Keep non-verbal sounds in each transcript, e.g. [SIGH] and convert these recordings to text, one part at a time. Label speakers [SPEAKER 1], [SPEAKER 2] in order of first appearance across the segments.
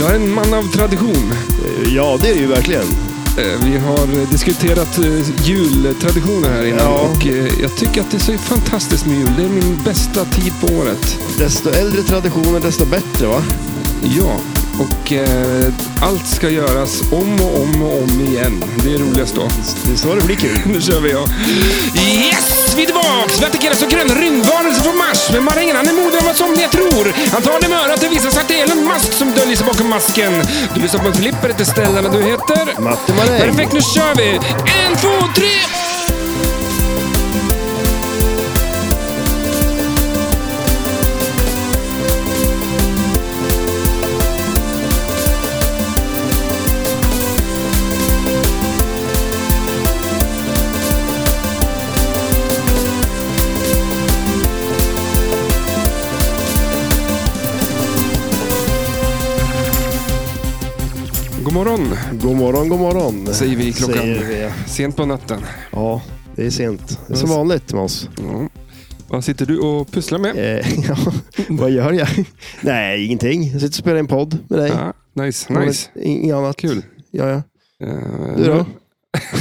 [SPEAKER 1] Jag är en man av tradition.
[SPEAKER 2] Ja, det är det ju verkligen.
[SPEAKER 1] Eh, Vi har diskuterat eh, jultraditioner här innan
[SPEAKER 2] Ja.
[SPEAKER 1] och eh, jag tycker att det är så fantastiskt med jul. Det är min bästa tid på året.
[SPEAKER 2] Desto äldre traditioner, desto bättre va?
[SPEAKER 1] Ja, och eh, allt ska göras om och om och om igen. Det är roligast då. [LAUGHS]
[SPEAKER 2] Det är så det blir kul.
[SPEAKER 1] Nu kör vi ja. Yes! Vi är tillbaks! Vi attackeras av gröna rymdvarelser från Mars. Men marängen han är modigare än vad somliga tror. Han tar det med örat. Det visar sig att det är Elon Musk som döljer sig bakom masken. Du lyssnar på en flipper heter Stellan och du heter?
[SPEAKER 2] Matte Maräng.
[SPEAKER 1] Perfekt, nu kör vi! En, två, tre! God morgon,
[SPEAKER 2] God morgon, god morgon.
[SPEAKER 1] säger vi i klockan.
[SPEAKER 2] Säger vi.
[SPEAKER 1] Sent på natten.
[SPEAKER 2] Ja, det är sent. Det är
[SPEAKER 1] Mm.
[SPEAKER 2] som vanligt med oss.
[SPEAKER 1] Ja. Vad sitter du och pusslar med?
[SPEAKER 2] Eh, [LAUGHS] ja, vad gör jag? Nej, ingenting. Jag sitter och spelar en podd med dig.
[SPEAKER 1] Ja, nice, Ah, nice.
[SPEAKER 2] Inget annat.
[SPEAKER 1] Kul.
[SPEAKER 2] Ja, ja.
[SPEAKER 1] Eh,
[SPEAKER 2] Du då?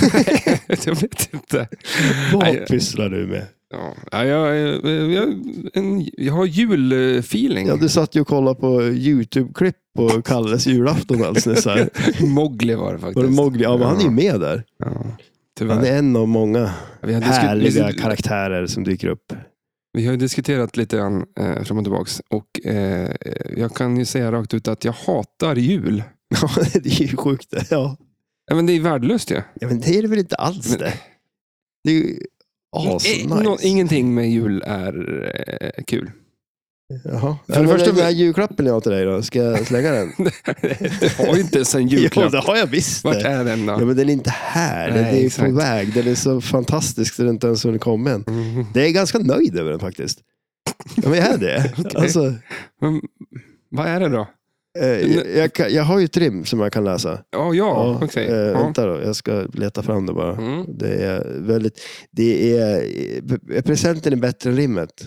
[SPEAKER 1] [LAUGHS] jag vet inte. Nej.
[SPEAKER 2] Vad pysslar du med?
[SPEAKER 1] Ja, ja, jag, jag, eh, jag, en, jag har julfeeling.
[SPEAKER 2] Ja, du satt ju och kollade på YouTube-klipp på Kalles julafton alldeles nyss. här.
[SPEAKER 1] Mowgli var det
[SPEAKER 2] Var
[SPEAKER 1] faktiskt.
[SPEAKER 2] det Mowgli? Ja, men han är ju med där.
[SPEAKER 1] Ja,
[SPEAKER 2] Han
[SPEAKER 1] tyvärr.
[SPEAKER 2] är en av många
[SPEAKER 1] Vi har, disku-
[SPEAKER 2] härliga
[SPEAKER 1] vi,
[SPEAKER 2] karaktärer som dyker upp.
[SPEAKER 1] vi har ju diskuterat lite grann eh, fram och tillbaks. Och, eh, jag kan ju säga rakt ut att jag hatar jul.
[SPEAKER 2] Ja, [LAUGHS] det är ju sjukt. det. Ja.
[SPEAKER 1] Ja, men det är värdelöst ju.
[SPEAKER 2] ja, men det är det väl inte alls
[SPEAKER 1] Men-
[SPEAKER 2] det. Det är ju
[SPEAKER 1] Eh, nå-
[SPEAKER 2] asnice.
[SPEAKER 1] ingenting med jul är eh,
[SPEAKER 2] [LAUGHS]
[SPEAKER 1] kul.
[SPEAKER 2] Jaha.
[SPEAKER 1] det
[SPEAKER 2] För det
[SPEAKER 1] första-
[SPEAKER 2] första, den här julklappen jag har till dig då, ska jag slänga den?
[SPEAKER 1] det har ju inte ens en [LAUGHS]
[SPEAKER 2] jo,
[SPEAKER 1] julklapp.
[SPEAKER 2] det har jag visst
[SPEAKER 1] Vart
[SPEAKER 2] det.
[SPEAKER 1] är den då?
[SPEAKER 2] Ja, men den är inte här.
[SPEAKER 1] Nej,
[SPEAKER 2] den är
[SPEAKER 1] exakt.
[SPEAKER 2] på väg. Den är så fantastisk så den inte ens hunnit komma än.
[SPEAKER 1] Mhm.
[SPEAKER 2] Det är ganska nöjd över den faktiskt. Ja, men jag
[SPEAKER 1] [LAUGHS]
[SPEAKER 2] är det. alltså,
[SPEAKER 1] Men, [LAUGHS] vad är det då?
[SPEAKER 2] eh, jag, jag, kan- jag har ju trim som jag kan läsa.
[SPEAKER 1] Ja, ja, okej.
[SPEAKER 2] eh,
[SPEAKER 1] Ja.
[SPEAKER 2] Vänta då, jag ska leta fram det bara.
[SPEAKER 1] Mm.
[SPEAKER 2] Det är väldigt... Det är, eh, presenten är bättre än rimmet.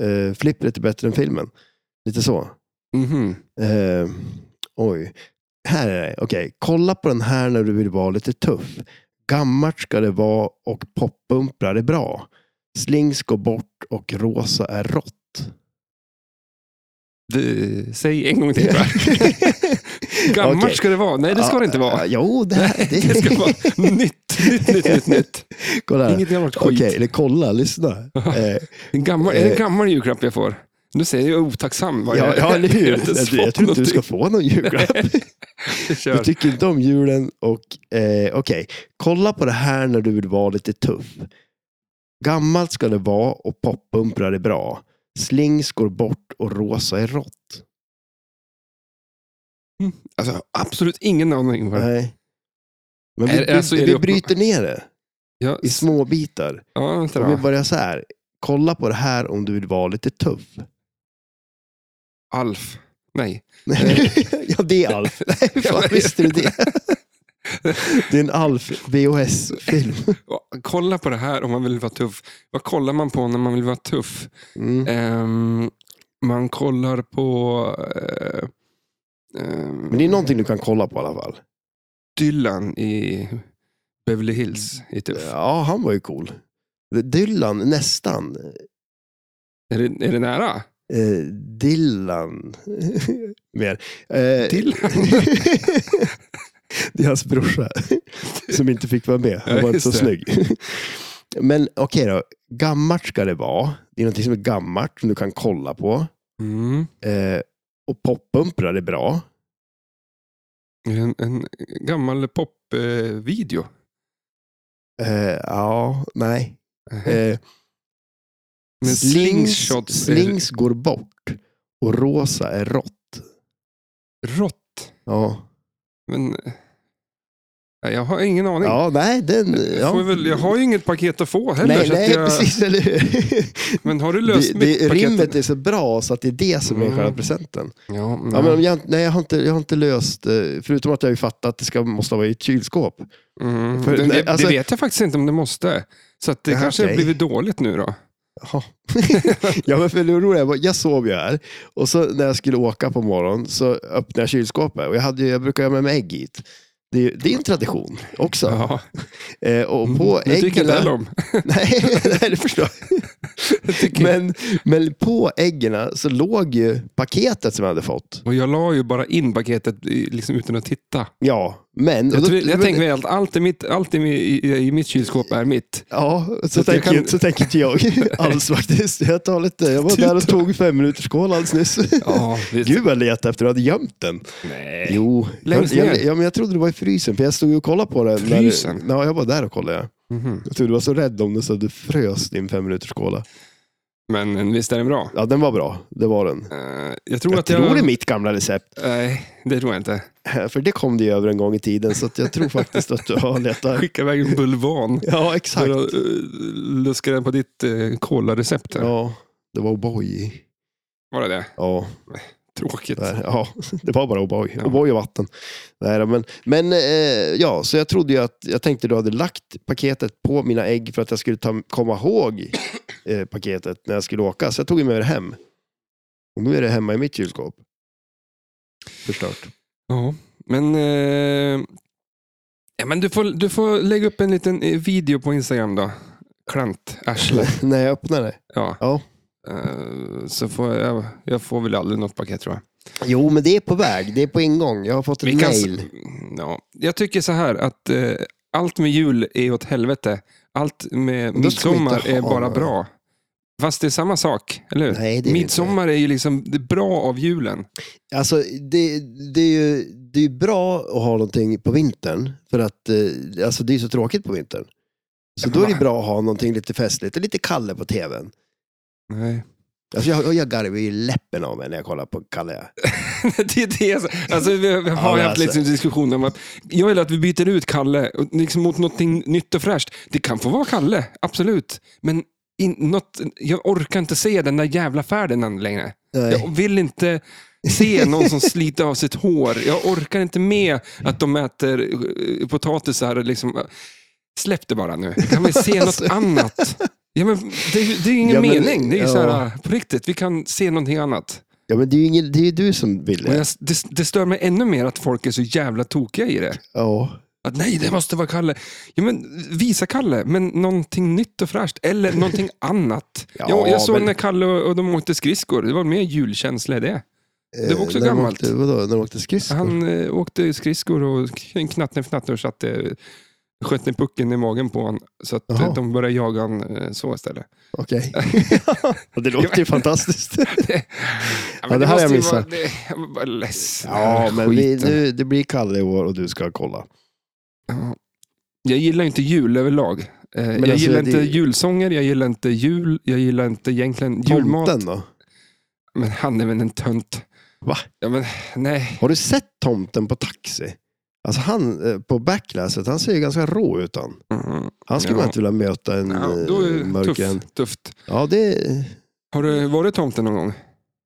[SPEAKER 2] Eh, flippret är bättre än filmen. Lite så.
[SPEAKER 1] Mhm.
[SPEAKER 2] Eh, oj. Här är det. Okej. Kolla på den här när du vill vara lite tuff. Gammalt ska det vara och poppumprar är bra. Slings går bort och rosa är rått.
[SPEAKER 1] Du, säg en gång
[SPEAKER 2] [LAUGHS]
[SPEAKER 1] till bara. Gammalt
[SPEAKER 2] Okej.
[SPEAKER 1] ska det vara. Nej, det ska det inte vara. [LAUGHS]
[SPEAKER 2] Ja, Jo, det, här, det,
[SPEAKER 1] Det ska
[SPEAKER 2] [LAUGHS]
[SPEAKER 1] vara nytt, nytt, nytt, nytt. nytt.
[SPEAKER 2] Kolla här.
[SPEAKER 1] Inget gammalt skit.
[SPEAKER 2] Okej, eller
[SPEAKER 1] [LAUGHS]
[SPEAKER 2] kolla, lyssna. Eh,
[SPEAKER 1] En gammal, är det en
[SPEAKER 2] Eh.
[SPEAKER 1] gammal julklapp jag får? Nu säger jag otacksam. vad
[SPEAKER 2] ja,
[SPEAKER 1] jag,
[SPEAKER 2] ja, eller
[SPEAKER 1] [LAUGHS]
[SPEAKER 2] hur?
[SPEAKER 1] jag har inte ens
[SPEAKER 2] Jag, jag
[SPEAKER 1] fått
[SPEAKER 2] tror inte du ska
[SPEAKER 1] någonting.
[SPEAKER 2] få någon julklapp. [LAUGHS] Du
[SPEAKER 1] [LAUGHS] Kör.
[SPEAKER 2] tycker inte om julen och eh, okej, kolla på det här när du vill vara lite tuff. Gammalt ska det vara och poppumprar är bra. Slings går bort och rosa är rått.
[SPEAKER 1] Alltså, jag har absolut ingen aning. Vad.
[SPEAKER 2] Nej. Men vi,
[SPEAKER 1] Är- alltså, är
[SPEAKER 2] vi,
[SPEAKER 1] det
[SPEAKER 2] vi
[SPEAKER 1] upp-
[SPEAKER 2] bryter ner det
[SPEAKER 1] Ja,
[SPEAKER 2] i små bitar.
[SPEAKER 1] ja, vänta
[SPEAKER 2] Om vi
[SPEAKER 1] då.
[SPEAKER 2] börjar så här. Kolla på det här om du vill vara lite tuff.
[SPEAKER 1] Alf. Nej.
[SPEAKER 2] [LAUGHS] ja, det är
[SPEAKER 1] [LAUGHS]
[SPEAKER 2] Alf. Nej, hur fan visste du det? det är en
[SPEAKER 1] [LAUGHS]
[SPEAKER 2] Alf VHS-film.
[SPEAKER 1] Kolla på det här om man vill vara tuff. Vad kollar man på när man vill vara tuff?
[SPEAKER 2] Mm.
[SPEAKER 1] Ehm, man kollar på... eh, ehm,
[SPEAKER 2] Men det är någonting du kan kolla på i alla fall.
[SPEAKER 1] Dylan i Beverly Hills i typ- Tuff.
[SPEAKER 2] Mm. Ja, han var ju cool. Dylan, nästan.
[SPEAKER 1] Är, det, är det nära?
[SPEAKER 2] Eh, Dylan. [LAUGHS] Mer. Eh,
[SPEAKER 1] Dylan?
[SPEAKER 2] [LAUGHS] det är hans brorsa som inte fick vara med. Han
[SPEAKER 1] Ja,
[SPEAKER 2] var inte
[SPEAKER 1] just
[SPEAKER 2] så
[SPEAKER 1] det.
[SPEAKER 2] snygg. [LAUGHS] Men okej då. Gammalt ska det vara. Det är någonting som är gammalt som du kan kolla på.
[SPEAKER 1] Mm.
[SPEAKER 2] Eh, och poppumprar är bra.
[SPEAKER 1] En, en gammal popvideo.
[SPEAKER 2] Eh, ja, nej. Eh,
[SPEAKER 1] Men slingshots slings...
[SPEAKER 2] slings går bort och rosa är rått.
[SPEAKER 1] är rått.
[SPEAKER 2] Ja.
[SPEAKER 1] Men, nej, jag har ingen aning.
[SPEAKER 2] Ja, nej, den...
[SPEAKER 1] Jag,
[SPEAKER 2] Ja.
[SPEAKER 1] får väl, jag har ju inget paket att få heller.
[SPEAKER 2] nej,
[SPEAKER 1] så att
[SPEAKER 2] nej
[SPEAKER 1] jag,
[SPEAKER 2] precis,
[SPEAKER 1] [LAUGHS]
[SPEAKER 2] eller hur?
[SPEAKER 1] Men har du löst
[SPEAKER 2] Det,
[SPEAKER 1] mitt
[SPEAKER 2] det,
[SPEAKER 1] paket?
[SPEAKER 2] rimmet är så bra så att det är det som är
[SPEAKER 1] Mm.
[SPEAKER 2] själva presenten.
[SPEAKER 1] Ja, nej.
[SPEAKER 2] Ja, men jag, nej, jag, har inte, jag har inte löst, eh, förutom att jag har ju fattat att det ska, måste vara i
[SPEAKER 1] [LAUGHS]
[SPEAKER 2] ett kylskåp.
[SPEAKER 1] mm.
[SPEAKER 2] för-
[SPEAKER 1] det,
[SPEAKER 2] nej,
[SPEAKER 1] det,
[SPEAKER 2] alltså-
[SPEAKER 1] det vet jag faktiskt inte om det måste. Så att det
[SPEAKER 2] Ja,
[SPEAKER 1] kanske har
[SPEAKER 2] okej.
[SPEAKER 1] blivit dåligt nu då.
[SPEAKER 2] Jaha. ja, men för det roliga var, jag sov ju här och så när jag skulle åka på morgonen så öppnade jag kylskåpet och jag, hade, ju- jag brukar ha med mig ägg hit. Det är, ju- det är en tradition också.
[SPEAKER 1] Ja, Mm.
[SPEAKER 2] Eh, och på
[SPEAKER 1] det tycker inte
[SPEAKER 2] äggen...
[SPEAKER 1] heller om.
[SPEAKER 2] [LAUGHS] Nej, nej, det förstår jag. Men, men på äggen så låg ju paketet som jag hade fått.
[SPEAKER 1] Och jag la ju bara in paketet i- liksom, utan att titta.
[SPEAKER 2] Ja, men...
[SPEAKER 1] Jag,
[SPEAKER 2] och då-
[SPEAKER 1] tror, jag
[SPEAKER 2] men-
[SPEAKER 1] tänker väl att allt, i mitt, allt i, mi- i, i mitt kylskåp är mitt.
[SPEAKER 2] Ja, så,
[SPEAKER 1] Så att jag
[SPEAKER 2] tänker,
[SPEAKER 1] kan-
[SPEAKER 2] så tänker inte jag [LAUGHS] alls faktiskt. Jag, tar lite, jag var där och tog fem minuters skål alldeles nyss.
[SPEAKER 1] Typ. Ja, visst.
[SPEAKER 2] Gud vad jag letade efter, jag hade gömt den.
[SPEAKER 1] Nej.
[SPEAKER 2] Jo,
[SPEAKER 1] Längst
[SPEAKER 2] jag,
[SPEAKER 1] ner.
[SPEAKER 2] jag, ja, men jag trodde det var i frysen, för jag stod ju och kollade på den.
[SPEAKER 1] Frysen?
[SPEAKER 2] När, ja, jag var där och kollade. ja.
[SPEAKER 1] Mhm.
[SPEAKER 2] Jag trodde du var så rädd om den så att du frös din fem minuters cola.
[SPEAKER 1] Men visst är den bra?
[SPEAKER 2] Ja, den var bra. Det var den.
[SPEAKER 1] Eh, jag tror
[SPEAKER 2] Jag,
[SPEAKER 1] att
[SPEAKER 2] tror
[SPEAKER 1] jag...
[SPEAKER 2] det är mitt gamla recept.
[SPEAKER 1] Nej, det tror jag inte.
[SPEAKER 2] [LAUGHS] För det kom det ju över en gång i tiden, så att jag tror faktiskt att du har letat.
[SPEAKER 1] Skicka iväg en bulvan.
[SPEAKER 2] Ja, exakt.
[SPEAKER 1] För att eh, luska den på ditt uh, kolarecept. här.
[SPEAKER 2] Ja, det var O'boy.
[SPEAKER 1] Var det det?
[SPEAKER 2] Ja,
[SPEAKER 1] Tråkigt.
[SPEAKER 2] Där, ja, [LAUGHS] det var bara O'boy.
[SPEAKER 1] Ja.
[SPEAKER 2] O'boy och vatten. Nej, då, men men eh, ja, så jag trodde ju att, jag tänkte du hade lagt paketet på mina ägg för att jag skulle ta, komma ihåg eh, paketet när jag skulle åka. Så jag tog ju med det hem. Och nu är det hemma i mitt kylskåp. Förstört.
[SPEAKER 1] Ja, men... eh, ja, men du, får, du får lägga upp en liten eh, video på Instagram då. Klant, arsle.
[SPEAKER 2] [LAUGHS] när jag öppnade det.
[SPEAKER 1] Ja.
[SPEAKER 2] Ja.
[SPEAKER 1] Eh, så får jag, jag får väl aldrig något paket tror jag.
[SPEAKER 2] Jo, men det är på väg. Det är på ingång. Jag har fått ett
[SPEAKER 1] Vi kan s-
[SPEAKER 2] mail.
[SPEAKER 1] ja. Jag tycker så här att eh, allt med jul är åt helvete. Allt med
[SPEAKER 2] Då ska vi inte
[SPEAKER 1] midsommar är
[SPEAKER 2] ha
[SPEAKER 1] bara
[SPEAKER 2] det.
[SPEAKER 1] bra. Fast det är samma sak, eller hur?
[SPEAKER 2] Nej, det är det
[SPEAKER 1] Midsommar är ju liksom det bra av julen.
[SPEAKER 2] Alltså, det, det är ju det är ju bra att ha någonting på vintern, för att eh, alltså, det är så tråkigt på vintern. Så då är det bra att ha någonting lite festligt, lite Kalle på tvn.
[SPEAKER 1] Nej.
[SPEAKER 2] Alltså, jag, jag garvar ju läppen av mig när jag kollar på Kalle.
[SPEAKER 1] [LAUGHS] det är det. som- Alltså, vi vi har
[SPEAKER 2] men alltså.
[SPEAKER 1] haft lite diskussion om att jag vill att vi byter ut Kalle och liksom mot något nytt och fräscht. Det kan få vara Kalle, absolut. Men in, något, jag orkar inte se den där jävla Ferdinand längre.
[SPEAKER 2] Nej.
[SPEAKER 1] Jag vill inte se någon
[SPEAKER 2] [LAUGHS]
[SPEAKER 1] som sliter av sitt hår. Jag orkar inte med att de äter eh, potatisar. och Liksom. Släpp det bara nu. Kan vi
[SPEAKER 2] [LAUGHS]
[SPEAKER 1] se något annat? Ja, men det, är ju- det är ju ingen
[SPEAKER 2] Alltså. Ja, men-
[SPEAKER 1] mening. Det är ju så här,
[SPEAKER 2] ja.
[SPEAKER 1] på riktigt, vi kan se någonting annat.
[SPEAKER 2] Ja, men det är ju ingen, det är ju du som vill
[SPEAKER 1] Och
[SPEAKER 2] det.
[SPEAKER 1] jag, det, det stör mig ännu mer att folk är så jävla tokiga i det.
[SPEAKER 2] Ja.
[SPEAKER 1] Att nej, det måste vara Kalle. Ja, men visa Kalle, men någonting nytt och fräscht. Eller
[SPEAKER 2] [LAUGHS]
[SPEAKER 1] någonting annat.
[SPEAKER 2] Ja,
[SPEAKER 1] jag, jag såg
[SPEAKER 2] men-
[SPEAKER 1] när Kalle och, och de åkte skridskor. Det var mer julkänsla i det. Det var också
[SPEAKER 2] Eh, när de
[SPEAKER 1] gammalt.
[SPEAKER 2] Åkte, vadå, när de åkte skridskor?
[SPEAKER 1] Han eh, åkte skridskor och k- knatten fnatten och satte, sköt ner pucken i magen på honom. Så att eh,
[SPEAKER 2] Jaha.
[SPEAKER 1] de började jaga honom eh, så istället. [LAUGHS]
[SPEAKER 2] Okej. det låter ju fantastiskt.
[SPEAKER 1] Ja,
[SPEAKER 2] det här har jag
[SPEAKER 1] måste ju vara-
[SPEAKER 2] missat.
[SPEAKER 1] det- Jag var bara ledsen.
[SPEAKER 2] ja, [LAUGHS] men vi,
[SPEAKER 1] Skiten.
[SPEAKER 2] nu, det blir Kalle i år och du ska kolla.
[SPEAKER 1] Ja. Jag gillar inte jul överlag. Eh, jag
[SPEAKER 2] alltså,
[SPEAKER 1] gillar
[SPEAKER 2] det-
[SPEAKER 1] inte julsånger, jag gillar inte jul, jag gillar inte egentligen julmat.
[SPEAKER 2] Tomten då?
[SPEAKER 1] Men han är väl en tönt.
[SPEAKER 2] Va?
[SPEAKER 1] Ja, men, nej.
[SPEAKER 2] Har du sett tomten på Taxi? Alltså han eh, på backlasset, han ser ju ganska rå ut han.
[SPEAKER 1] Mm.
[SPEAKER 2] Han skulle
[SPEAKER 1] Ja.
[SPEAKER 2] man inte vilja möta en
[SPEAKER 1] Ja, då är
[SPEAKER 2] eh,
[SPEAKER 1] det
[SPEAKER 2] mörkren.
[SPEAKER 1] tufft, tufft.
[SPEAKER 2] Ja, det,
[SPEAKER 1] Har du varit tomten någon gång?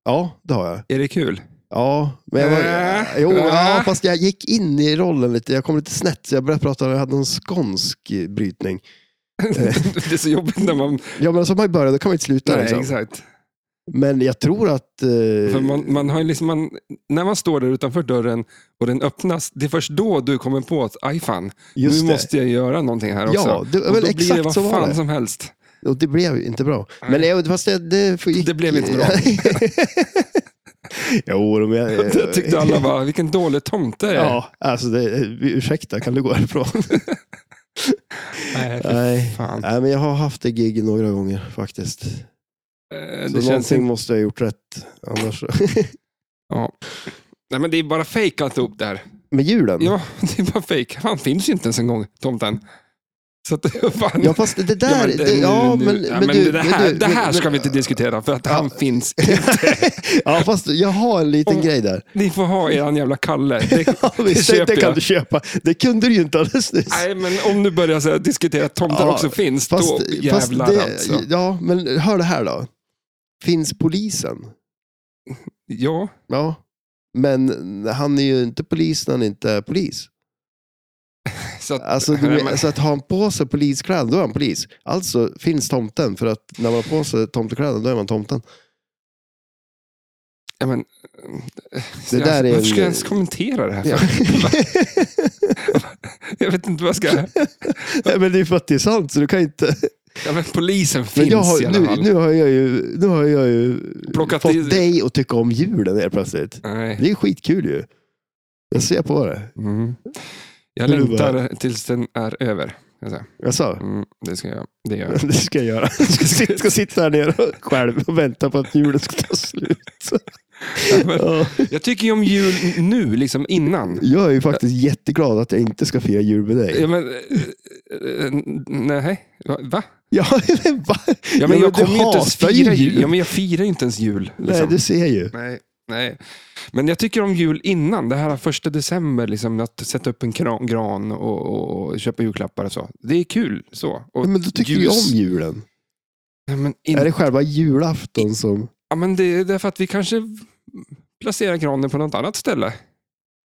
[SPEAKER 2] ja, det har jag.
[SPEAKER 1] Är det kul?
[SPEAKER 2] Ja, men jag
[SPEAKER 1] Äh,
[SPEAKER 2] var, jo,
[SPEAKER 1] äh.
[SPEAKER 2] ja, fast jag gick in i rollen lite. Jag kom lite snett, så jag började prata, jag hade någon skånsk eh, brytning.
[SPEAKER 1] [LAUGHS] det är så jobbigt när man...
[SPEAKER 2] Ja, men alltså om man börjar, då kan man inte sluta.
[SPEAKER 1] Nej,
[SPEAKER 2] liksom.
[SPEAKER 1] exakt.
[SPEAKER 2] Men jag tror att... eh,
[SPEAKER 1] För man, man har ju liksom, man, när man står där utanför dörren och den öppnas, det är först då du kommer på att aj fan,
[SPEAKER 2] just
[SPEAKER 1] nu
[SPEAKER 2] det.
[SPEAKER 1] måste jag göra någonting här också.
[SPEAKER 2] Ja, det,
[SPEAKER 1] och då
[SPEAKER 2] väl,
[SPEAKER 1] blir det
[SPEAKER 2] exakt
[SPEAKER 1] vad
[SPEAKER 2] så var
[SPEAKER 1] fan
[SPEAKER 2] det.
[SPEAKER 1] som helst.
[SPEAKER 2] Och det blev ju inte bra.
[SPEAKER 1] Nej.
[SPEAKER 2] Men jag, fast det, det gick...
[SPEAKER 1] Det blev inte bra.
[SPEAKER 2] [LAUGHS] jo,
[SPEAKER 1] [LAUGHS]
[SPEAKER 2] men jag...
[SPEAKER 1] Det tyckte alla bara, vilken dålig tomte det är.
[SPEAKER 2] Ja, alltså det, ursäkta, kan du gå härifrån?
[SPEAKER 1] [LAUGHS] Nej, fy
[SPEAKER 2] Nej.
[SPEAKER 1] fan.
[SPEAKER 2] Nej, men jag har haft det gig några gånger faktiskt.
[SPEAKER 1] Eh,
[SPEAKER 2] Så
[SPEAKER 1] Det känns
[SPEAKER 2] någonting
[SPEAKER 1] inte...
[SPEAKER 2] måste jag ha gjort rätt. Annars... [LAUGHS]
[SPEAKER 1] ja. Nej, men det är bara fejk alltihop där.
[SPEAKER 2] Med julen?
[SPEAKER 1] Ja, [LAUGHS] det är bara fejk. Han finns ju inte ens en gång, tomten. Så att, [LAUGHS] fan.
[SPEAKER 2] Ja, fast det där...
[SPEAKER 1] Ja,
[SPEAKER 2] Ja,
[SPEAKER 1] men
[SPEAKER 2] men,
[SPEAKER 1] det-
[SPEAKER 2] det,
[SPEAKER 1] nu- ja,
[SPEAKER 2] ja, men, men du,
[SPEAKER 1] det här,
[SPEAKER 2] men du,
[SPEAKER 1] det här
[SPEAKER 2] men-
[SPEAKER 1] ska vi inte diskutera, för att han finns.
[SPEAKER 2] [LAUGHS] ja, fast jag har en liten
[SPEAKER 1] Om-
[SPEAKER 2] grej
[SPEAKER 1] [LAUGHS]
[SPEAKER 2] där.
[SPEAKER 1] Ni får ha er jävla Kalle. Det,
[SPEAKER 2] Ja, visst, det,
[SPEAKER 1] köper
[SPEAKER 2] det kan
[SPEAKER 1] jag.
[SPEAKER 2] du köpa. Det kunde du ju inte alldeles nyss.
[SPEAKER 1] Nej, men om du börjar så här, diskutera att tomten
[SPEAKER 2] Ja,
[SPEAKER 1] också finns,
[SPEAKER 2] Fast,
[SPEAKER 1] då
[SPEAKER 2] fast
[SPEAKER 1] jävlar
[SPEAKER 2] det,
[SPEAKER 1] alltså.
[SPEAKER 2] Ja, men hör det här då. Finns polisen?
[SPEAKER 1] Ja,
[SPEAKER 2] Ja. Men han är ju inte polis när han inte är polis.
[SPEAKER 1] [LAUGHS] Så att,
[SPEAKER 2] Alltså,
[SPEAKER 1] [LAUGHS]
[SPEAKER 2] du men, alltså att ha en på sig poliskläder, då är han polis. Alltså finns tomten, för att när man har på sig tomtekläder, då är man tomten.
[SPEAKER 1] ja, men,
[SPEAKER 2] Det där är
[SPEAKER 1] Varför ska
[SPEAKER 2] en-
[SPEAKER 1] jag ens kommentera det här?
[SPEAKER 2] Ja.
[SPEAKER 1] för? [LAUGHS] Jag vet inte vad jag ska...
[SPEAKER 2] [LAUGHS] Nej, men det är för att det är sant, så du kan inte...
[SPEAKER 1] Ja, men polisen
[SPEAKER 2] Men
[SPEAKER 1] finns
[SPEAKER 2] jag har,
[SPEAKER 1] i alla fall.
[SPEAKER 2] nu, nu har jag ju, nu har jag ju
[SPEAKER 1] Plockat
[SPEAKER 2] fått
[SPEAKER 1] i-
[SPEAKER 2] dig att tycka om julen helt plötsligt.
[SPEAKER 1] Nej.
[SPEAKER 2] Det är skitkul ju. Jag ser på det.
[SPEAKER 1] Mm. Jag
[SPEAKER 2] Nu
[SPEAKER 1] längtar tills den är över. kan jag säga.
[SPEAKER 2] Jag sa.
[SPEAKER 1] Mm, det ska jag. Det gör jag.
[SPEAKER 2] Det ska jag göra. Jag ska sitta, ska sitta här nere själv och vänta på att julen ska ta slut. Ja.
[SPEAKER 1] Jag tycker ju om jul nu, liksom innan.
[SPEAKER 2] Jag är ju faktiskt jätteglad att jag inte ska fira jul med dig.
[SPEAKER 1] Ja, men, eh, eh, nej, va? va?
[SPEAKER 2] Ja, men va?
[SPEAKER 1] Ja, men jag
[SPEAKER 2] du
[SPEAKER 1] kommer ju inte ens
[SPEAKER 2] hatar
[SPEAKER 1] fira jul. liksom. Ja, men jag firar ju inte ens jul.
[SPEAKER 2] Nej,
[SPEAKER 1] Liksom.
[SPEAKER 2] du ser ju.
[SPEAKER 1] Nej, nej. Men jag tycker om jul innan. Det här första december, liksom, att sätta upp en kran, gran och, och, och köpa julklappar och så. Det är kul. så. Och
[SPEAKER 2] Ja, men du tycker ju om
[SPEAKER 1] ljus.
[SPEAKER 2] julen.
[SPEAKER 1] Ja, men, in...
[SPEAKER 2] Är det själva julafton som...
[SPEAKER 1] ja, men det är därför att vi kanske placerar granen på något annat ställe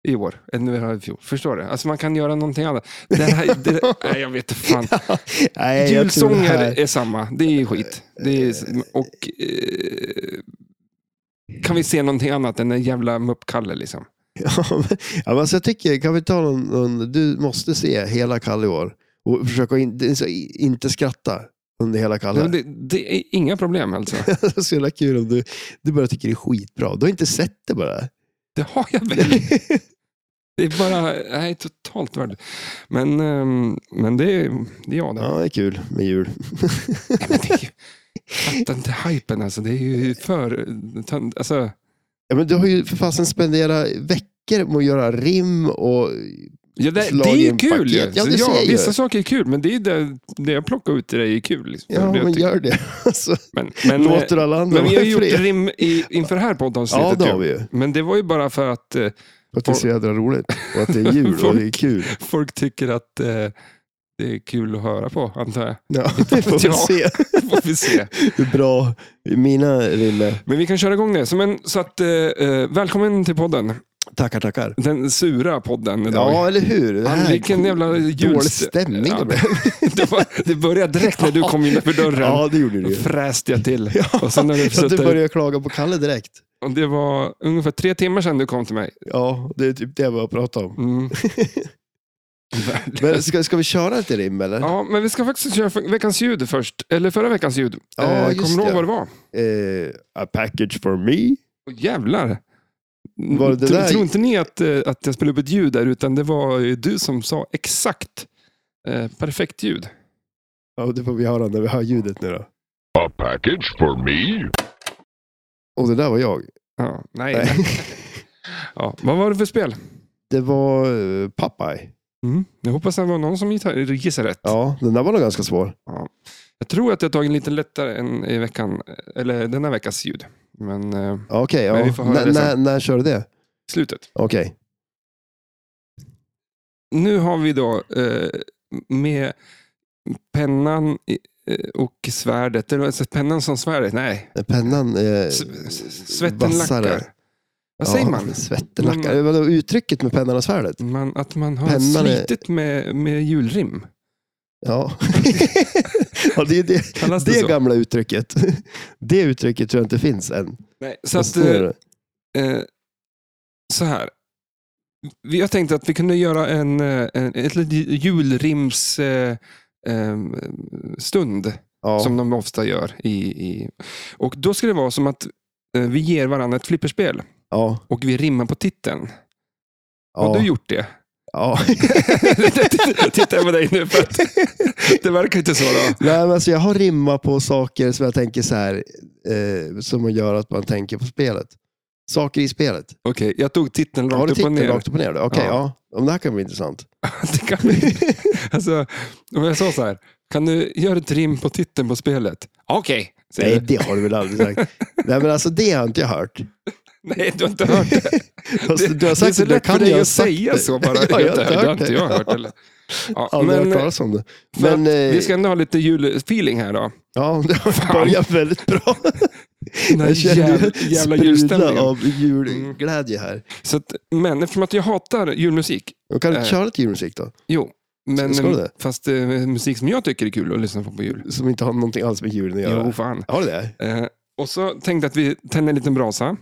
[SPEAKER 1] i år än vi har i fjol. Förstår du? Alltså man kan göra någonting annat. Det här,
[SPEAKER 2] [LAUGHS]
[SPEAKER 1] det... Nej, jag vet inte fan.
[SPEAKER 2] Nej, jag tror det
[SPEAKER 1] Julsånger
[SPEAKER 2] här- [LAUGHS]
[SPEAKER 1] är samma. Det är skit. Det är, och, eh, kan vi se någonting annat än en jävla muppkalle? Liksom?
[SPEAKER 2] Ja, men, ja, men alltså jag tycker, kan vi ta någon, någon du måste se hela Kalle i år. Och försöka in, det är så- inte skratta under hela Kalle.
[SPEAKER 1] Men det, det är inga problem
[SPEAKER 2] [LAUGHS]
[SPEAKER 1] alltså.
[SPEAKER 2] det är så jävla kul om du, du bara tycker det är skitbra. Du har inte sett
[SPEAKER 1] [LAUGHS]
[SPEAKER 2] det bara.
[SPEAKER 1] Det har jag väl. Det är bara nej, totalt värd. Men, ehm, men det, är- det är jag. där.
[SPEAKER 2] ja, det är kul med jul.
[SPEAKER 1] Nej, men det är ju, fatta inte hypen alltså. Det är ju för... tönt- Alltså,
[SPEAKER 2] Ja, men du har ju för fasen spenderat veckor med att göra rim och...
[SPEAKER 1] ja, det, det
[SPEAKER 2] Slag
[SPEAKER 1] är
[SPEAKER 2] i
[SPEAKER 1] ju
[SPEAKER 2] en
[SPEAKER 1] kul ju.
[SPEAKER 2] paket. Ja, det
[SPEAKER 1] Så
[SPEAKER 2] ser jag ju.
[SPEAKER 1] vissa saker är kul, men det, är det, det jag plockar ut till dig är kul. Liksom.
[SPEAKER 2] Ja,
[SPEAKER 1] Det jag
[SPEAKER 2] men
[SPEAKER 1] tycker-
[SPEAKER 2] gör det. [LAUGHS] Alltså,
[SPEAKER 1] men, men, eh,
[SPEAKER 2] låter alla andra
[SPEAKER 1] Men vi har
[SPEAKER 2] vara
[SPEAKER 1] ju gjort
[SPEAKER 2] fred.
[SPEAKER 1] rim i, inför det här poddavsnittet.
[SPEAKER 2] Ja, det har
[SPEAKER 1] ju.
[SPEAKER 2] vi ju.
[SPEAKER 1] Men det var ju bara för att eh,
[SPEAKER 2] För att det är så jädra roligt. Och att det är jul och det är kul.
[SPEAKER 1] folk tycker att eh, det är kul att höra på, antar
[SPEAKER 2] [LAUGHS]
[SPEAKER 1] jag.
[SPEAKER 2] Ja, vi får väl
[SPEAKER 1] Ja. [LAUGHS]
[SPEAKER 2] se
[SPEAKER 1] Får vi se.
[SPEAKER 2] hur bra mina rim är.
[SPEAKER 1] Men vi kan köra igång det. Så, men, så att, eh, eh, välkommen till podden.
[SPEAKER 2] Tackar, tackar.
[SPEAKER 1] Den sura podden idag.
[SPEAKER 2] Ja, eller hur? Det
[SPEAKER 1] Fan,
[SPEAKER 2] här
[SPEAKER 1] vilken jävla jul...
[SPEAKER 2] dålig stämning
[SPEAKER 1] Ja,
[SPEAKER 2] det blev.
[SPEAKER 1] det, [LAUGHS] var, det började direkt när du kom innanför dörren.
[SPEAKER 2] Ja, det gjorde
[SPEAKER 1] [LAUGHS]
[SPEAKER 2] det
[SPEAKER 1] Då
[SPEAKER 2] ju.
[SPEAKER 1] fräste jag
[SPEAKER 2] [LAUGHS]
[SPEAKER 1] till. Och sen när du
[SPEAKER 2] Så att du
[SPEAKER 1] suttit-
[SPEAKER 2] började klaga på Kalle direkt.
[SPEAKER 1] och det var ungefär tre timmar sedan du kom till mig.
[SPEAKER 2] Ja, det är typ det jag började prata om. [LAUGHS]
[SPEAKER 1] Mm.
[SPEAKER 2] Men ska, ska vi köra lite rim eller?
[SPEAKER 1] Ja, men vi ska faktiskt köra veckans ljud först. Eller förra veckans ljud.
[SPEAKER 2] Ja, just
[SPEAKER 1] Kommer du ihåg
[SPEAKER 2] det.
[SPEAKER 1] vad det var?
[SPEAKER 2] Eh, a package for me.
[SPEAKER 1] Åh, jävlar.
[SPEAKER 2] Var det det
[SPEAKER 1] Tro-
[SPEAKER 2] där?
[SPEAKER 1] Tror inte ni att, eh, att jag spelade upp ett ljud där, utan det var ju du som sa exakt eh, perfekt ljud.
[SPEAKER 2] Ja, det får vi höra när vi hör ljudet nu då.
[SPEAKER 3] A package for me?
[SPEAKER 2] Och det där var jag.
[SPEAKER 1] Ja, nej.
[SPEAKER 2] Nej.
[SPEAKER 1] Ja, vad var det för spel?
[SPEAKER 2] [LAUGHS] Det var eh, Popeye.
[SPEAKER 1] Mm. Jag hoppas det var någon som gissade gissade rätt.
[SPEAKER 2] Ja, den där var nog ganska svår.
[SPEAKER 1] Jag tror att jag tagit lite lättare än i veckan, eller denna veckas ljud. Men eh,
[SPEAKER 2] Ja, Okej,
[SPEAKER 1] Men vi
[SPEAKER 2] ja.
[SPEAKER 1] får höra
[SPEAKER 2] När-
[SPEAKER 1] det sen.
[SPEAKER 2] när- när kör du det?
[SPEAKER 1] slutet.
[SPEAKER 2] Okej.
[SPEAKER 1] nu har vi då eh, med pennan i- eh, och svärdet, eller alltså pennan som svärdet, nej.
[SPEAKER 2] När Pennan... Eh,
[SPEAKER 1] S- s- svetten
[SPEAKER 2] vassare.
[SPEAKER 1] lackar. Vad säger
[SPEAKER 2] ja,
[SPEAKER 1] man? Mm.
[SPEAKER 2] Svetten lackar. Det var nog uttrycket med pennan och svärdet.
[SPEAKER 1] man? Att man har
[SPEAKER 2] Pennan är-
[SPEAKER 1] slitit med, med julrim. [LAUGHS]
[SPEAKER 2] Ja. ja, det är det.
[SPEAKER 1] Kallas det,
[SPEAKER 2] Det
[SPEAKER 1] så?
[SPEAKER 2] gamla uttrycket. [LAUGHS] Det uttrycket tror jag inte finns än.
[SPEAKER 1] Nej, så att,
[SPEAKER 2] Fast nu är det.
[SPEAKER 1] eh, så här. Vi- Jag tänkte att vi kunde göra en, eh, en ett litet julrims eh, em, stund.
[SPEAKER 2] ja.
[SPEAKER 1] som de ofta gör. I, i... Och Då ska det vara som att eh, vi ger varandra ett flipperspel
[SPEAKER 2] ja,
[SPEAKER 1] och vi rimmar på titeln. Har
[SPEAKER 2] ja,
[SPEAKER 1] du gjort det? [LAUGHS]
[SPEAKER 2] ja.
[SPEAKER 1] Tittar jag på dig nu för att [LAUGHS] det verkar inte så. Då.
[SPEAKER 2] Nej, men alltså jag har rimmat på saker som jag tänker så här, eh, som gör att man tänker på spelet. Saker i spelet.
[SPEAKER 1] Okej, jag tog titeln
[SPEAKER 2] har
[SPEAKER 1] rakt upp
[SPEAKER 2] du
[SPEAKER 1] och
[SPEAKER 2] titeln
[SPEAKER 1] ner.
[SPEAKER 2] rakt upp och ner? då? Okej,
[SPEAKER 1] Ja.
[SPEAKER 2] ja. Om det här kan bli intressant.
[SPEAKER 1] [LAUGHS] det kan vi... alltså, och jag sa så här, kan du göra ett rim på titeln på spelet? Okej, säger
[SPEAKER 2] Nej,
[SPEAKER 1] du.
[SPEAKER 2] det har du väl aldrig sagt. Nej, men alltså det har inte jag hört.
[SPEAKER 1] Nej, du har inte hört det.
[SPEAKER 2] Alltså,
[SPEAKER 1] Det-
[SPEAKER 2] du har
[SPEAKER 1] det är
[SPEAKER 2] sagt
[SPEAKER 1] så
[SPEAKER 2] det, då
[SPEAKER 1] lätt för
[SPEAKER 2] kan
[SPEAKER 1] dig
[SPEAKER 2] jag ha
[SPEAKER 1] att
[SPEAKER 2] sagt
[SPEAKER 1] säga
[SPEAKER 2] det.
[SPEAKER 1] så bara.
[SPEAKER 2] [LAUGHS] Ja,
[SPEAKER 1] Det har inte- det har inte jag hört. Eller? Ja,
[SPEAKER 2] Aldrig
[SPEAKER 1] men eh,
[SPEAKER 2] hört talas om det.
[SPEAKER 1] för
[SPEAKER 2] Men,
[SPEAKER 1] att, vi
[SPEAKER 2] eh, [LAUGHS]
[SPEAKER 1] ska ändå ha lite julfeeling här då.
[SPEAKER 2] Ja, det har
[SPEAKER 1] Fan.
[SPEAKER 2] börjat väldigt bra.
[SPEAKER 1] Den här
[SPEAKER 2] Jag känner
[SPEAKER 1] jävla,
[SPEAKER 2] ju
[SPEAKER 1] jävla
[SPEAKER 2] sprudla
[SPEAKER 1] julstämningen. Mm.
[SPEAKER 2] av julglädje här.
[SPEAKER 1] Så att, men eftersom att jag hatar julmusik,
[SPEAKER 2] Och kan du
[SPEAKER 1] Eh.
[SPEAKER 2] inte köra lite julmusik då?
[SPEAKER 1] jo. Men,
[SPEAKER 2] Ska- ska du det?
[SPEAKER 1] fast eh, musik som jag tycker är kul att lyssna på på jul.
[SPEAKER 2] Som inte har någonting alls med julen att göra.
[SPEAKER 1] Jo, fan.
[SPEAKER 2] Har du det?
[SPEAKER 1] Eh, och så tänkte jag att vi tänder en liten brasa.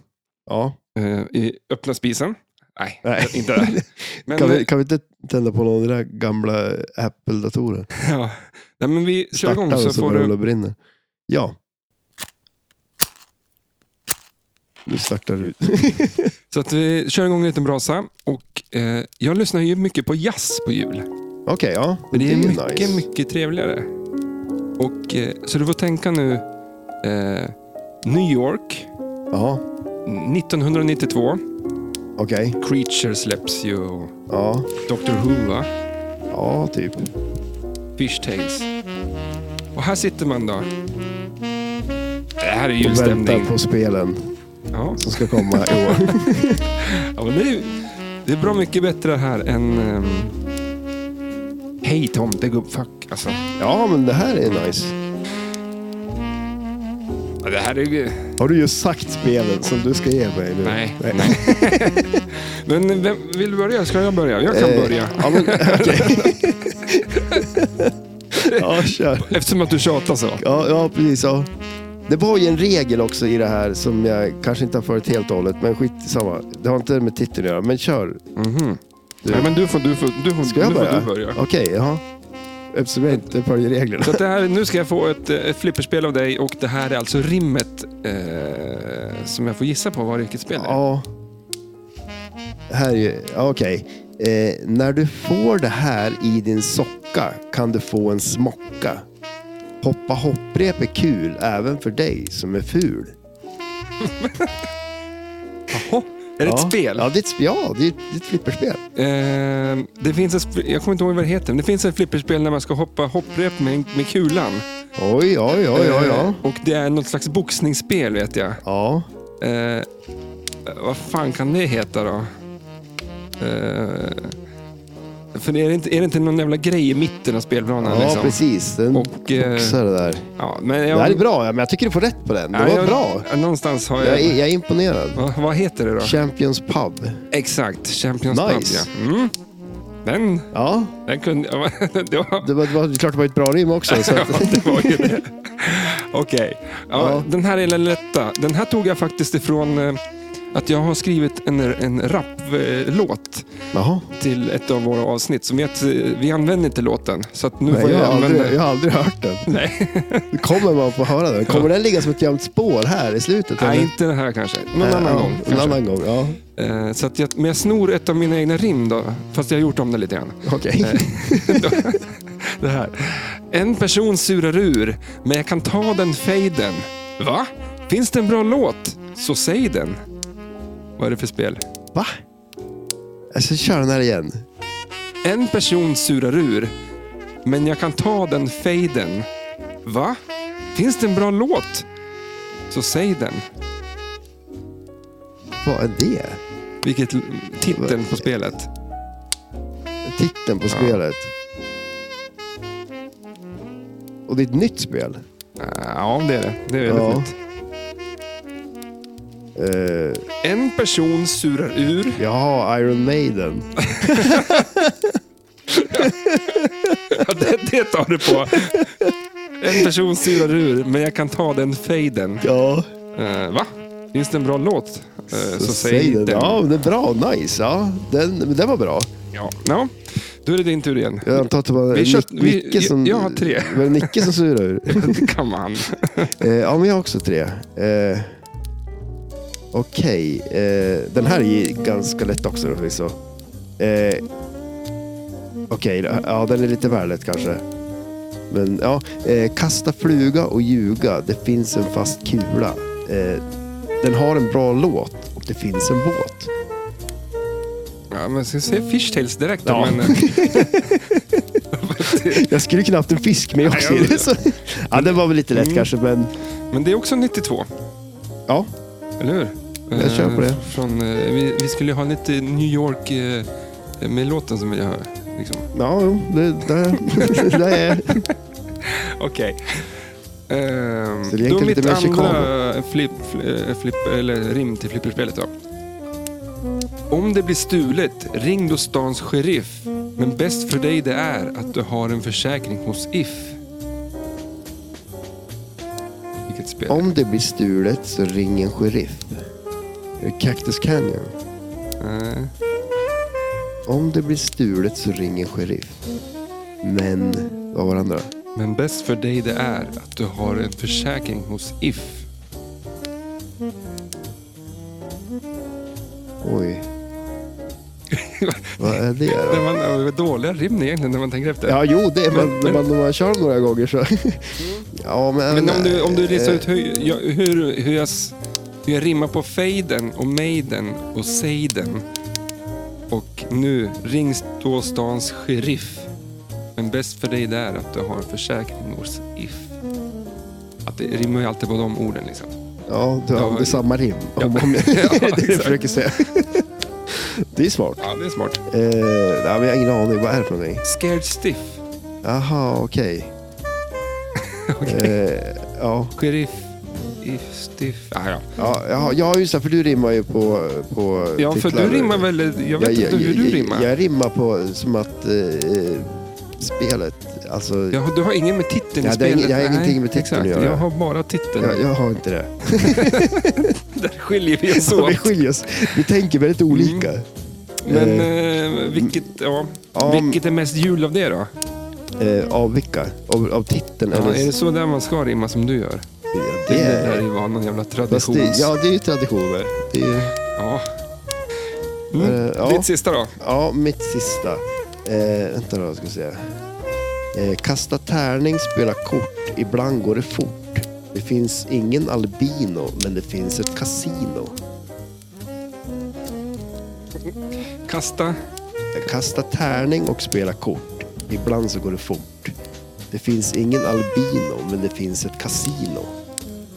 [SPEAKER 2] Ja.
[SPEAKER 1] Eh, i, öppna spisen. Nej,
[SPEAKER 2] [LAUGHS] Nej.
[SPEAKER 1] inte där. Men,
[SPEAKER 2] Kan vi, kan vi inte tända på någon av de där gamla Apple-datorer?
[SPEAKER 1] [LAUGHS] ja. Nej, men vi kör igång
[SPEAKER 2] Starta
[SPEAKER 1] så
[SPEAKER 2] och så
[SPEAKER 1] får
[SPEAKER 2] bara rullar
[SPEAKER 1] du...
[SPEAKER 2] och brinner. Ja. Nu
[SPEAKER 1] [LAUGHS]
[SPEAKER 2] startar du.
[SPEAKER 1] Så att vi kör igång en liten brasa. Och, eh, jag lyssnar ju mycket på jazz på jul.
[SPEAKER 2] Okej, ja.
[SPEAKER 1] Men det är
[SPEAKER 2] ju
[SPEAKER 1] mycket, mycket trevligare. Och, eh, så du får tänka nu eh, New York
[SPEAKER 2] Ja,
[SPEAKER 1] 1992.
[SPEAKER 2] okej.
[SPEAKER 1] Creature släpps ju. och
[SPEAKER 2] Ja,
[SPEAKER 1] Doctor Who, va?
[SPEAKER 2] ja, typ.
[SPEAKER 1] Fishtails. Och här sitter man då. Det här är
[SPEAKER 2] Och
[SPEAKER 1] julstämning.
[SPEAKER 2] väntar på spelen
[SPEAKER 1] Ja.
[SPEAKER 2] som ska komma i år.
[SPEAKER 1] [LAUGHS] Ja, men det, är, det är bra mycket bättre här än... ehm, Hej tomte gubbfack. Alltså,
[SPEAKER 2] Ja, men det här är nice.
[SPEAKER 1] ja, det här är ju...
[SPEAKER 2] Har du just sagt spelen som du ska ge mig nu?
[SPEAKER 1] Nej. nej. [LAUGHS] men vem vill du börja? Ska jag börja? Jag kan
[SPEAKER 2] Eh,
[SPEAKER 1] börja.
[SPEAKER 2] Ja, men
[SPEAKER 1] [LAUGHS]
[SPEAKER 2] okej. [LAUGHS] ja, kör.
[SPEAKER 1] Eftersom att du tjatar så.
[SPEAKER 2] Ja, ja precis. Ja. Det var ju en regel också i det här som jag kanske inte har följt helt och hållet, men skit samma. Det har inte med titeln att göra, men kör.
[SPEAKER 1] Mhm. Nej, men du får, du får, du får,
[SPEAKER 2] Ska jag
[SPEAKER 1] nu får
[SPEAKER 2] börja?
[SPEAKER 1] du börja.
[SPEAKER 2] Okej, ja. Eftersom jag inte följer reglerna.
[SPEAKER 1] Så att det här, nu ska jag få ett, eh, ett flipperspel av dig och det här är alltså rimmet eh, som jag får gissa på vad vilket spel det är.
[SPEAKER 2] Ja. Här är ju, ja, okej. Eh, när du får det här i din socka kan du få en smocka. Hoppa hopprep är kul även för dig som är ful.
[SPEAKER 1] Jaha, är det
[SPEAKER 2] ja.
[SPEAKER 1] ett spel?
[SPEAKER 2] Ja, det är ett, sp- ja, det är ett, det är ett flipperspel.
[SPEAKER 1] Eh, det finns ett, sp- jag kommer inte ihåg vad det heter, men det finns ett flipperspel när man ska hoppa hopprep med, med kulan.
[SPEAKER 2] Oj, oj, oj, oj,
[SPEAKER 1] Eh,
[SPEAKER 2] ja.
[SPEAKER 1] och det är något slags boxningsspel vet jag.
[SPEAKER 2] Ja,
[SPEAKER 1] Eh, vad fan kan det heta då? Eh, för är det, inte, är det inte någon jävla grej i mitten av spelplanen?
[SPEAKER 2] ja
[SPEAKER 1] liksom?
[SPEAKER 2] precis. Den
[SPEAKER 1] Och, eh,
[SPEAKER 2] boxar det där.
[SPEAKER 1] Ja, men jag,
[SPEAKER 2] Det här är bra, ja, men jag tycker du får rätt på den. Det
[SPEAKER 1] Ja,
[SPEAKER 2] var
[SPEAKER 1] jag-
[SPEAKER 2] bra.
[SPEAKER 1] ja, Någonstans har jag...
[SPEAKER 2] Jag är, jag är imponerad.
[SPEAKER 1] Va, vad heter det då?
[SPEAKER 2] Champions Pub.
[SPEAKER 1] Exakt, Champions
[SPEAKER 2] Nice.
[SPEAKER 1] Cup. Ja. Mm. Den,
[SPEAKER 2] Ja,
[SPEAKER 1] den kunde... [LAUGHS] det var,
[SPEAKER 2] det var, det var det är klart det var ett bra rim också. Så
[SPEAKER 1] [LAUGHS] ja,
[SPEAKER 2] att,
[SPEAKER 1] det var ju det. Okej. Ja,
[SPEAKER 2] Ja.
[SPEAKER 1] Den här är den lätta. Den här tog jag faktiskt ifrån eh, att jag har skrivit en, en rap-låt
[SPEAKER 2] jaha.
[SPEAKER 1] till ett av våra avsnitt. Som vi, att, eh, vi använder inte låten, så att nu
[SPEAKER 2] Nej,
[SPEAKER 1] får
[SPEAKER 2] jag,
[SPEAKER 1] jag,
[SPEAKER 2] har
[SPEAKER 1] använda...
[SPEAKER 2] aldrig, jag har aldrig hört den.
[SPEAKER 1] Nej,
[SPEAKER 2] [LAUGHS] Kommer man få höra den? Kommer den ligga som ett gömt spår här i slutet?
[SPEAKER 1] nej,
[SPEAKER 2] eller?
[SPEAKER 1] inte den här kanske. Någon
[SPEAKER 2] Nej,
[SPEAKER 1] annan
[SPEAKER 2] ja,
[SPEAKER 1] gång.
[SPEAKER 2] En
[SPEAKER 1] kanske.
[SPEAKER 2] annan gång, ja.
[SPEAKER 1] Eh, så att jag, men jag snor ett av mina egna rim då, fast jag har gjort om det lite grann.
[SPEAKER 2] Okej.
[SPEAKER 1] Det här. En person surar ur, men jag kan ta den fejden. Va? Finns det en bra låt? Så säg den. Vad är det för spel?
[SPEAKER 2] [LAUGHS] Va? Jag ska köra den här igen.
[SPEAKER 1] En person surar ur, men jag kan ta den fejden. Va? Finns det en bra låt? Så säg den.
[SPEAKER 2] Vad är det?
[SPEAKER 1] Vilket l- titeln på spelet.
[SPEAKER 2] Titeln på spelet. Och det är ett nytt spel.
[SPEAKER 1] Ja, det är det. Det är väldigt
[SPEAKER 2] Ja.
[SPEAKER 1] nytt.
[SPEAKER 2] Uh,
[SPEAKER 1] En person surar ur. [LAUGHS]
[SPEAKER 2] jaha, Iron Maiden.
[SPEAKER 1] Ja, det, det tar du på. En person surar ur, men jag kan ta den fejden.
[SPEAKER 2] Ja,
[SPEAKER 1] Eh, va? Finns det en bra låt? Eh, så, säg, den.
[SPEAKER 2] Ja, men det är bra. Nice. Ja, den, men den var bra.
[SPEAKER 1] Ja. Ja. Då är det din tur igen. [LAUGHS]
[SPEAKER 2] Jag antar att det var
[SPEAKER 1] Vi
[SPEAKER 2] Nick,
[SPEAKER 1] kört- vi-
[SPEAKER 2] Nicke
[SPEAKER 1] jag-
[SPEAKER 2] som...
[SPEAKER 1] jag har tre.
[SPEAKER 2] Var det Nicke som surade ur?
[SPEAKER 1] Det kan man.
[SPEAKER 2] Eh, ja, men jag har också tre. Eh, Okej, eh, den här är ju ganska lätt också då förvisso. Eh, Okej, ja den är lite väl lätt kanske. Men ja, eh, kasta fluga och ljuga, det finns en fast kula. Eh, den har en bra låt och det finns en båt.
[SPEAKER 1] Ja, men ska jag säga Fishtails direkt då?
[SPEAKER 2] Ja.
[SPEAKER 1] Men, eh, [LAUGHS]
[SPEAKER 2] Jag skulle knappt en fisk med också.
[SPEAKER 1] Nej, jag-
[SPEAKER 2] [LAUGHS] så, ja, den var väl lite lätt
[SPEAKER 1] Mm.
[SPEAKER 2] kanske, men
[SPEAKER 1] men det är också 92,
[SPEAKER 2] ja.
[SPEAKER 1] eller hur?
[SPEAKER 2] Jag
[SPEAKER 1] Eh,
[SPEAKER 2] kör på det.
[SPEAKER 1] Från, eh, vi, vi skulle ju ha lite New York eh, med låten som vi har. Liksom.
[SPEAKER 2] [LAUGHS] Ja, jo, det, det, det är...
[SPEAKER 1] Okej. Ehm,
[SPEAKER 2] Så det är
[SPEAKER 1] det var
[SPEAKER 2] egentligen
[SPEAKER 1] mitt
[SPEAKER 2] lite mer
[SPEAKER 1] andra flip, fl- flip, eller rim till flipperspelet. Då. Om det blir stulet, ring då stans sheriff. Men bäst för dig det är att du har en försäkring hos If. Vilket spel.
[SPEAKER 2] Om det blir stulet så ring en sheriff. Cactus Canyon.
[SPEAKER 1] Eh,
[SPEAKER 2] Om det blir stulet så ring en sheriff. Men, vad var det andra?
[SPEAKER 1] men bäst för dig det är att du har en försäkring hos If. [LAUGHS]
[SPEAKER 2] Oj. Vad är det
[SPEAKER 1] Det
[SPEAKER 2] då?
[SPEAKER 1] var, det var dåliga rim egentligen när man tänker efter.
[SPEAKER 2] Ja, jo, det är
[SPEAKER 1] Men-
[SPEAKER 2] men, när man, när man kör några gånger så... [LAUGHS] ja, men...
[SPEAKER 1] Men om du, om du listar
[SPEAKER 2] eh,
[SPEAKER 1] ut hur, jag- hur, hur, jag, s- hur jag rimmar på fejden och mejden och sejden. Och nu, ring då stans sheriff. Men bäst för dig där att du har en försäkring hos If. Att det rimmar ju alltid på de orden liksom.
[SPEAKER 2] Ja, du har
[SPEAKER 1] Ja,
[SPEAKER 2] det är samma rim.
[SPEAKER 1] [LAUGHS] ja.
[SPEAKER 2] Om, [LAUGHS] om,
[SPEAKER 1] Ja,
[SPEAKER 2] det är det du
[SPEAKER 1] exakt.
[SPEAKER 2] försöker säga. [LAUGHS] det är smart.
[SPEAKER 1] Ja, det är smart.
[SPEAKER 2] Eh, nej, men jag har ingen aning. Vad är det för någonting?
[SPEAKER 1] Scared stiff.
[SPEAKER 2] Jaha, okej.
[SPEAKER 1] [LAUGHS] Okej.
[SPEAKER 2] Eh, ja,
[SPEAKER 1] Sheriff, if, stiff. Ah, ja.
[SPEAKER 2] ja, ja, ja, just det. För du rimmar ju på... på
[SPEAKER 1] ja, för
[SPEAKER 2] titlar.
[SPEAKER 1] du rimmar väl... Jag vet inte hur du rimmar.
[SPEAKER 2] Jag, jag rimmar på som att eh, spelet... Alltså,
[SPEAKER 1] Jag
[SPEAKER 2] jag,
[SPEAKER 1] har, du har ingen med titeln
[SPEAKER 2] Ja,
[SPEAKER 1] i
[SPEAKER 2] det är
[SPEAKER 1] spelet?
[SPEAKER 2] ing- jag har ingenting med titeln
[SPEAKER 1] exakt.
[SPEAKER 2] att göra.
[SPEAKER 1] Jag har bara titeln.
[SPEAKER 2] jag, har inte det.
[SPEAKER 1] [LAUGHS] Där skiljer vi oss
[SPEAKER 2] Så [LAUGHS] vi
[SPEAKER 1] åt.
[SPEAKER 2] skiljer oss. Vi tänker väldigt
[SPEAKER 1] Mm.
[SPEAKER 2] olika.
[SPEAKER 1] Men eh, vilket, ja,
[SPEAKER 2] Ja,
[SPEAKER 1] vilket är mest jul av det då?
[SPEAKER 2] Eh, av vilka? Av, av titeln?
[SPEAKER 1] Ja,
[SPEAKER 2] eller,
[SPEAKER 1] är det så där man ska rimma som du gör?
[SPEAKER 2] det,
[SPEAKER 1] Det
[SPEAKER 2] är,
[SPEAKER 1] där är ju bara någon jävla
[SPEAKER 2] fast
[SPEAKER 1] tradition.
[SPEAKER 2] det, ja, det är ju traditioner. Det är,
[SPEAKER 1] Ja. Mm.
[SPEAKER 2] Eh, ja.
[SPEAKER 1] Ditt sista då?
[SPEAKER 2] Ja, mitt sista. Eh, vänta då, ska vi se. Eh, kasta tärning, spela kort. Ibland går det fort. Det finns ingen albino, men det finns ett kasino.
[SPEAKER 1] Kasta.
[SPEAKER 2] Eh, Kasta tärning och spela kort. Ibland så går det fort. Det finns ingen albino, men det finns ett kasino.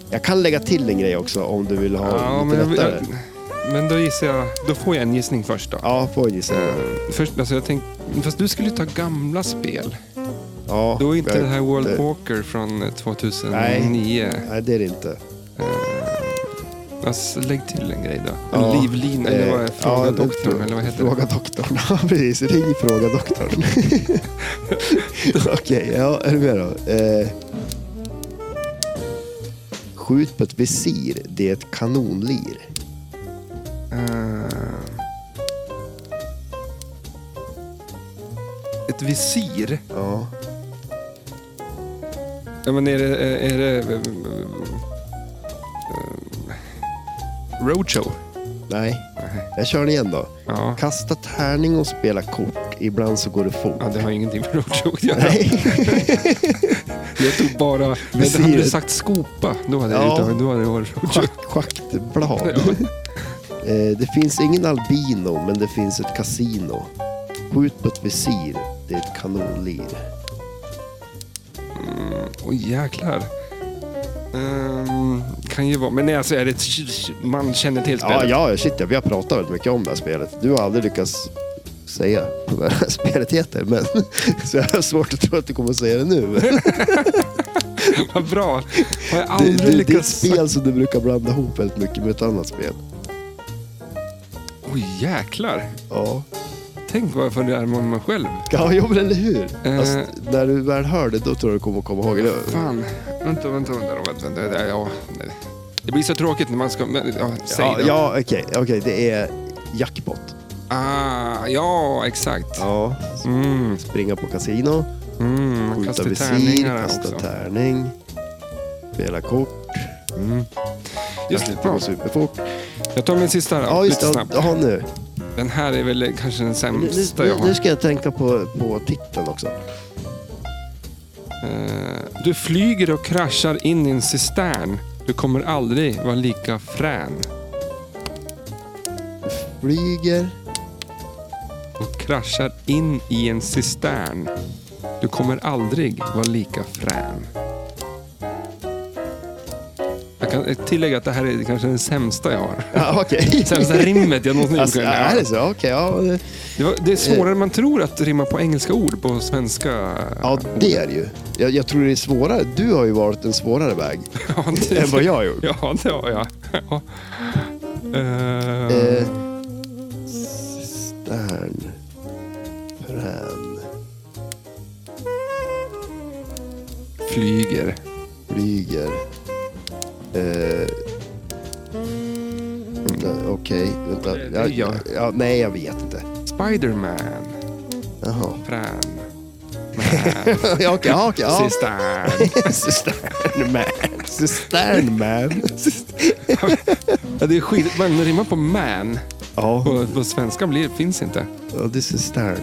[SPEAKER 2] Jag kan lägga till en grej också om du vill ha
[SPEAKER 1] Ja,
[SPEAKER 2] lite
[SPEAKER 1] men,
[SPEAKER 2] lättare.
[SPEAKER 1] jag, men då gissar jag, då får jag en gissning först då.
[SPEAKER 2] Ja, får jag gissa.
[SPEAKER 1] Eh, Först, alltså jag tänkte, fast du skulle ju ta gamla spel.
[SPEAKER 2] Ja,
[SPEAKER 1] Då är inte
[SPEAKER 2] jag-
[SPEAKER 1] det här World
[SPEAKER 2] det-
[SPEAKER 1] Walker från eh, 2009.
[SPEAKER 2] Nej, det är det inte.
[SPEAKER 1] Alltså, lägg till en grej då.
[SPEAKER 2] Ja.
[SPEAKER 1] Livlina, eller vad är
[SPEAKER 2] Eh,
[SPEAKER 1] Fråga
[SPEAKER 2] ja,
[SPEAKER 1] doktorn,
[SPEAKER 2] fr-
[SPEAKER 1] eller vad heter det?
[SPEAKER 2] Fråga doktorn, ja precis. Ring Fråga
[SPEAKER 1] [LAUGHS]
[SPEAKER 2] doktorn. Okej, ja, är du med då? Eh, skjut på ett visir, det är ett kanonlir.
[SPEAKER 1] Eh, Ett visir?
[SPEAKER 2] Ja.
[SPEAKER 1] Ja, men är det... eh, Är det eh, eh, roadshow?
[SPEAKER 2] Nej,
[SPEAKER 1] Nej.
[SPEAKER 2] jag kör den igen då.
[SPEAKER 1] Ja.
[SPEAKER 2] Kasta tärning och spela kort. Ibland så går det fort.
[SPEAKER 1] ja, det har ingenting med roadshow att göra.
[SPEAKER 2] Nej.
[SPEAKER 1] [LAUGHS] Jag tog [LAUGHS] bara... Men
[SPEAKER 2] Visir.
[SPEAKER 1] hade du sagt skopa, då hade,
[SPEAKER 2] Ja.
[SPEAKER 1] ja. då hade det varit roadshow.
[SPEAKER 2] Schack- Schaktblad.
[SPEAKER 1] [LAUGHS]
[SPEAKER 2] Eh, det finns ingen albino, men det finns ett kasino. Skjut på ett visir, det är ett kanonlir.
[SPEAKER 1] Åh jäklar. Ehm, kan ju vara... Men nej, alltså är det ett... Man känner till spelet?
[SPEAKER 2] Ja, ja, ja, shit ja, vi har pratat väldigt mycket om det här spelet. Du har aldrig lyckats säga vad det här [LAUGHS] spelet heter, men så jag har svårt att tro att du kommer att säga det nu. Men
[SPEAKER 1] [LAUGHS] Vad bra. Har jag
[SPEAKER 2] Det,
[SPEAKER 1] aldrig
[SPEAKER 2] det, det är ett
[SPEAKER 1] lyckats...
[SPEAKER 2] spel som du brukar blanda ihop väldigt mycket med ett annat spel.
[SPEAKER 1] Oj jäklar.
[SPEAKER 2] Ja,
[SPEAKER 1] Tänk vad jag förnärmar mig själv.
[SPEAKER 2] ja jo, men eller hur? Fast
[SPEAKER 1] Eh.
[SPEAKER 2] när du väl hör det, då tror jag du kommer att komma ihåg det.
[SPEAKER 1] Fan. Vänta, vänta, vänta. då, vänta, vänta, vänta ja. nej. Det blir så tråkigt när man ska... men, Ja, säg
[SPEAKER 2] Ja,
[SPEAKER 1] då.
[SPEAKER 2] ja okej, okej, det är jackpot.
[SPEAKER 1] Ah, ja, exakt.
[SPEAKER 2] Ja.
[SPEAKER 1] Mm,
[SPEAKER 2] Springa på kasino,
[SPEAKER 1] mm. man
[SPEAKER 2] skjuta
[SPEAKER 1] kastar
[SPEAKER 2] visir,
[SPEAKER 1] tärningar
[SPEAKER 2] kasta
[SPEAKER 1] också.
[SPEAKER 2] tärning, spela kort.
[SPEAKER 1] Just det,
[SPEAKER 2] det
[SPEAKER 1] bra.
[SPEAKER 2] går superfort.
[SPEAKER 1] Jag tar min sista då,
[SPEAKER 2] Ja, just
[SPEAKER 1] lite
[SPEAKER 2] det.
[SPEAKER 1] snabbt.
[SPEAKER 2] Ja, nu.
[SPEAKER 1] Den här är väl kanske den
[SPEAKER 2] Nu,
[SPEAKER 1] sämsta
[SPEAKER 2] nu,
[SPEAKER 1] jag har.
[SPEAKER 2] nu ska jag tänka på, på titeln också.
[SPEAKER 1] Eh, Du flyger och kraschar in i en cistern. Du kommer aldrig vara lika frän.
[SPEAKER 2] Flyger.
[SPEAKER 1] och kraschar in i en cistern. Du kommer aldrig vara lika frän. Jag kan tillägga att det här är kanske den sämsta jag har. [LAUGHS]
[SPEAKER 2] Ja, okej.
[SPEAKER 1] Sämsta rimmet jag någonsin
[SPEAKER 2] Alltså,
[SPEAKER 1] gjort.
[SPEAKER 2] är det så? Okej, ja. det-
[SPEAKER 1] Det, var, det är svårare än man tror att rimma på engelska ord på
[SPEAKER 2] [LAUGHS]
[SPEAKER 1] svenska.
[SPEAKER 2] Ja, det är det ju. Jag, jag tror det är svårare. Du har ju varit en svårare
[SPEAKER 1] [LAUGHS]
[SPEAKER 2] väg
[SPEAKER 1] Ja, det-
[SPEAKER 2] än vad jag har gjort.
[SPEAKER 1] [LAUGHS] Ja, det har jag. Ja. Eh,
[SPEAKER 2] Eh, Stern. Frän.
[SPEAKER 1] Flyger.
[SPEAKER 2] Flyger. Eh, vänta, Okej, vänta.
[SPEAKER 1] Det- det är
[SPEAKER 2] Ja,
[SPEAKER 1] jag.
[SPEAKER 2] ja, nej, jag vet inte.
[SPEAKER 1] Spiderman.
[SPEAKER 2] Jaha.
[SPEAKER 1] [LAUGHS] Fran.
[SPEAKER 2] [LAUGHS] Ja, okej, ja, okej. ja.
[SPEAKER 1] Sistan.
[SPEAKER 2] [LAUGHS] Cisternman. Cisternman.
[SPEAKER 1] [LAUGHS] Ja, det är skit. Man rimmar på man.
[SPEAKER 2] Ja,
[SPEAKER 1] På, på svenska blir, finns inte.
[SPEAKER 2] ja, det är cistern.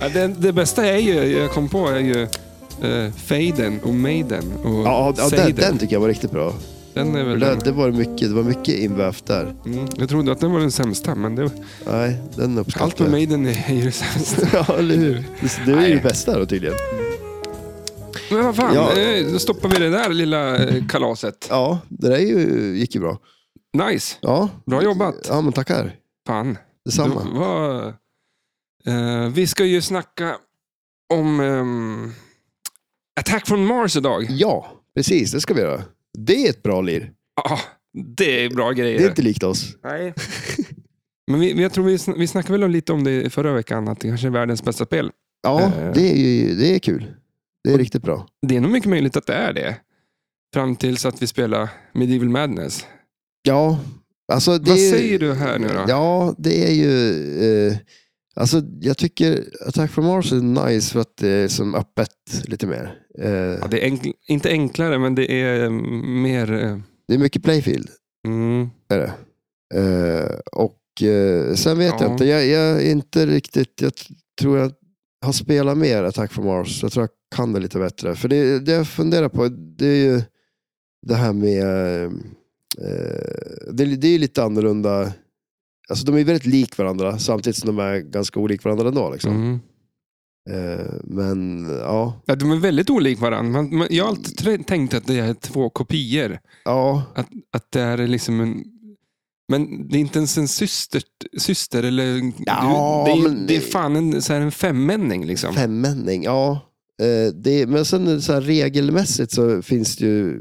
[SPEAKER 1] Ja, det, det bästa är ju, jag kom på är ju eh, Faden och Maiden. Och
[SPEAKER 2] Ja, ja den,
[SPEAKER 1] Seiden.
[SPEAKER 2] den tycker jag var riktigt bra.
[SPEAKER 1] Den är väl
[SPEAKER 2] Det,
[SPEAKER 1] den.
[SPEAKER 2] det, var mycket, det var mycket invävt där.
[SPEAKER 1] Mm, jag trodde att den var den sämsta, men det,
[SPEAKER 2] Nej, den
[SPEAKER 1] allt med
[SPEAKER 2] uppskattar jag.
[SPEAKER 1] Maiden är är ju det sämsta.
[SPEAKER 2] [LAUGHS] Ja, eller hur? Det- Det är ju
[SPEAKER 1] Nej.
[SPEAKER 2] det bästa då tydligen.
[SPEAKER 1] Men vad fan,
[SPEAKER 2] Ja.
[SPEAKER 1] eh, då stoppar vi det där lilla eh, kalaset.
[SPEAKER 2] Ja, det där är ju, gick ju bra.
[SPEAKER 1] Nice,
[SPEAKER 2] Ja.
[SPEAKER 1] bra jobbat.
[SPEAKER 2] Ja, men tackar.
[SPEAKER 1] Fan.
[SPEAKER 2] Detsamma.
[SPEAKER 1] Det var, eh, vi ska ju snacka om ehm, Attack from Mars idag.
[SPEAKER 2] Ja, precis. Det ska vi göra. Det är ett bra lir.
[SPEAKER 1] Ja, det är bra grejer.
[SPEAKER 2] Det är inte likt oss.
[SPEAKER 1] Nej. [LAUGHS] Men vi, jag tror vi, sn- vi snackade väl om lite om det förra veckan, att det kanske är världens bästa spel.
[SPEAKER 2] Ja,
[SPEAKER 1] Eh.
[SPEAKER 2] det är, ju, det är kul. Det är riktigt bra.
[SPEAKER 1] Det är nog mycket möjligt att det är det. Fram tills att vi spelar Medieval Madness.
[SPEAKER 2] Ja, alltså det
[SPEAKER 1] Vad
[SPEAKER 2] är ju-
[SPEAKER 1] säger du här nu då?
[SPEAKER 2] Ja, det är ju... Eh, alltså, jag tycker Attack from Mars är nice för att det är som öppet lite mer. Eh,
[SPEAKER 1] Ja, det är enkl, inte enklare, men det är mm, mer... eh,
[SPEAKER 2] det är mycket playfield.
[SPEAKER 1] Mm,
[SPEAKER 2] Är det. Eh, och eh, sen vet
[SPEAKER 1] Ja.
[SPEAKER 2] jag inte. Jag, jag är inte riktigt... Jag t- tror jag har spelat mer Attack from Mars. Jag tror jag kan det lite bättre. För det, det jag funderar på, det är ju det här med... eh, Eh, det, det är ju lite annorlunda. Alltså de är väldigt lik varandra samtidigt som de är ganska olika varandra ändå. Liksom.
[SPEAKER 1] mm.
[SPEAKER 2] Eh, men ja,
[SPEAKER 1] Ja, de är väldigt olika varandra. Man, man, jag har alltid tre- tänkt att det är två kopior.
[SPEAKER 2] ja,
[SPEAKER 1] Att det här är liksom en... Men det är inte ens en syster, syster eller...
[SPEAKER 2] Ja,
[SPEAKER 1] det, är,
[SPEAKER 2] men-
[SPEAKER 1] det är fan en, så här en femmänning liksom.
[SPEAKER 2] femmänning. Ja. Eh, det, men sen är det så här, regelmässigt så finns det ju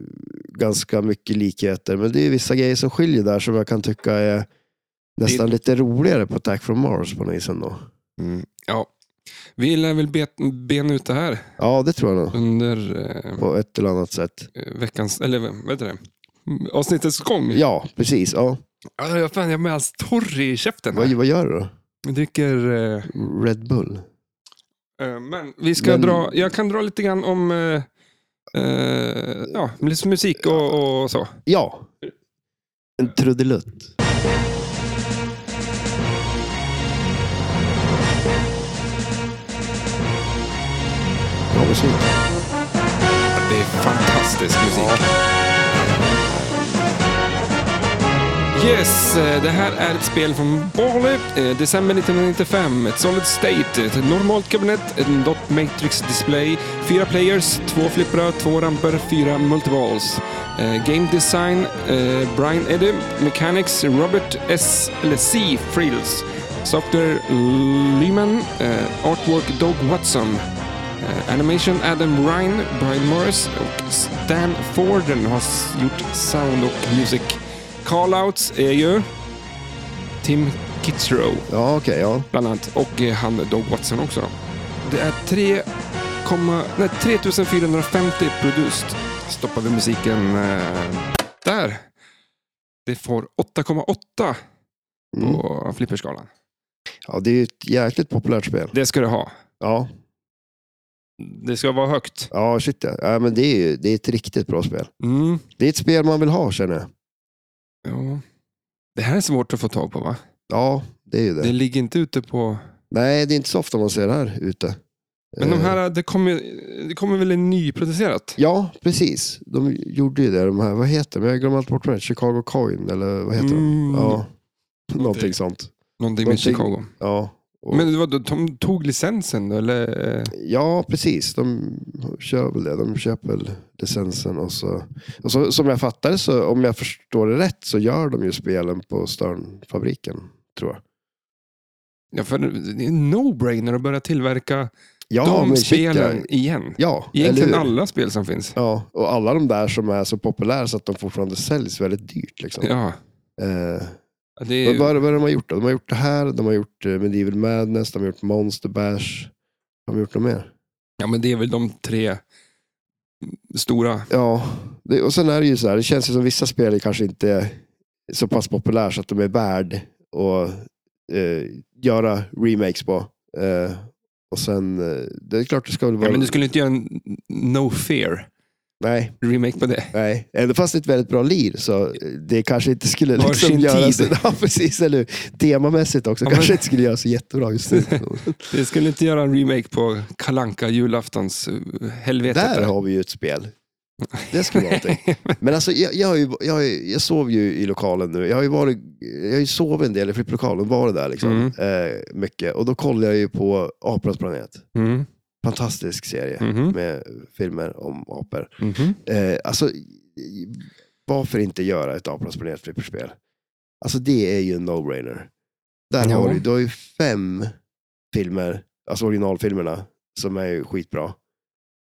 [SPEAKER 2] ganska mycket likheter. Men det är ju vissa grejer som skiljer där som jag kan tycka är nästan lite roligare på Attack from Mars på något vis ändå.
[SPEAKER 1] Mm. Ja. Vi lär väl bet, bena ut det här
[SPEAKER 2] Ja, det tror jag nog.
[SPEAKER 1] under eh,
[SPEAKER 2] På ett eller annat sätt.
[SPEAKER 1] veckans, eller vad heter det? Mm, Avsnittets gång.
[SPEAKER 2] Ja, precis. Ja.
[SPEAKER 1] Ja, jag, fan, jag är alldeles torr i käften.
[SPEAKER 2] Vad,
[SPEAKER 1] här.
[SPEAKER 2] vad gör du då?
[SPEAKER 1] Jag dricker... Eh,
[SPEAKER 2] Red Bull?
[SPEAKER 1] eh, men vi ska
[SPEAKER 2] Men-
[SPEAKER 1] dra, jag kan dra lite grann om eh, eh, ja, lite musik och, och så.
[SPEAKER 2] Ja. En trudelutt. Bra musik.
[SPEAKER 1] Det är fantastisk musik. Yes, eh, det här är ett spel från Bali, eh, december 1995. Ett Solid State, ett normalt kabinett, en dot matrix display, fyra players, två flipprar, två ramper, fyra multiballs. Eh, Game design, eh, Brian Eddy, Mechanics, Robert S. eller C. Frills. Software, Lehman, eh, Artwork, Doug Watson. Eh, Animation Adam Ryan, Brian Morris och Stan Forden har s- gjort sound och music. Callouts är ju Tim Kitzrow
[SPEAKER 2] Ja, okej. ja.
[SPEAKER 1] bland annat och eh, han Doug Watson också. Då. Det är 3, nej, 3450 produced. Stoppar vi musiken eh, där. Det får 8,8
[SPEAKER 2] Mm.
[SPEAKER 1] på flipperskalan.
[SPEAKER 2] ja. Det är ju ett jäkligt populärt spel.
[SPEAKER 1] Det ska det ha.
[SPEAKER 2] Ja,
[SPEAKER 1] Det ska vara högt.
[SPEAKER 2] ja shit ja. ja men det, är ju, det är ett riktigt bra spel.
[SPEAKER 1] Mm.
[SPEAKER 2] Det är ett spel man vill ha känner jag.
[SPEAKER 1] Ja. Det här är svårt att få tag på va?
[SPEAKER 2] Ja, det är ju det.
[SPEAKER 1] Det ligger inte ute på...
[SPEAKER 2] Nej, det är inte så ofta man ser det här ute.
[SPEAKER 1] Men de
[SPEAKER 2] Eh,
[SPEAKER 1] här, det kommer, det kommer väl en nyproducerat?
[SPEAKER 2] Ja, precis. De gjorde ju det. De här, vad heter de? Jag glömmer alltid bort vad det är. Chicago Coin eller vad heter de?
[SPEAKER 1] Mm.
[SPEAKER 2] Ja, [LAUGHS] någonting sånt.
[SPEAKER 1] Någonting med
[SPEAKER 2] Någonting-
[SPEAKER 1] Chicago.
[SPEAKER 2] Ja, Och-
[SPEAKER 1] Men vadå, de tog licensen då, eller? eh,
[SPEAKER 2] Ja, precis. De kör väl det. De köper väl licensen. Och så, och så, som jag fattar det, så, om jag förstår det rätt, så gör de ju spelen på Sternfabriken. Tror jag.
[SPEAKER 1] Ja, för det är en no-brainer att börja tillverka
[SPEAKER 2] Ja,
[SPEAKER 1] de
[SPEAKER 2] men shit, ja.
[SPEAKER 1] spelen igen.
[SPEAKER 2] Ja,
[SPEAKER 1] Egentligen
[SPEAKER 2] eller hur?
[SPEAKER 1] alla spel som finns.
[SPEAKER 2] Ja, och alla de där som är så populära så att de fortfarande säljs väldigt dyrt. Liksom.
[SPEAKER 1] Ja,
[SPEAKER 2] Eh,
[SPEAKER 1] det är
[SPEAKER 2] vad, vad, är det- vad är det de har gjort då? De har gjort det här, de har gjort eh, Medieval Madness, de har gjort Monster Bash. De har gjort något mer.
[SPEAKER 1] Ja, men det är väl de tre stora.
[SPEAKER 2] Ja, det, och sen är det ju så här, det känns ju som vissa spel är kanske inte är så pass populära så att de är värd att eh, göra remakes på. Eh, och sen, eh, det är klart det ska väl vara...
[SPEAKER 1] Ja, men du skulle inte göra en No Fear
[SPEAKER 2] Nej,
[SPEAKER 1] remake på det?
[SPEAKER 2] nej. Ändå fast det är ett väldigt bra lir så eh, det kanske inte skulle
[SPEAKER 1] Var
[SPEAKER 2] liksom
[SPEAKER 1] sin
[SPEAKER 2] göras...
[SPEAKER 1] tid.
[SPEAKER 2] [LAUGHS] Ja, precis. Eller hur? Temamässigt också
[SPEAKER 1] Ja, men-
[SPEAKER 2] kanske inte skulle göras jättebra
[SPEAKER 1] [LAUGHS]
[SPEAKER 2] just nu.
[SPEAKER 1] Du skulle inte göra en remake på Kalanka julaftons eh, helvete?
[SPEAKER 2] Där har vi ju ett spel. Det skulle vara någonting. Men alltså, jag, jag, har ju, jag, har ju- jag sov ju i lokalen nu. Jag har ju, varit, jag har ju sovit en del i flipplokalen, varit där liksom.
[SPEAKER 1] Mm.
[SPEAKER 2] Eh, mycket. Och då kollade jag ju på Apornas planet.
[SPEAKER 1] [LAUGHS] Mm,
[SPEAKER 2] Fantastisk serie
[SPEAKER 1] mhm,
[SPEAKER 2] med filmer om apor.
[SPEAKER 1] mhm.
[SPEAKER 2] Eh, alltså, i- varför inte göra ett Apornas planet flipperspel? Alltså det är ju en no-brainer. Där
[SPEAKER 1] Ja.
[SPEAKER 2] har du, du har ju fem filmer, alltså originalfilmerna, som är ju skitbra.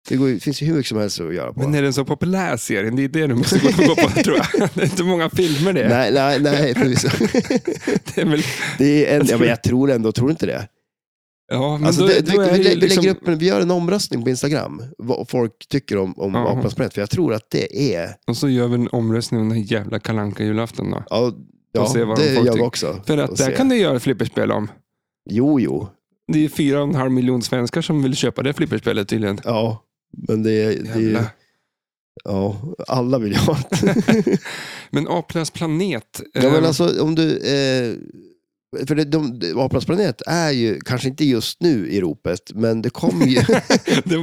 [SPEAKER 2] Det går, ju- finns ju hur mycket som helst att göra på.
[SPEAKER 1] Men är den så populär serien? Det är det du måste gå gå på tror jag. [LAUGHS] Det är inte många filmer det.
[SPEAKER 2] Nej, nej, nej, förvisso.
[SPEAKER 1] [LAUGHS]
[SPEAKER 2] [LAUGHS]
[SPEAKER 1] det är väl,
[SPEAKER 2] Det är en, ja, men jag tror ändå, tror du inte det?
[SPEAKER 1] ja, men
[SPEAKER 2] Alltså,
[SPEAKER 1] då,
[SPEAKER 2] det,
[SPEAKER 1] då
[SPEAKER 2] vi,
[SPEAKER 1] är det
[SPEAKER 2] vi, lä-
[SPEAKER 1] ju
[SPEAKER 2] vi,
[SPEAKER 1] liksom,
[SPEAKER 2] lägger upp, en- vi gör en omröstning på Instagram, vad folk tycker om, om
[SPEAKER 1] Ja.
[SPEAKER 2] Apans planet. För jag tror att det är,
[SPEAKER 1] Och så gör vi en omröstning om den här jävla Kalanka julafton då.
[SPEAKER 2] ja, ja
[SPEAKER 1] se vad
[SPEAKER 2] det
[SPEAKER 1] folk
[SPEAKER 2] gör vi
[SPEAKER 1] tycker.
[SPEAKER 2] också.
[SPEAKER 1] För att
[SPEAKER 2] Och
[SPEAKER 1] där
[SPEAKER 2] se.
[SPEAKER 1] kan du göra ett flipperspel om.
[SPEAKER 2] Jo, jo.
[SPEAKER 1] Det är fyra och en halv miljon svenskar som vill köpa det flipperspelet tydligen.
[SPEAKER 2] Ja, men det är, det
[SPEAKER 1] Jävla.
[SPEAKER 2] är ja, alla vill ju ha
[SPEAKER 1] [LAUGHS]
[SPEAKER 2] det.
[SPEAKER 1] Men Apornas planet.
[SPEAKER 2] ja, men
[SPEAKER 1] eh, [LAUGHS]
[SPEAKER 2] alltså om du, eh, för det, de, de- Apornas planet är ju, kanske inte just nu i ropet, men det
[SPEAKER 1] [LAUGHS]
[SPEAKER 2] kommer ju.
[SPEAKER 1] det,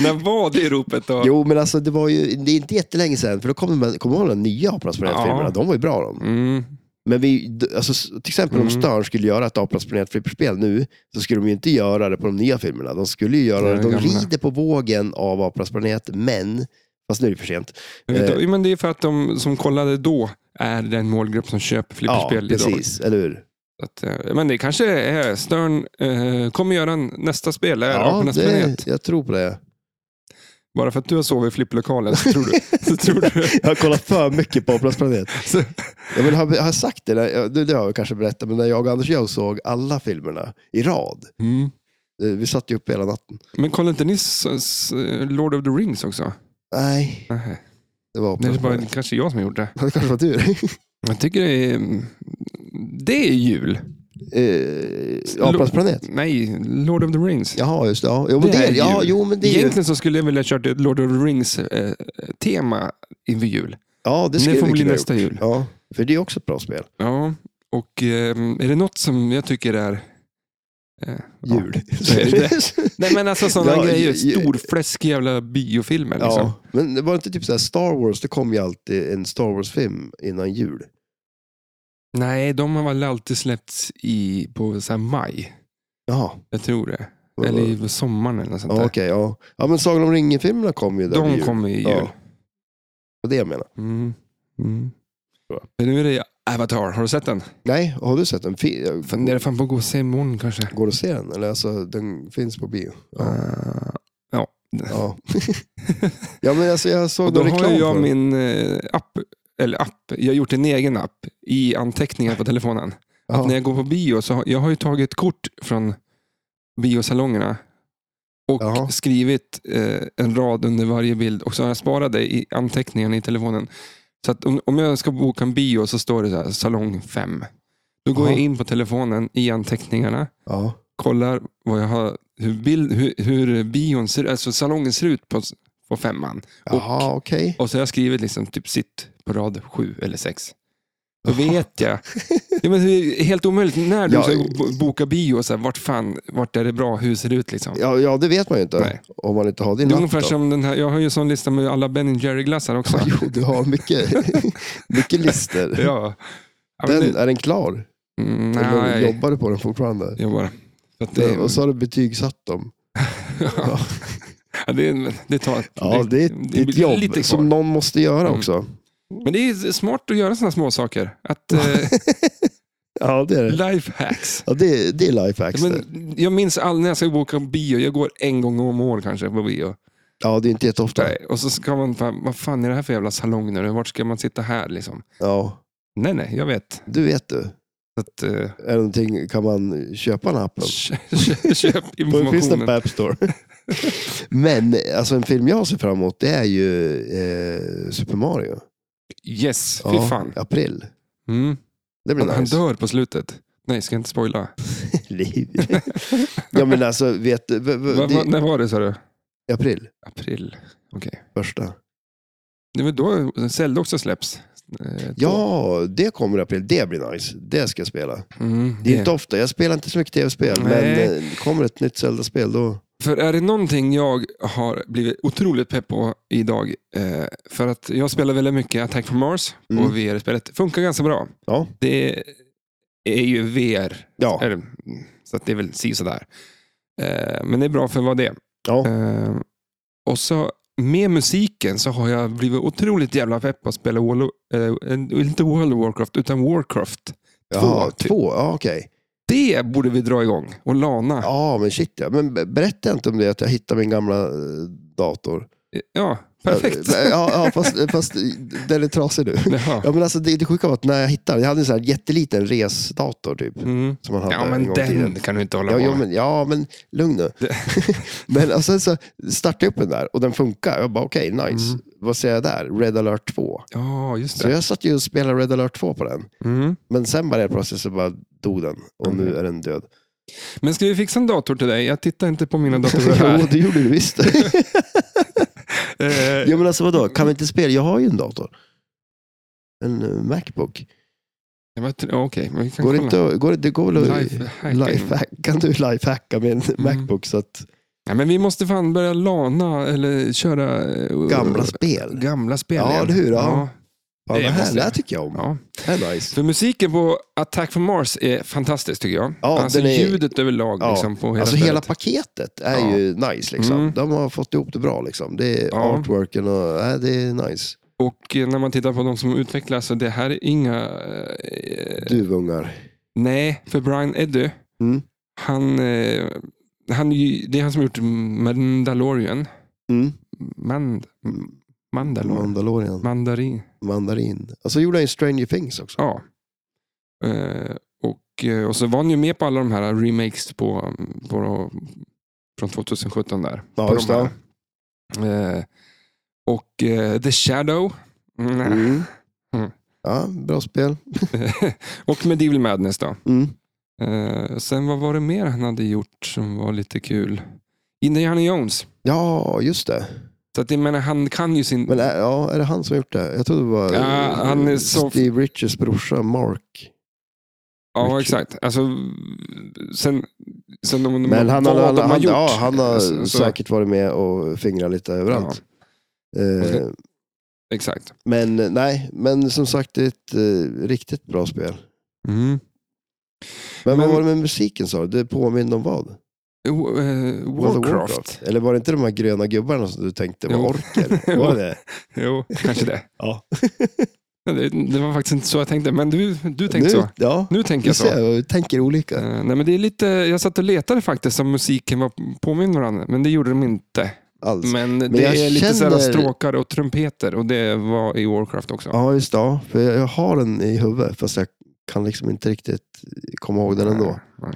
[SPEAKER 1] när var det i ropet då?
[SPEAKER 2] jo, men alltså det var ju, det är inte jättelänge sedan, för då kommer man, kommer man ihåg de nya Apornas planet-filmerna,
[SPEAKER 1] Ja.
[SPEAKER 2] de var ju bra de.
[SPEAKER 1] Mm.
[SPEAKER 2] Men vi, d- alltså, s- till exempel om
[SPEAKER 1] Mm.
[SPEAKER 2] Stern skulle göra ett Apornas planet flipperspel nu, så skulle de ju inte göra det på de nya filmerna. De skulle ju
[SPEAKER 1] Det
[SPEAKER 2] göra
[SPEAKER 1] är
[SPEAKER 2] det,
[SPEAKER 1] det
[SPEAKER 2] de
[SPEAKER 1] gamla.
[SPEAKER 2] rider på vågen av Apornas planet, men, fast nu är det för sent.
[SPEAKER 1] Jag vet
[SPEAKER 2] Eh.
[SPEAKER 1] inte, men det är för att de som kollade då är den målgrupp som köper
[SPEAKER 2] Ja,
[SPEAKER 1] flipperspel idag.
[SPEAKER 2] precis, eller hur?
[SPEAKER 1] Så Att, eh, men det kanske är Stern eh, kommer göra en, nästa spel, är
[SPEAKER 2] Ja,
[SPEAKER 1] Apornas planet.
[SPEAKER 2] det, jag
[SPEAKER 1] [LAUGHS]
[SPEAKER 2] tror på det.
[SPEAKER 1] Bara för att du har sovit i flipplokalen så tror
[SPEAKER 2] [LAUGHS]
[SPEAKER 1] du... så tror du
[SPEAKER 2] Jag har kollat för mycket på Apornas planet.
[SPEAKER 1] [LAUGHS] så,
[SPEAKER 2] Jag vill, har, har jag sagt det? När, jag- det, det har jag kanske berättat, men när jag och Anders jag såg alla filmerna i rad,
[SPEAKER 1] mm.
[SPEAKER 2] eh, vi satt ju uppe hela natten.
[SPEAKER 1] Men kollade inte ni s- s- Lord of the Rings också?
[SPEAKER 2] Nej,
[SPEAKER 1] Nej,
[SPEAKER 2] det var
[SPEAKER 1] det är
[SPEAKER 2] Apornas
[SPEAKER 1] bara
[SPEAKER 2] planet.
[SPEAKER 1] kanske jag som gjorde det.
[SPEAKER 2] [LAUGHS] Det kanske
[SPEAKER 1] [LAUGHS]
[SPEAKER 2] var tur.
[SPEAKER 1] Jag tycker det är... Det är jul.
[SPEAKER 2] Eh, Apornas planet.
[SPEAKER 1] Nej, Lord of the Rings.
[SPEAKER 2] Jaha, just det. Ja, jo, men
[SPEAKER 1] Det
[SPEAKER 2] det,
[SPEAKER 1] är
[SPEAKER 2] ja,
[SPEAKER 1] jul.
[SPEAKER 2] jo, men det är ju
[SPEAKER 1] Egentligen så skulle jag vilja kört ett Lord of the Rings-tema inför jul.
[SPEAKER 2] Ja, det
[SPEAKER 1] Det,
[SPEAKER 2] skulle
[SPEAKER 1] får
[SPEAKER 2] vi
[SPEAKER 1] bli
[SPEAKER 2] kunna
[SPEAKER 1] nästa
[SPEAKER 2] gjort.
[SPEAKER 1] jul.
[SPEAKER 2] Ja, för det är också ett bra spel.
[SPEAKER 1] Ja, och ehm, är det något som jag tycker är... eh, ja.
[SPEAKER 2] Jul.
[SPEAKER 1] Så är
[SPEAKER 2] [LAUGHS]
[SPEAKER 1] det. Nej men alltså sådana
[SPEAKER 2] Ja,
[SPEAKER 1] grejer,
[SPEAKER 2] ju- ju-
[SPEAKER 1] storfläsk jävla biofilmer
[SPEAKER 2] Ja,
[SPEAKER 1] liksom.
[SPEAKER 2] men det var inte typ så här Star Wars, det kom ju alltid en Star Wars-film innan jul.
[SPEAKER 1] Nej, de har väl alltid släppts i, på så här maj.
[SPEAKER 2] Jaha.
[SPEAKER 1] Jag tror det.
[SPEAKER 2] Ja,
[SPEAKER 1] Eller i sommaren eller något sånt
[SPEAKER 2] Ja,
[SPEAKER 1] där.
[SPEAKER 2] okej, ja. ja, men Sagan om ringen-filmerna kom ju där vid
[SPEAKER 1] De
[SPEAKER 2] jul.
[SPEAKER 1] kommer i jul.
[SPEAKER 2] Ja. Det var det jag menar.
[SPEAKER 1] Mm. Mm.
[SPEAKER 2] Bra.
[SPEAKER 1] Men nu är det Avatar, har du sett den?
[SPEAKER 2] Nej, har du sett den? Fi-
[SPEAKER 1] Funderar fan på att gå och se imorgon kanske.
[SPEAKER 2] Går det att se den? Eller alltså, den finns på bio. Ja.
[SPEAKER 1] Ah,
[SPEAKER 2] Ja, [LAUGHS] ja men alltså jag såg
[SPEAKER 1] och då
[SPEAKER 2] någon
[SPEAKER 1] har
[SPEAKER 2] reklam
[SPEAKER 1] ju jag
[SPEAKER 2] för den.
[SPEAKER 1] min eh, app, eller app, jag har gjort en egen app i anteckningar på telefonen.
[SPEAKER 2] Jaha.
[SPEAKER 1] När jag går på bio, så har, jag har ju tagit kort från biosalongerna och
[SPEAKER 2] Jaha.
[SPEAKER 1] skrivit eh, en rad under varje bild och så har jag sparat det i anteckningarna i telefonen. Så att om, om jag ska boka en bio så står det så här, salong 5. Då går
[SPEAKER 2] Jaha.
[SPEAKER 1] jag in på telefonen i anteckningarna
[SPEAKER 2] Ja.
[SPEAKER 1] kollar vad jag har, hur, bild, hur, hur bion ser, alltså salongen ser ut på, på femman.
[SPEAKER 2] Jaha, okej.
[SPEAKER 1] Och så har jag skrivit liksom typ sitt på rad sju eller sex. Då vet jag. Ja, men det är helt omöjligt när du
[SPEAKER 2] Ja.
[SPEAKER 1] ska bo- boka bio, så här, vart, fan, vart är det bra, hur ser det ut liksom?
[SPEAKER 2] Ja, ja, det vet man ju inte.
[SPEAKER 1] Nej.
[SPEAKER 2] Om man inte har din
[SPEAKER 1] Det är
[SPEAKER 2] laptop.
[SPEAKER 1] ungefär som den här, jag har ju en sån lista med alla Ben Jerry glassar också.
[SPEAKER 2] Ja, [LAUGHS] jo, du har mycket,
[SPEAKER 1] [LAUGHS]
[SPEAKER 2] mycket lister.
[SPEAKER 1] Ja. Ja, men
[SPEAKER 2] Den,
[SPEAKER 1] det,
[SPEAKER 2] är den klar?
[SPEAKER 1] mm,
[SPEAKER 2] Eller
[SPEAKER 1] nej,
[SPEAKER 2] jobbar du på den fortfarande?
[SPEAKER 1] jag bara. Så att det,
[SPEAKER 2] Och så har du betygsatt dem.
[SPEAKER 1] [LAUGHS] ja, det, är- det tar ett,
[SPEAKER 2] Ja, det är ett, det är ett
[SPEAKER 1] blir
[SPEAKER 2] jobb liksom.
[SPEAKER 1] lite kvar.
[SPEAKER 2] som någon måste göra
[SPEAKER 1] Mm.
[SPEAKER 2] också.
[SPEAKER 1] Men det är smart att göra sådana små saker. Att,
[SPEAKER 2] [LAUGHS]
[SPEAKER 1] eh,
[SPEAKER 2] Ja, det är det.
[SPEAKER 1] life hacks.
[SPEAKER 2] Ja, det, det är lifehacks. det.
[SPEAKER 1] Men jag minns all när jag ska boka bio, jag går en gång om året kanske på bio.
[SPEAKER 2] Ja, det är inte jätteofta.
[SPEAKER 1] Nej, och så ska man, fan, vad fan är det här för jävla salong nu? Vart ska man sitta här liksom?
[SPEAKER 2] Ja,
[SPEAKER 1] Nej, nej, jag vet.
[SPEAKER 2] du vet du.
[SPEAKER 1] Så Att, eh,
[SPEAKER 2] Är det någonting, kan man köpa den här appen?
[SPEAKER 1] [LAUGHS] kö-
[SPEAKER 2] [LAUGHS]
[SPEAKER 1] köp
[SPEAKER 2] Då finns den på
[SPEAKER 1] informationen.
[SPEAKER 2] App Store.
[SPEAKER 1] [LAUGHS]
[SPEAKER 2] Men alltså, en film jag ser fram emot det är ju eh, Super Mario.
[SPEAKER 1] Yes, fy
[SPEAKER 2] Ja,
[SPEAKER 1] fan.
[SPEAKER 2] i April.
[SPEAKER 1] Mm.
[SPEAKER 2] Det blir
[SPEAKER 1] Han, han
[SPEAKER 2] nice.
[SPEAKER 1] dör på slutet. Nej, ska jag inte spoila.
[SPEAKER 2] [LAUGHS] Liv. ja men alltså, vet du. v- v-
[SPEAKER 1] Va, va,
[SPEAKER 2] det-
[SPEAKER 1] när var det sa du?
[SPEAKER 2] i April,
[SPEAKER 1] April. Okej.
[SPEAKER 2] första.
[SPEAKER 1] Det var då Zelda också släpps. Eh,
[SPEAKER 2] Ja, det kommer i april. Det blir nice. Det ska jag spela.
[SPEAKER 1] då. Mm,
[SPEAKER 2] Det är inte ofta, jag spelar inte så mycket tv-spel. Men
[SPEAKER 1] Nej.
[SPEAKER 2] eh, kommer ett nytt Zelda-spel då.
[SPEAKER 1] För är det någonting jag har blivit otroligt pepp på idag, eh, för att jag spelar väldigt mycket Attack from Mars
[SPEAKER 2] Mm.
[SPEAKER 1] och VR-spelet funkar ganska bra.
[SPEAKER 2] Ja.
[SPEAKER 1] Det är ju VR,
[SPEAKER 2] Ja,
[SPEAKER 1] är det, så att det är väl si och sådär. Eh, men det är bra för vad det är.
[SPEAKER 2] ja.
[SPEAKER 1] Eh, och så med musiken så har jag blivit otroligt jävla pepp på att spela World, eh, inte World of Warcraft, utan Warcraft.
[SPEAKER 2] Jaha,
[SPEAKER 1] två, typ.
[SPEAKER 2] två. Ja, okej.
[SPEAKER 1] Det borde vi dra igång och lana. Ja,
[SPEAKER 2] Ja, men shit ja. Men be- berätta inte om det att jag hittade min gamla eh, dator. Eh,
[SPEAKER 1] perfekt.
[SPEAKER 2] Ja, ja fast, eh, fast den är trasig nu.
[SPEAKER 1] Jaha.
[SPEAKER 2] Ja, men alltså, det, det sjuka var att när jag hittade, jag hade en sån här jätteliten resdator typ.
[SPEAKER 1] Mm.
[SPEAKER 2] Som man hade
[SPEAKER 1] Ja,
[SPEAKER 2] en
[SPEAKER 1] men
[SPEAKER 2] gång i
[SPEAKER 1] den
[SPEAKER 2] tiden.
[SPEAKER 1] kan du inte hålla
[SPEAKER 2] Ja,
[SPEAKER 1] på
[SPEAKER 2] ja,
[SPEAKER 1] med.
[SPEAKER 2] men, ja, men lugn nu. [LAUGHS] men och sen så startade jag upp den där och den funkar. Jag bara, okej, nice.
[SPEAKER 1] Mm.
[SPEAKER 2] Vad ser jag där? Red alert 2.
[SPEAKER 1] Ja, just
[SPEAKER 2] Så
[SPEAKER 1] det.
[SPEAKER 2] jag satt ju och spelade Red alert 2 på den.
[SPEAKER 1] Mm.
[SPEAKER 2] Men sen bara helt plötsligt så bara dog den. Och nu
[SPEAKER 1] Mm.
[SPEAKER 2] är den död.
[SPEAKER 1] Men ska vi fixa en dator till dig? Jag tittar inte på mina
[SPEAKER 2] [LAUGHS]
[SPEAKER 1] datorer här.
[SPEAKER 2] jo, det gjorde du
[SPEAKER 1] [LAUGHS]
[SPEAKER 2] visst. [LAUGHS]
[SPEAKER 1] Eh,
[SPEAKER 2] ja, men alltså vadå? Kan vi inte spela? Jag har ju en dator. En eh, Macbook.
[SPEAKER 1] jag vet- ja, Okej, men vi kan
[SPEAKER 2] Går det,
[SPEAKER 1] kolla.
[SPEAKER 2] inte, att- går det, det går väl att...
[SPEAKER 1] Lifehacking.
[SPEAKER 2] Lifehack. Kan du lifehacka
[SPEAKER 1] Mm.
[SPEAKER 2] med en Macbook så att
[SPEAKER 1] Ja, men vi måste fan börja lana eller köra eh,
[SPEAKER 2] gamla spel.
[SPEAKER 1] gamla spel
[SPEAKER 2] Ja,
[SPEAKER 1] igen.
[SPEAKER 2] eller hur? Ja.
[SPEAKER 1] Ja.
[SPEAKER 2] Fan,
[SPEAKER 1] det
[SPEAKER 2] det, här,
[SPEAKER 1] måste
[SPEAKER 2] det
[SPEAKER 1] jag.
[SPEAKER 2] här tycker jag om.
[SPEAKER 1] ja.
[SPEAKER 2] Det här är nice.
[SPEAKER 1] För musiken på Attack from Mars är fantastisk tycker jag.
[SPEAKER 2] Ja,
[SPEAKER 1] alltså
[SPEAKER 2] den är-
[SPEAKER 1] ljudet överlag.
[SPEAKER 2] Ja.
[SPEAKER 1] Liksom, på hela
[SPEAKER 2] Alltså hela
[SPEAKER 1] spelet.
[SPEAKER 2] paketet är
[SPEAKER 1] Ja.
[SPEAKER 2] ju nice. Liksom.
[SPEAKER 1] Mm.
[SPEAKER 2] De har fått ihop det bra. Liksom. Det är
[SPEAKER 1] Ja.
[SPEAKER 2] artworken och äh, det är nice.
[SPEAKER 1] Och eh, när man tittar på de som utvecklar så det här är inga... eh,
[SPEAKER 2] Duvungar.
[SPEAKER 1] Nej, för Brian Eddy,
[SPEAKER 2] Mm.
[SPEAKER 1] han, eh, han, är ju- det är han som har gjort Mandalorian.
[SPEAKER 2] Mm.
[SPEAKER 1] Mand, Mandalorian.
[SPEAKER 2] Mandalorian.
[SPEAKER 1] Mandarin.
[SPEAKER 2] Mandarin. Alltså gjorde han ju Stranger Things också.
[SPEAKER 1] Ja. Eh, och, eh, och så var han ju med på alla de här remakes på, på, från 2017 där.
[SPEAKER 2] Ja,
[SPEAKER 1] på
[SPEAKER 2] just
[SPEAKER 1] de
[SPEAKER 2] det.
[SPEAKER 1] här. Eh, och eh, The Shadow. Mm.
[SPEAKER 2] Mm.
[SPEAKER 1] Mm.
[SPEAKER 2] Ja, bra spel.
[SPEAKER 1] och Medieval Madness då.
[SPEAKER 2] Mm.
[SPEAKER 1] Eh, sen vad var det mer han hade gjort som var lite kul? Indiana Jones.
[SPEAKER 2] Ja, just det.
[SPEAKER 1] Så att jag menar, han kan ju sin...
[SPEAKER 2] Men är, ja, är det han som har gjort det? Jag trodde det var
[SPEAKER 1] Ja,
[SPEAKER 2] eh,
[SPEAKER 1] han är så-
[SPEAKER 2] Steve Richards brorsa Mark.
[SPEAKER 1] ja,
[SPEAKER 2] Richard.
[SPEAKER 1] exakt. Alltså, sen, sen om,
[SPEAKER 2] Men han har,
[SPEAKER 1] vad
[SPEAKER 2] han,
[SPEAKER 1] de har
[SPEAKER 2] han,
[SPEAKER 1] gjort.
[SPEAKER 2] ja, han har
[SPEAKER 1] Så- så-
[SPEAKER 2] säkert varit med och fingrat lite överallt. Eh,
[SPEAKER 1] Exakt.
[SPEAKER 2] men eh, nej, men som sagt det är ett eh, riktigt bra spel.
[SPEAKER 1] Mm.
[SPEAKER 2] Men,
[SPEAKER 1] Men-
[SPEAKER 2] vad var det med musiken sa du? Det påminner om vad?
[SPEAKER 1] Jo, eh,
[SPEAKER 2] World of
[SPEAKER 1] Warcraft.
[SPEAKER 2] Eller var det inte de här gröna gubbarna som du tänkte var
[SPEAKER 1] Jo.
[SPEAKER 2] orker?
[SPEAKER 1] [LAUGHS]
[SPEAKER 2] Var det det?
[SPEAKER 1] Jo, kanske det.
[SPEAKER 2] Ja.
[SPEAKER 1] Ja, det. Det var faktiskt inte så jag tänkte, men du, du tänkte
[SPEAKER 2] nu,
[SPEAKER 1] så.
[SPEAKER 2] Ja,
[SPEAKER 1] Nu tänker
[SPEAKER 2] vi
[SPEAKER 1] jag så.
[SPEAKER 2] ser, vi tänker olika.
[SPEAKER 1] Eh, nej, men det är lite, jag satt och letade faktiskt om musiken var påminner varandra, men det gjorde de inte.
[SPEAKER 2] Alls.
[SPEAKER 1] Men, det
[SPEAKER 2] jag
[SPEAKER 1] är lite sådär
[SPEAKER 2] känner-
[SPEAKER 1] stråkar och trumpeter och det var i Warcraft också.
[SPEAKER 2] Ja, just det. ja. För jag jag har den i huvudet, fast jag kan liksom inte riktigt komma ihåg den ändå.
[SPEAKER 1] Nej.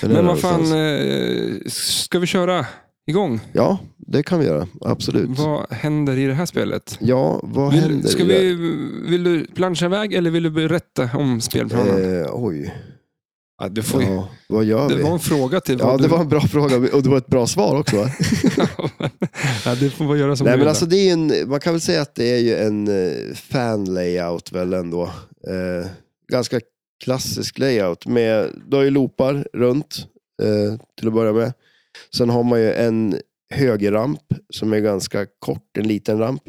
[SPEAKER 2] Den är
[SPEAKER 1] Men
[SPEAKER 2] där
[SPEAKER 1] vad fan,
[SPEAKER 2] någonstans.
[SPEAKER 1] eh, ska vi köra igång?
[SPEAKER 2] Ja, det kan vi göra. Absolut.
[SPEAKER 1] Vad händer i det här spelet?
[SPEAKER 2] Ja, vad
[SPEAKER 1] Vill,
[SPEAKER 2] händer?
[SPEAKER 1] ska vi,
[SPEAKER 2] i
[SPEAKER 1] vill du plancha iväg eller vill du berätta om
[SPEAKER 2] det här?
[SPEAKER 1] spelplanen?
[SPEAKER 2] Eh, oj.
[SPEAKER 1] ja, du får, ju-
[SPEAKER 2] Ja, vad gör
[SPEAKER 1] det
[SPEAKER 2] vi?
[SPEAKER 1] var en fråga till vad
[SPEAKER 2] Ja,
[SPEAKER 1] du...
[SPEAKER 2] det var en bra fråga och det var ett bra svar också. va?
[SPEAKER 1] [LAUGHS] ja, du får bara göra som
[SPEAKER 2] Nej,
[SPEAKER 1] du
[SPEAKER 2] men
[SPEAKER 1] vill.
[SPEAKER 2] alltså det är ju en, man kan väl säga att det är ju en eh, fan-layout väl ändå. Eh, ganska klassisk layout. Med, du har ju loopar runt eh, till att börja med. Sen har man ju en högerramp som är ganska kort, en liten ramp.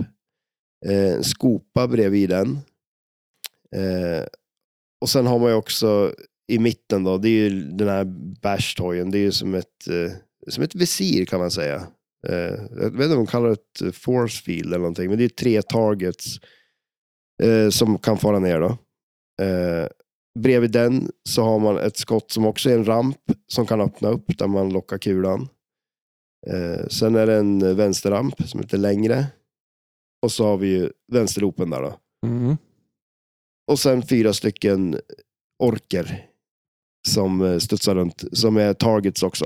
[SPEAKER 2] Eh, en skopa bredvid den. Eh, och sen har man ju också i mitten då, det är ju den här bashtojen. Det är ju som ett, eh, som ett visir kan man säga. Eh, jag vet inte om de kallar det ett eh, force field eller någonting, men det är tre targets eh, som kan fara ner då. Eh, bredvid den så har man ett skott som också är en ramp som kan öppna upp där man lockar kulan. Eh, sen är det en vänsterramp som är lite längre. Och så har vi ju vänsterlopen där då.
[SPEAKER 1] Mm.
[SPEAKER 2] Och sen fyra stycken orker som eh, studsar runt, som är targets också.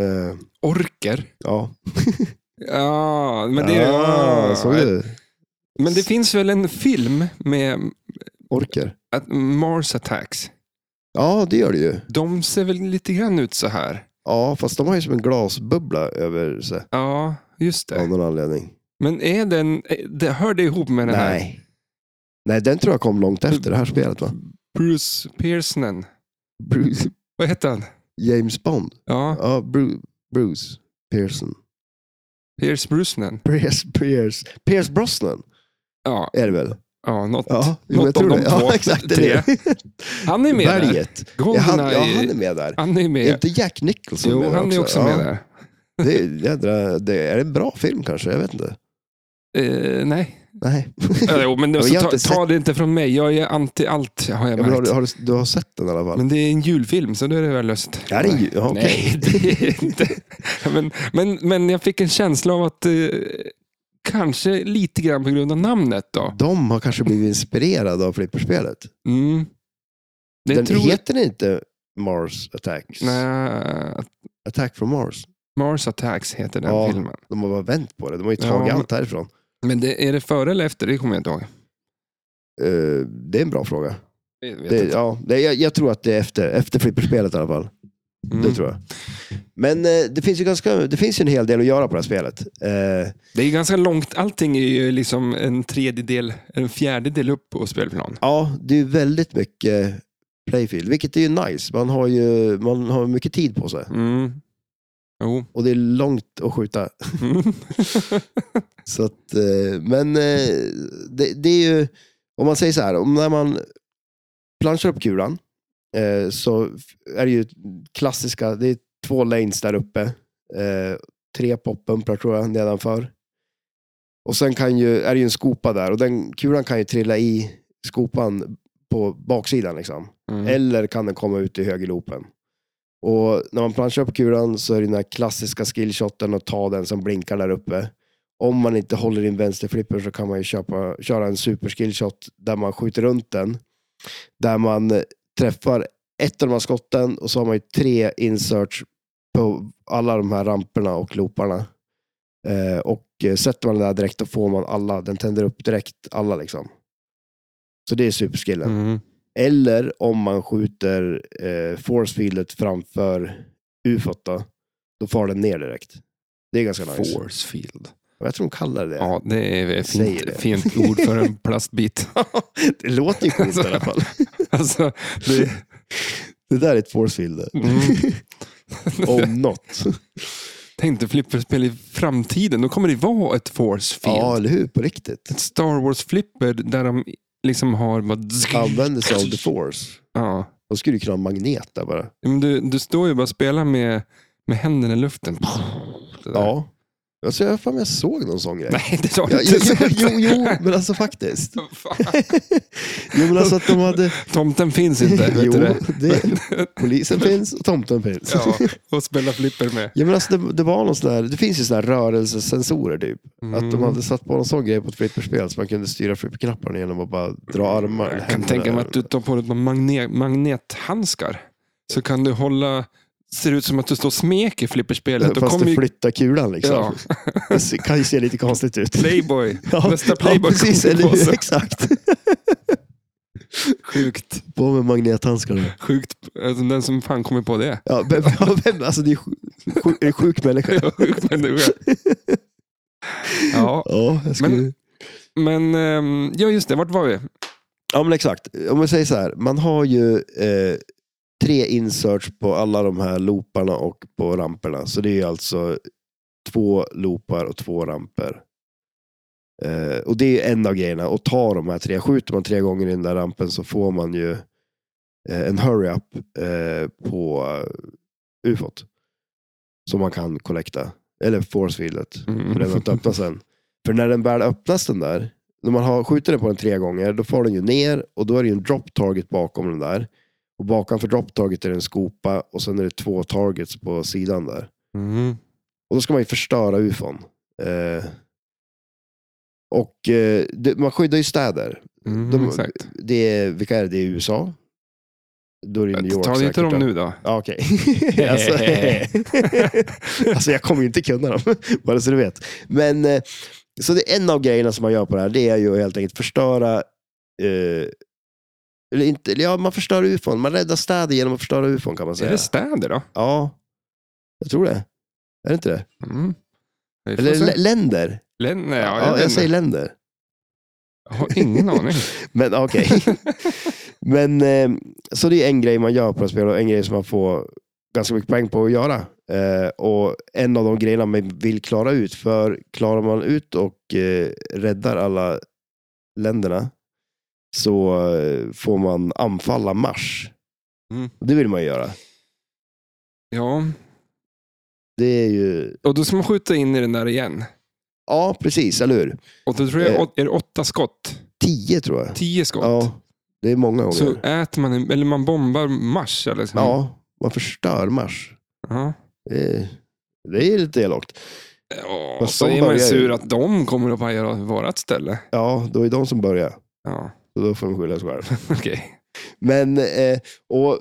[SPEAKER 2] Eh,
[SPEAKER 1] Orker?
[SPEAKER 2] ja.
[SPEAKER 1] Ja, men det,
[SPEAKER 2] ah, såg
[SPEAKER 1] ja.
[SPEAKER 2] du?
[SPEAKER 1] men det finns väl en film med
[SPEAKER 2] Orker.
[SPEAKER 1] att Mars Attacks.
[SPEAKER 2] Ja, det gör det ju.
[SPEAKER 1] De ser väl lite grann ut så här.
[SPEAKER 2] Ja, fast de har ju som en glasbubbla över sig
[SPEAKER 1] Ja, just det.
[SPEAKER 2] av någon anledning.
[SPEAKER 1] Men är den, eh, det, hör det ihop med den här
[SPEAKER 2] Nej. Nej, den tror jag kom långt efter det här spelet va?
[SPEAKER 1] Bruce Pearsonen?
[SPEAKER 2] Bruce,
[SPEAKER 1] Vad heter han?
[SPEAKER 2] James Bond.
[SPEAKER 1] Ja,
[SPEAKER 2] Ja, Bruce, Bruce Pearson.
[SPEAKER 1] Pierce Brosnan.
[SPEAKER 2] Pierce, Pierce, Pierce Brosnan
[SPEAKER 1] Ja,
[SPEAKER 2] är det väl?
[SPEAKER 1] ja något.
[SPEAKER 2] Ja, jo,
[SPEAKER 1] Något
[SPEAKER 2] jag tror
[SPEAKER 1] av
[SPEAKER 2] det.
[SPEAKER 1] de två.
[SPEAKER 2] Ja, exakt. Det är det.
[SPEAKER 1] Han är med där.
[SPEAKER 2] Berget. Ja, han, ja,
[SPEAKER 1] Goldeneye.
[SPEAKER 2] han är med där.
[SPEAKER 1] han är
[SPEAKER 2] Är
[SPEAKER 1] med.
[SPEAKER 2] inte Jack Nicholson
[SPEAKER 1] Jo,
[SPEAKER 2] med
[SPEAKER 1] han är också
[SPEAKER 2] ja,
[SPEAKER 1] med där.
[SPEAKER 2] Det är, jädra, det är en bra film kanske, jag vet inte.
[SPEAKER 1] Eh,
[SPEAKER 2] [LAUGHS]
[SPEAKER 1] nej.
[SPEAKER 2] Nej.
[SPEAKER 1] Eh, Jo, men
[SPEAKER 2] jag
[SPEAKER 1] alltså,
[SPEAKER 2] har
[SPEAKER 1] ta,
[SPEAKER 2] inte sett-
[SPEAKER 1] ta det inte från mig. Jag är anti allt, har jag
[SPEAKER 2] Ja, men har,
[SPEAKER 1] märkt.
[SPEAKER 2] du- har du, du har sett den i alla fall?
[SPEAKER 1] Men det är en julfilm, så då är det väl löst.
[SPEAKER 2] Ja, det är ju- ja, okej.
[SPEAKER 1] Nej, det är inte. Men, men, men jag fick en känsla av att eh, kanske lite grann på grund av namnet då.
[SPEAKER 2] De har kanske blivit inspirerade av flipperspelet.
[SPEAKER 1] Mm. Det
[SPEAKER 2] den
[SPEAKER 1] tror
[SPEAKER 2] heter inte Mars Attacks.
[SPEAKER 1] Nej,
[SPEAKER 2] Attack from Mars.
[SPEAKER 1] Mars Attacks heter den
[SPEAKER 2] Ja.
[SPEAKER 1] filmen.
[SPEAKER 2] De har bara vänt på det. De har ju tagit
[SPEAKER 1] Ja, men-
[SPEAKER 2] allt härifrån.
[SPEAKER 1] Men det, är det före eller efter? Det kommer jag inte ihåg.
[SPEAKER 2] Eh, det är en bra fråga.
[SPEAKER 1] Jag vet
[SPEAKER 2] Det,
[SPEAKER 1] inte.
[SPEAKER 2] ja, det, jag, jag tror att det är efter, efter flipperspelet i alla fall.
[SPEAKER 1] Mm.
[SPEAKER 2] Det tror jag. Men eh, det finns ju ganska, det finns ju en hel del att göra på det här spelet. Eh,
[SPEAKER 1] Det är ganska långt. Allting är ju liksom en tredjedel, en fjärdedel upp på spelplan.
[SPEAKER 2] Ja, det är ju väldigt mycket playfield, vilket är ju nice. Man har ju man har mycket tid på sig
[SPEAKER 1] Mm. Jo.
[SPEAKER 2] och det är långt att skjuta.
[SPEAKER 1] Mm.
[SPEAKER 2] Så att, eh, men eh, det, det är ju, om man säger så här, om när man planchar upp kulan eh, så är det ju klassiska, det är två lanes där uppe. Eh, tre poppumpar tror jag nedanför. Och sen kan ju, är det ju en skopa där och den kulan kan ju trilla i skopan på baksidan. Liksom.
[SPEAKER 1] Mm.
[SPEAKER 2] eller kan den komma ut i högerloopen. Och när man planchar upp kulan så är det den här klassiska skillshoten att ta den som blinkar där uppe. Om man inte håller in vänsterflippen så kan man ju köpa, köra en superskillshot där man skjuter runt den. Där man eh, träffar ett av de här skotten och så har man ju tre inserts på alla de här ramperna och looparna. Eh, och eh, sätter man den där direkt då får man alla, den tänder upp direkt alla liksom. Så det är superskillen.
[SPEAKER 1] Mm.
[SPEAKER 2] Eller om man skjuter eh, forcefieldet framför ufot då, då far den ner direkt. Det är ganska nice.
[SPEAKER 1] Force field.
[SPEAKER 2] Jag tror de kallar det
[SPEAKER 1] Ja, det är ett
[SPEAKER 2] Säger
[SPEAKER 1] fint,
[SPEAKER 2] det.
[SPEAKER 1] fint ord för en plastbit.
[SPEAKER 2] [LAUGHS] det. låter ju coolt i
[SPEAKER 1] [LAUGHS]
[SPEAKER 2] alla fall.
[SPEAKER 1] Alltså, det,
[SPEAKER 2] Det där är ett forcefield det.
[SPEAKER 1] mm. [LAUGHS]
[SPEAKER 2] [LAUGHS] om något.
[SPEAKER 1] Tänkte flipperspel i framtiden, då kommer det vara ett force field.
[SPEAKER 2] ja, eller hur? På riktigt.
[SPEAKER 1] Ett Star Wars-flipper där de liksom har... Bara...
[SPEAKER 2] Använder sig av the force.
[SPEAKER 1] Ja.
[SPEAKER 2] De skulle ju kunna ha en magnet där bara.
[SPEAKER 1] Men du, du står ju bara och spelar med, med händerna i luften. Sådär.
[SPEAKER 2] Ja. Alltså, jag har för mig jag såg någon sån grej.
[SPEAKER 1] Nej, det sa
[SPEAKER 2] Ja,
[SPEAKER 1] jag
[SPEAKER 2] jo,
[SPEAKER 1] inte. [LAUGHS]
[SPEAKER 2] jo, jo, men alltså faktiskt. [LAUGHS]
[SPEAKER 1] Fan,
[SPEAKER 2] Jo, men alltså att de hade...
[SPEAKER 1] Tomten finns inte, vet
[SPEAKER 2] Jo,
[SPEAKER 1] du det?
[SPEAKER 2] det.
[SPEAKER 1] [LAUGHS]
[SPEAKER 2] Polisen finns och tomten finns.
[SPEAKER 1] Ja, och spela flipper med.
[SPEAKER 2] Ja, men alltså det, det, var någon sån där, det finns ju såna här rörelsesensorer typ. Att
[SPEAKER 1] Mm.
[SPEAKER 2] de hade satt på någon sån grej på ett flipperspel så man kunde styra flipperknapparna genom att bara dra armar eller
[SPEAKER 1] Mm. Jag kan
[SPEAKER 2] händerna.
[SPEAKER 1] tänka mig att du tar på dig ett par magne- magnethandskar. Så kan du hålla... Ser ut som att du står och smeker flipperspelet. Då
[SPEAKER 2] Fast
[SPEAKER 1] kommer
[SPEAKER 2] du
[SPEAKER 1] ju
[SPEAKER 2] flyttar kulan liksom.
[SPEAKER 1] Ja.
[SPEAKER 2] [LAUGHS] Det ser- kan ju se lite konstigt ut.
[SPEAKER 1] Playboy.
[SPEAKER 2] [LAUGHS] Ja,
[SPEAKER 1] Nästa
[SPEAKER 2] ja,
[SPEAKER 1] Playboy
[SPEAKER 2] precis.
[SPEAKER 1] kommer
[SPEAKER 2] Eller
[SPEAKER 1] på
[SPEAKER 2] hur?
[SPEAKER 1] sig.
[SPEAKER 2] [LAUGHS] Exakt.
[SPEAKER 1] Sjukt.
[SPEAKER 2] På med magnethandskarna.
[SPEAKER 1] Sjukt. Alltså, den som fan kommer på det. [LAUGHS]
[SPEAKER 2] Ja, vem, [LAUGHS] ja, vem, alltså det är sjuk, sjuk, en sjuk människa.
[SPEAKER 1] Ja, sjuk
[SPEAKER 2] [LAUGHS]
[SPEAKER 1] människa. Ja,
[SPEAKER 2] Ja, jag skulle...
[SPEAKER 1] Men- men ehm, ja, just det. Vart var vi?
[SPEAKER 2] Ja men exakt. Om man säger så här, man har ju eh, tre inserts på alla de här looparna och på ramperna. Så det är alltså två loopar och två ramper. Eh, och det är en av grejerna, att ta de här tre. Skjuter man tre gånger i den där rampen så får man ju eh, en hurry-up eh, på eh, ufot. Som man kan kollekta. Eller forcefieldet.
[SPEAKER 1] Mm.
[SPEAKER 2] För den har inte öppnats än. För när den väl öppnas den där. När man har skjuter den på den tre gånger. Då får den ju ner. Och då är det ju en drop target bakom den där. Och bakom för drop target är det en skopa. Och sen är det två targets på sidan där.
[SPEAKER 1] Mm.
[SPEAKER 2] Och då ska man ju förstöra ufon. Eh, och eh, det, man skyddar ju städer.
[SPEAKER 1] Mm,
[SPEAKER 2] De-
[SPEAKER 1] exakt.
[SPEAKER 2] Det är, vilka är det? Det är USA? Då är det New York
[SPEAKER 1] Ta inte
[SPEAKER 2] säkert,
[SPEAKER 1] dem
[SPEAKER 2] då.
[SPEAKER 1] nu då.
[SPEAKER 2] Ja, okej. [LAUGHS] alltså, [LAUGHS] alltså, jag kommer ju inte kunna dem, [LAUGHS] bara så du vet. Men, eh, så det, en av grejerna som man gör på det här, det är ju helt enkelt förstöra eh, eller inte, ja, man förstör ufon. Man räddar städer genom att förstöra ufon kan man
[SPEAKER 1] Är
[SPEAKER 2] säga.
[SPEAKER 1] det städer då?
[SPEAKER 2] Ja, jag tror det. Är det inte det?
[SPEAKER 1] Mm. Vi får
[SPEAKER 2] Eller
[SPEAKER 1] se.
[SPEAKER 2] lä- länder.
[SPEAKER 1] Län- nej, ja,
[SPEAKER 2] Ja,
[SPEAKER 1] jag,
[SPEAKER 2] jag
[SPEAKER 1] vet
[SPEAKER 2] säger
[SPEAKER 1] inte.
[SPEAKER 2] länder.
[SPEAKER 1] Jag har ingen
[SPEAKER 2] [LAUGHS]
[SPEAKER 1] aning.
[SPEAKER 2] Men okej.
[SPEAKER 1] [LAUGHS]
[SPEAKER 2] Men, eh, så det är en grej man gör på ett spel och en grej som man får ganska mycket poäng på att göra. Eh, och en av de grejerna man vill klara ut, för klarar man ut och eh, räddar alla länderna så eh, får man anfalla Mars.
[SPEAKER 1] Mm.
[SPEAKER 2] Det vill man ju göra.
[SPEAKER 1] Ja,
[SPEAKER 2] Det är ju...
[SPEAKER 1] och då ska man skjuta in i den där igen.
[SPEAKER 2] Ja, precis, eller hur?
[SPEAKER 1] Och då tror jag, är det åtta skott?
[SPEAKER 2] Tio tror jag.
[SPEAKER 1] Tio skott?
[SPEAKER 2] Eh. Ja, det är många gånger.
[SPEAKER 1] Så äter man, en- eller man bombar Mars? Eller? så.
[SPEAKER 2] Ja, man förstör Mars.
[SPEAKER 1] Ja.
[SPEAKER 2] Det är, det är lite elakt.
[SPEAKER 1] Ja,
[SPEAKER 2] Fast
[SPEAKER 1] så
[SPEAKER 2] de
[SPEAKER 1] är man ju
[SPEAKER 2] börjar ju-
[SPEAKER 1] sur att de kommer att pajera vårat ställe.
[SPEAKER 2] Ja, då är det de som börjar.
[SPEAKER 1] Ja, [LAUGHS]
[SPEAKER 2] Så då får de skylla sig själv.
[SPEAKER 1] okej.
[SPEAKER 2] [LAUGHS] Men, eh, och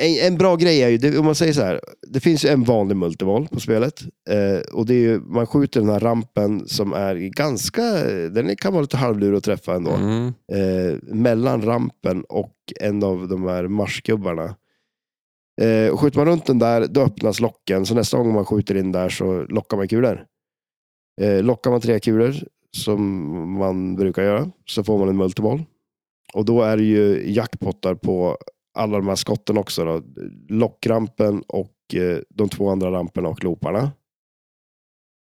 [SPEAKER 2] en, en bra grej är ju, det, om man säger så här, det finns ju en vanlig multiboll på spelet. Eh, och det är ju, man skjuter den här rampen som är ganska, den kan vara lite halvlurig att träffa ändå.
[SPEAKER 1] Mm.
[SPEAKER 2] Eh, mellan rampen och en av de här marsgubbarna. Eh, och skjuter man runt den där, då öppnas locken. Så nästa gång man skjuter in där så lockar man kulor. Eh, lockar man tre kulor, som man brukar göra, så får man en multiboll. Och då är det ju jackpottar på alla de här skotten också. Då. Lockrampen och eh, de två andra ramperna och looparna.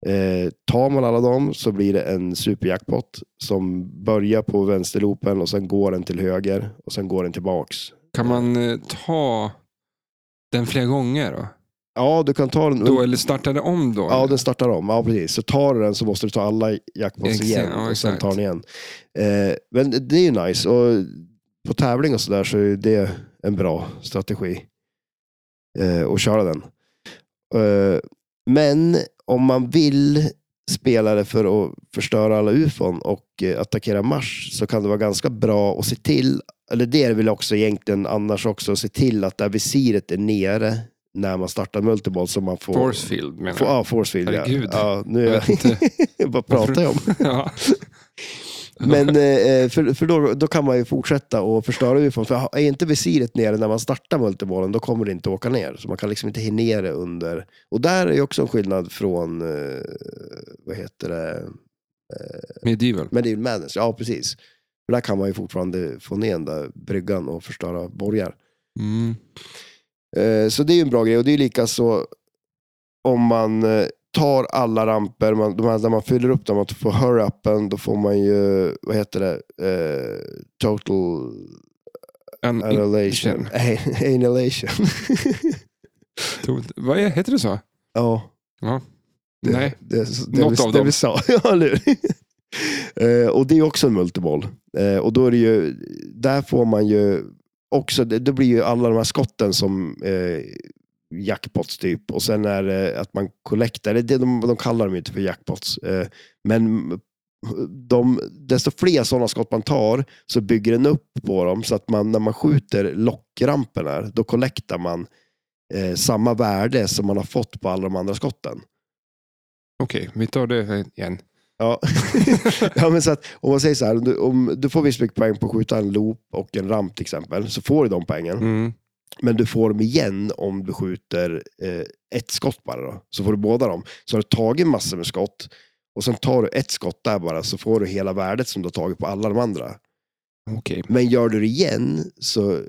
[SPEAKER 2] Eh, tar man alla dem så blir det en superjackpot som börjar på vänsterloopen och sen går den till höger och sen går den tillbaks.
[SPEAKER 1] Kan man eh, ta den flera gånger då?
[SPEAKER 2] Ja, du kan ta den.
[SPEAKER 1] då eller starta det om då?
[SPEAKER 2] Ja,
[SPEAKER 1] eller?
[SPEAKER 2] den startar om. Ja, precis. Så tar du den så måste du ta alla jackpots
[SPEAKER 1] Exakt,
[SPEAKER 2] igen
[SPEAKER 1] ja,
[SPEAKER 2] och sen
[SPEAKER 1] exakt.
[SPEAKER 2] tar den igen. Eh, men det är ju nice. Och på tävling och sådär så är det en bra strategi eh, att köra den. Eh, men om man vill spela det för att förstöra alla ufon och eh, attackera Mars så kan det vara ganska bra att se till, eller det är det väl också egentligen annars också, att se till att det här visiret är nere när man startar multiball så man får...
[SPEAKER 1] Forcefield menar
[SPEAKER 2] Få-
[SPEAKER 1] jag.
[SPEAKER 2] Ja, Forcefield. Ja.
[SPEAKER 1] Herregud.
[SPEAKER 2] Ja, nu är
[SPEAKER 1] Jag vet inte.
[SPEAKER 2] jag... [LAUGHS] Vad pratar jag om?
[SPEAKER 1] [LAUGHS] ja.
[SPEAKER 2] Men eh, för, för då, då kan man ju fortsätta och förstöra ufon. För är inte visiret nere när man startar multibollen, då kommer det inte åka ner. Så man kan liksom inte hinna ner det under. Och där är ju också en skillnad från, eh, vad heter det,
[SPEAKER 1] Medieval.
[SPEAKER 2] Medieval Madness. Ja, precis. För där kan man ju fortfarande få ner den där bryggan och förstöra borgar.
[SPEAKER 1] Mm.
[SPEAKER 2] Eh, Så det är ju en bra grej och det är lika så om man eh, tar alla ramper, man, de här, när man fyller upp dem, man får hurry-upen, då får man ju, vad heter det, eh, total
[SPEAKER 1] En,
[SPEAKER 2] annihilation. [LAUGHS] Annihilation.
[SPEAKER 1] Tog- Vad är, heter det så?
[SPEAKER 2] ja, det,
[SPEAKER 1] Nej.
[SPEAKER 2] det, det,
[SPEAKER 1] Något
[SPEAKER 2] vi,
[SPEAKER 1] av
[SPEAKER 2] det
[SPEAKER 1] dem.
[SPEAKER 2] vi sa. [LAUGHS] ja, eller hur? Eh, Och det är också en multiboll. Eh, Och då är det ju, där får man ju också, det, det blir ju alla de här skotten som eh, jackpots typ. Och sen är det att man collectar, det, det, de, de kallar dem ju inte för jackpots. Eh, men de, desto fler sådana skott man tar så bygger den upp på dem. Så att man, när man skjuter lockrampen här, då collectar man eh, samma värde som man har fått på alla de andra skotten.
[SPEAKER 1] Okej, vi tar det igen.
[SPEAKER 2] Ja. ja, men så att, om man säger så här, om du, om du får visst mycket poäng på att skjuta en loop och en ramp till exempel, så får du de poängen.
[SPEAKER 1] Mm.
[SPEAKER 2] Men du får dem igen om du skjuter eh, ett skott bara. Då. Så får du båda dem. Så har du tagit massor med skott och sen tar du ett skott där bara, så får du hela värdet som du har tagit på alla de andra.
[SPEAKER 1] Okej.
[SPEAKER 2] Men gör du det igen så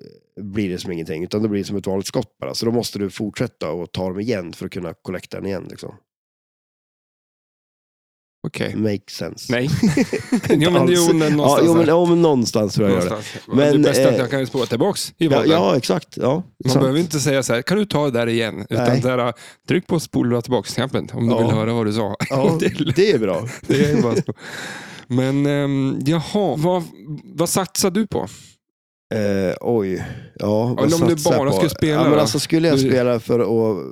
[SPEAKER 2] blir det som ingenting, utan det blir som ett vanligt skott bara. Så då måste du fortsätta och ta dem igen för att kunna collecta den igen. Liksom.
[SPEAKER 1] Okej.
[SPEAKER 2] Makes
[SPEAKER 1] [LAUGHS]
[SPEAKER 2] sense.
[SPEAKER 1] Nej. jo, men, jo, men
[SPEAKER 2] ja,
[SPEAKER 1] någonstans.
[SPEAKER 2] jo, men
[SPEAKER 1] där.
[SPEAKER 2] om någonstans tror jag jag gör det.
[SPEAKER 1] någonstans.
[SPEAKER 2] Men,
[SPEAKER 1] Men, det är bäst att
[SPEAKER 2] eh,
[SPEAKER 1] jag kan spåra tillbaks i
[SPEAKER 2] Ja,
[SPEAKER 1] valet.
[SPEAKER 2] ja, exakt. Ja,
[SPEAKER 1] Man
[SPEAKER 2] sant.
[SPEAKER 1] behöver inte säga så här, kan du ta det där igen?
[SPEAKER 2] Nej.
[SPEAKER 1] Utan så här, tryck på spola tillbaka-knappen om
[SPEAKER 2] Ja.
[SPEAKER 1] du vill höra vad du sa. [LAUGHS]
[SPEAKER 2] ja,
[SPEAKER 1] det är lätt.
[SPEAKER 2] det är bra.
[SPEAKER 1] Det är bara så. Men um, jaha, vad, vad satsar du på?
[SPEAKER 2] Eh, oj, ja. vad
[SPEAKER 1] Eller om du
[SPEAKER 2] satsar jag
[SPEAKER 1] bara
[SPEAKER 2] på?
[SPEAKER 1] skulle spela
[SPEAKER 2] Ja, men
[SPEAKER 1] då?
[SPEAKER 2] alltså, skulle jag
[SPEAKER 1] Du-
[SPEAKER 2] spela för att...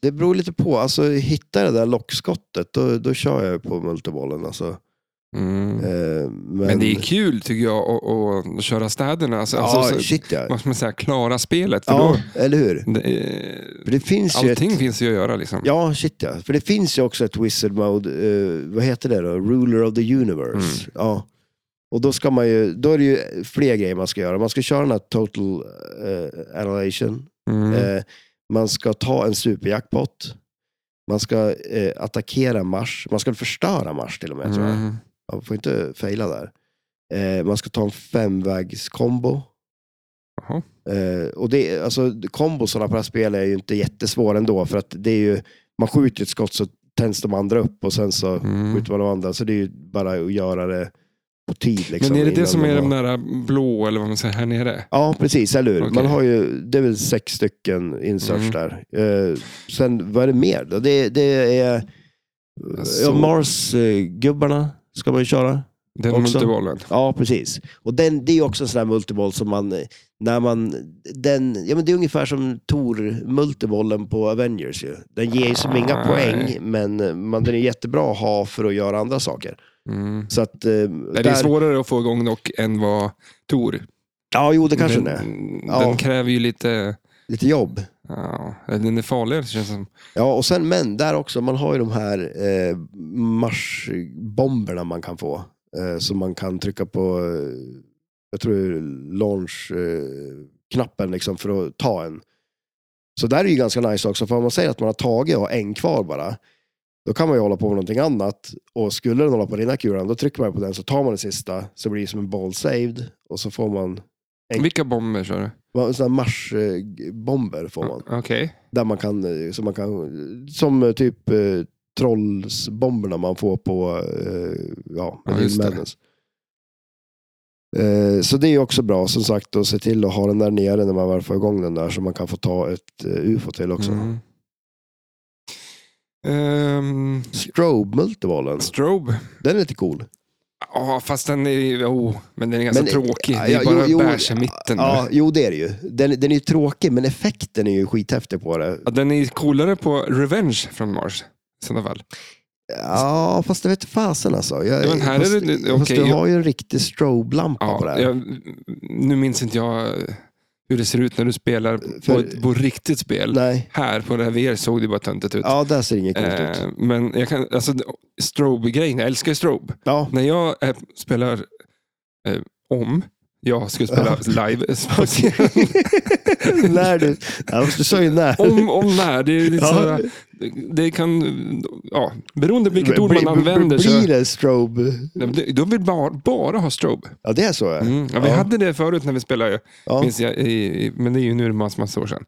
[SPEAKER 2] Det beror lite på. Alltså, hittar jag det där lockskottet, då, då kör jag på multibollen. Alltså. Eh, men,
[SPEAKER 1] Mm. Men det är kul tycker jag att, att köra städerna. Alltså,
[SPEAKER 2] Ja,
[SPEAKER 1] alltså, så-
[SPEAKER 2] shit ja.
[SPEAKER 1] vad ska man säga, klara spelet. För
[SPEAKER 2] Ja, eller hur?
[SPEAKER 1] då, det, är-
[SPEAKER 2] För det finns ju
[SPEAKER 1] allting
[SPEAKER 2] ett...
[SPEAKER 1] finns ju att göra liksom.
[SPEAKER 2] Ja, shit ja. För det finns ju också ett wizard mode, eh, vad heter det då? Ruler of the universe.
[SPEAKER 1] Mm.
[SPEAKER 2] Ja. Och då ska man ju, då är det ju fler grejer man ska göra. Man ska köra den här total eh, annihilation.
[SPEAKER 1] Mm.
[SPEAKER 2] Eh, man ska ta en superjackpot. Man ska eh, attackera Mars. Man ska förstöra Mars till och med. Tror jag.
[SPEAKER 1] Mm.
[SPEAKER 2] Man får inte fejla där. Eh, man ska ta en femvägskombo.
[SPEAKER 1] Jaha.
[SPEAKER 2] Eh, och det, alltså, kombosarna på det här spelet är ju inte jättesvåra ändå. För att det är ju, man skjuter ett skott så tänds de andra upp och sen så
[SPEAKER 1] Mm.
[SPEAKER 2] skjuter man de andra. Så det är ju bara att göra det på tid. Liksom,
[SPEAKER 1] Men är det det
[SPEAKER 2] innan
[SPEAKER 1] som
[SPEAKER 2] de
[SPEAKER 1] är
[SPEAKER 2] har-
[SPEAKER 1] de där blå, eller vad man säger, här nere?
[SPEAKER 2] Ja, precis. Eller hur?
[SPEAKER 1] Okej.
[SPEAKER 2] Man har ju, det är väl sex stycken inserts
[SPEAKER 1] Mm.
[SPEAKER 2] där. Eh, sen, vad är det mer då? Det, det är
[SPEAKER 1] Alltså-
[SPEAKER 2] ja, Mars-gubbarna ska man ju köra.
[SPEAKER 1] Den
[SPEAKER 2] Också.
[SPEAKER 1] multibollen?
[SPEAKER 2] Ja, precis. Och den, det är ju också en sån här multiboll som man, eh, när man, den, ja men det är ungefär som Tor-multibollen på Avengers ju. Den ger ju som inga
[SPEAKER 1] Nej.
[SPEAKER 2] poäng, men eh, man, den är jättebra att ha för att göra andra saker.
[SPEAKER 1] Mm.
[SPEAKER 2] Så att, eh,
[SPEAKER 1] Nej, Det är
[SPEAKER 2] där-
[SPEAKER 1] svårare att få igång dock än vad Tor.
[SPEAKER 2] Ja, jo det kanske den är.
[SPEAKER 1] Den,
[SPEAKER 2] Ja.
[SPEAKER 1] den kräver ju lite...
[SPEAKER 2] Lite jobb.
[SPEAKER 1] Ja, den är farligare känns det som.
[SPEAKER 2] Ja, och sen men där också, man har ju de här eh, marsbomberna man kan få. Eh, som man kan trycka på, eh, jag tror det är launch-knappen eh, knappen liksom för att ta en. Så där är ju ganska nice också, för om man säger att man har tagit och har en kvar bara, då kan man ju hålla på med någonting annat. Och skulle den hålla på rinna kulan, då trycker man på den så tar man den sista, så blir det som en ball saved. Och så får man, En-
[SPEAKER 1] Vilka bomber kör du?
[SPEAKER 2] sådana här marsbomber får man.
[SPEAKER 1] Okej.
[SPEAKER 2] Där man kan, eh, som, man kan, som eh, typ eh, trollsbomberna man får på eh, ja,
[SPEAKER 1] Ja,
[SPEAKER 2] Medieval
[SPEAKER 1] just det.
[SPEAKER 2] Madness. Eh, så det är ju också bra, som sagt, att se till att ha den där nere när man väl får igång den där, så man kan få ta ett eh, ufo till också.
[SPEAKER 1] Mm. Ehm,
[SPEAKER 2] Strobe multibollen,
[SPEAKER 1] strobe.
[SPEAKER 2] den är lite cool.
[SPEAKER 1] Ja, fast den är, oh, men den är ganska
[SPEAKER 2] Men, eh,
[SPEAKER 1] tråkig.
[SPEAKER 2] ja,
[SPEAKER 1] Det är
[SPEAKER 2] jo,
[SPEAKER 1] bara
[SPEAKER 2] jo,
[SPEAKER 1] beige i mitten.
[SPEAKER 2] Ja, jo, det är det ju. Den, den är ju tråkig, men effekten är ju skithäftig på det.
[SPEAKER 1] Ja, den är coolare på Revenge från Mars. I sådana fall.
[SPEAKER 2] Ja, fast det vet fasen alltså. Jag,
[SPEAKER 1] Ja, men här är
[SPEAKER 2] fast,
[SPEAKER 1] det-
[SPEAKER 2] fast
[SPEAKER 1] okej,
[SPEAKER 2] du
[SPEAKER 1] jag-
[SPEAKER 2] har ju en riktig strobe-lampa på det
[SPEAKER 1] Ja,
[SPEAKER 2] här.
[SPEAKER 1] jag, nu minns inte jag hur det ser ut när du spelar
[SPEAKER 2] För-
[SPEAKER 1] på, ett, på riktigt spel.
[SPEAKER 2] Nej.
[SPEAKER 1] Här på det här VR såg det bara töntigt ut.
[SPEAKER 2] Ja, där ser inget coolt ut.
[SPEAKER 1] Typ. Eh, men jag kan, alltså strobe-grejen, jag älskar ju strobe. [LAUGHS]
[SPEAKER 2] Ja.
[SPEAKER 1] När jag eh, spelar eh, om, jag skulle spela live. eh,
[SPEAKER 2] [LAUGHS]
[SPEAKER 1] så-
[SPEAKER 2] när du... Ja, fast du sa ju
[SPEAKER 1] [LAUGHS]
[SPEAKER 2] när.
[SPEAKER 1] om och när, det är lite
[SPEAKER 2] Ja.
[SPEAKER 1] såhär, det kan, ja, beroende på vilket ord
[SPEAKER 2] Bli-
[SPEAKER 1] man använder.
[SPEAKER 2] bli- Blir
[SPEAKER 1] Så,
[SPEAKER 2] det strobe?
[SPEAKER 1] de vill bara, bara ha strobe.
[SPEAKER 2] Ja, det är så ja.
[SPEAKER 1] Mm. Ja, vi
[SPEAKER 2] Ja.
[SPEAKER 1] hade det förut när vi spelade,
[SPEAKER 2] Ja,
[SPEAKER 1] minns jag, i, i- men det är ju nu en massa, massa år sedan.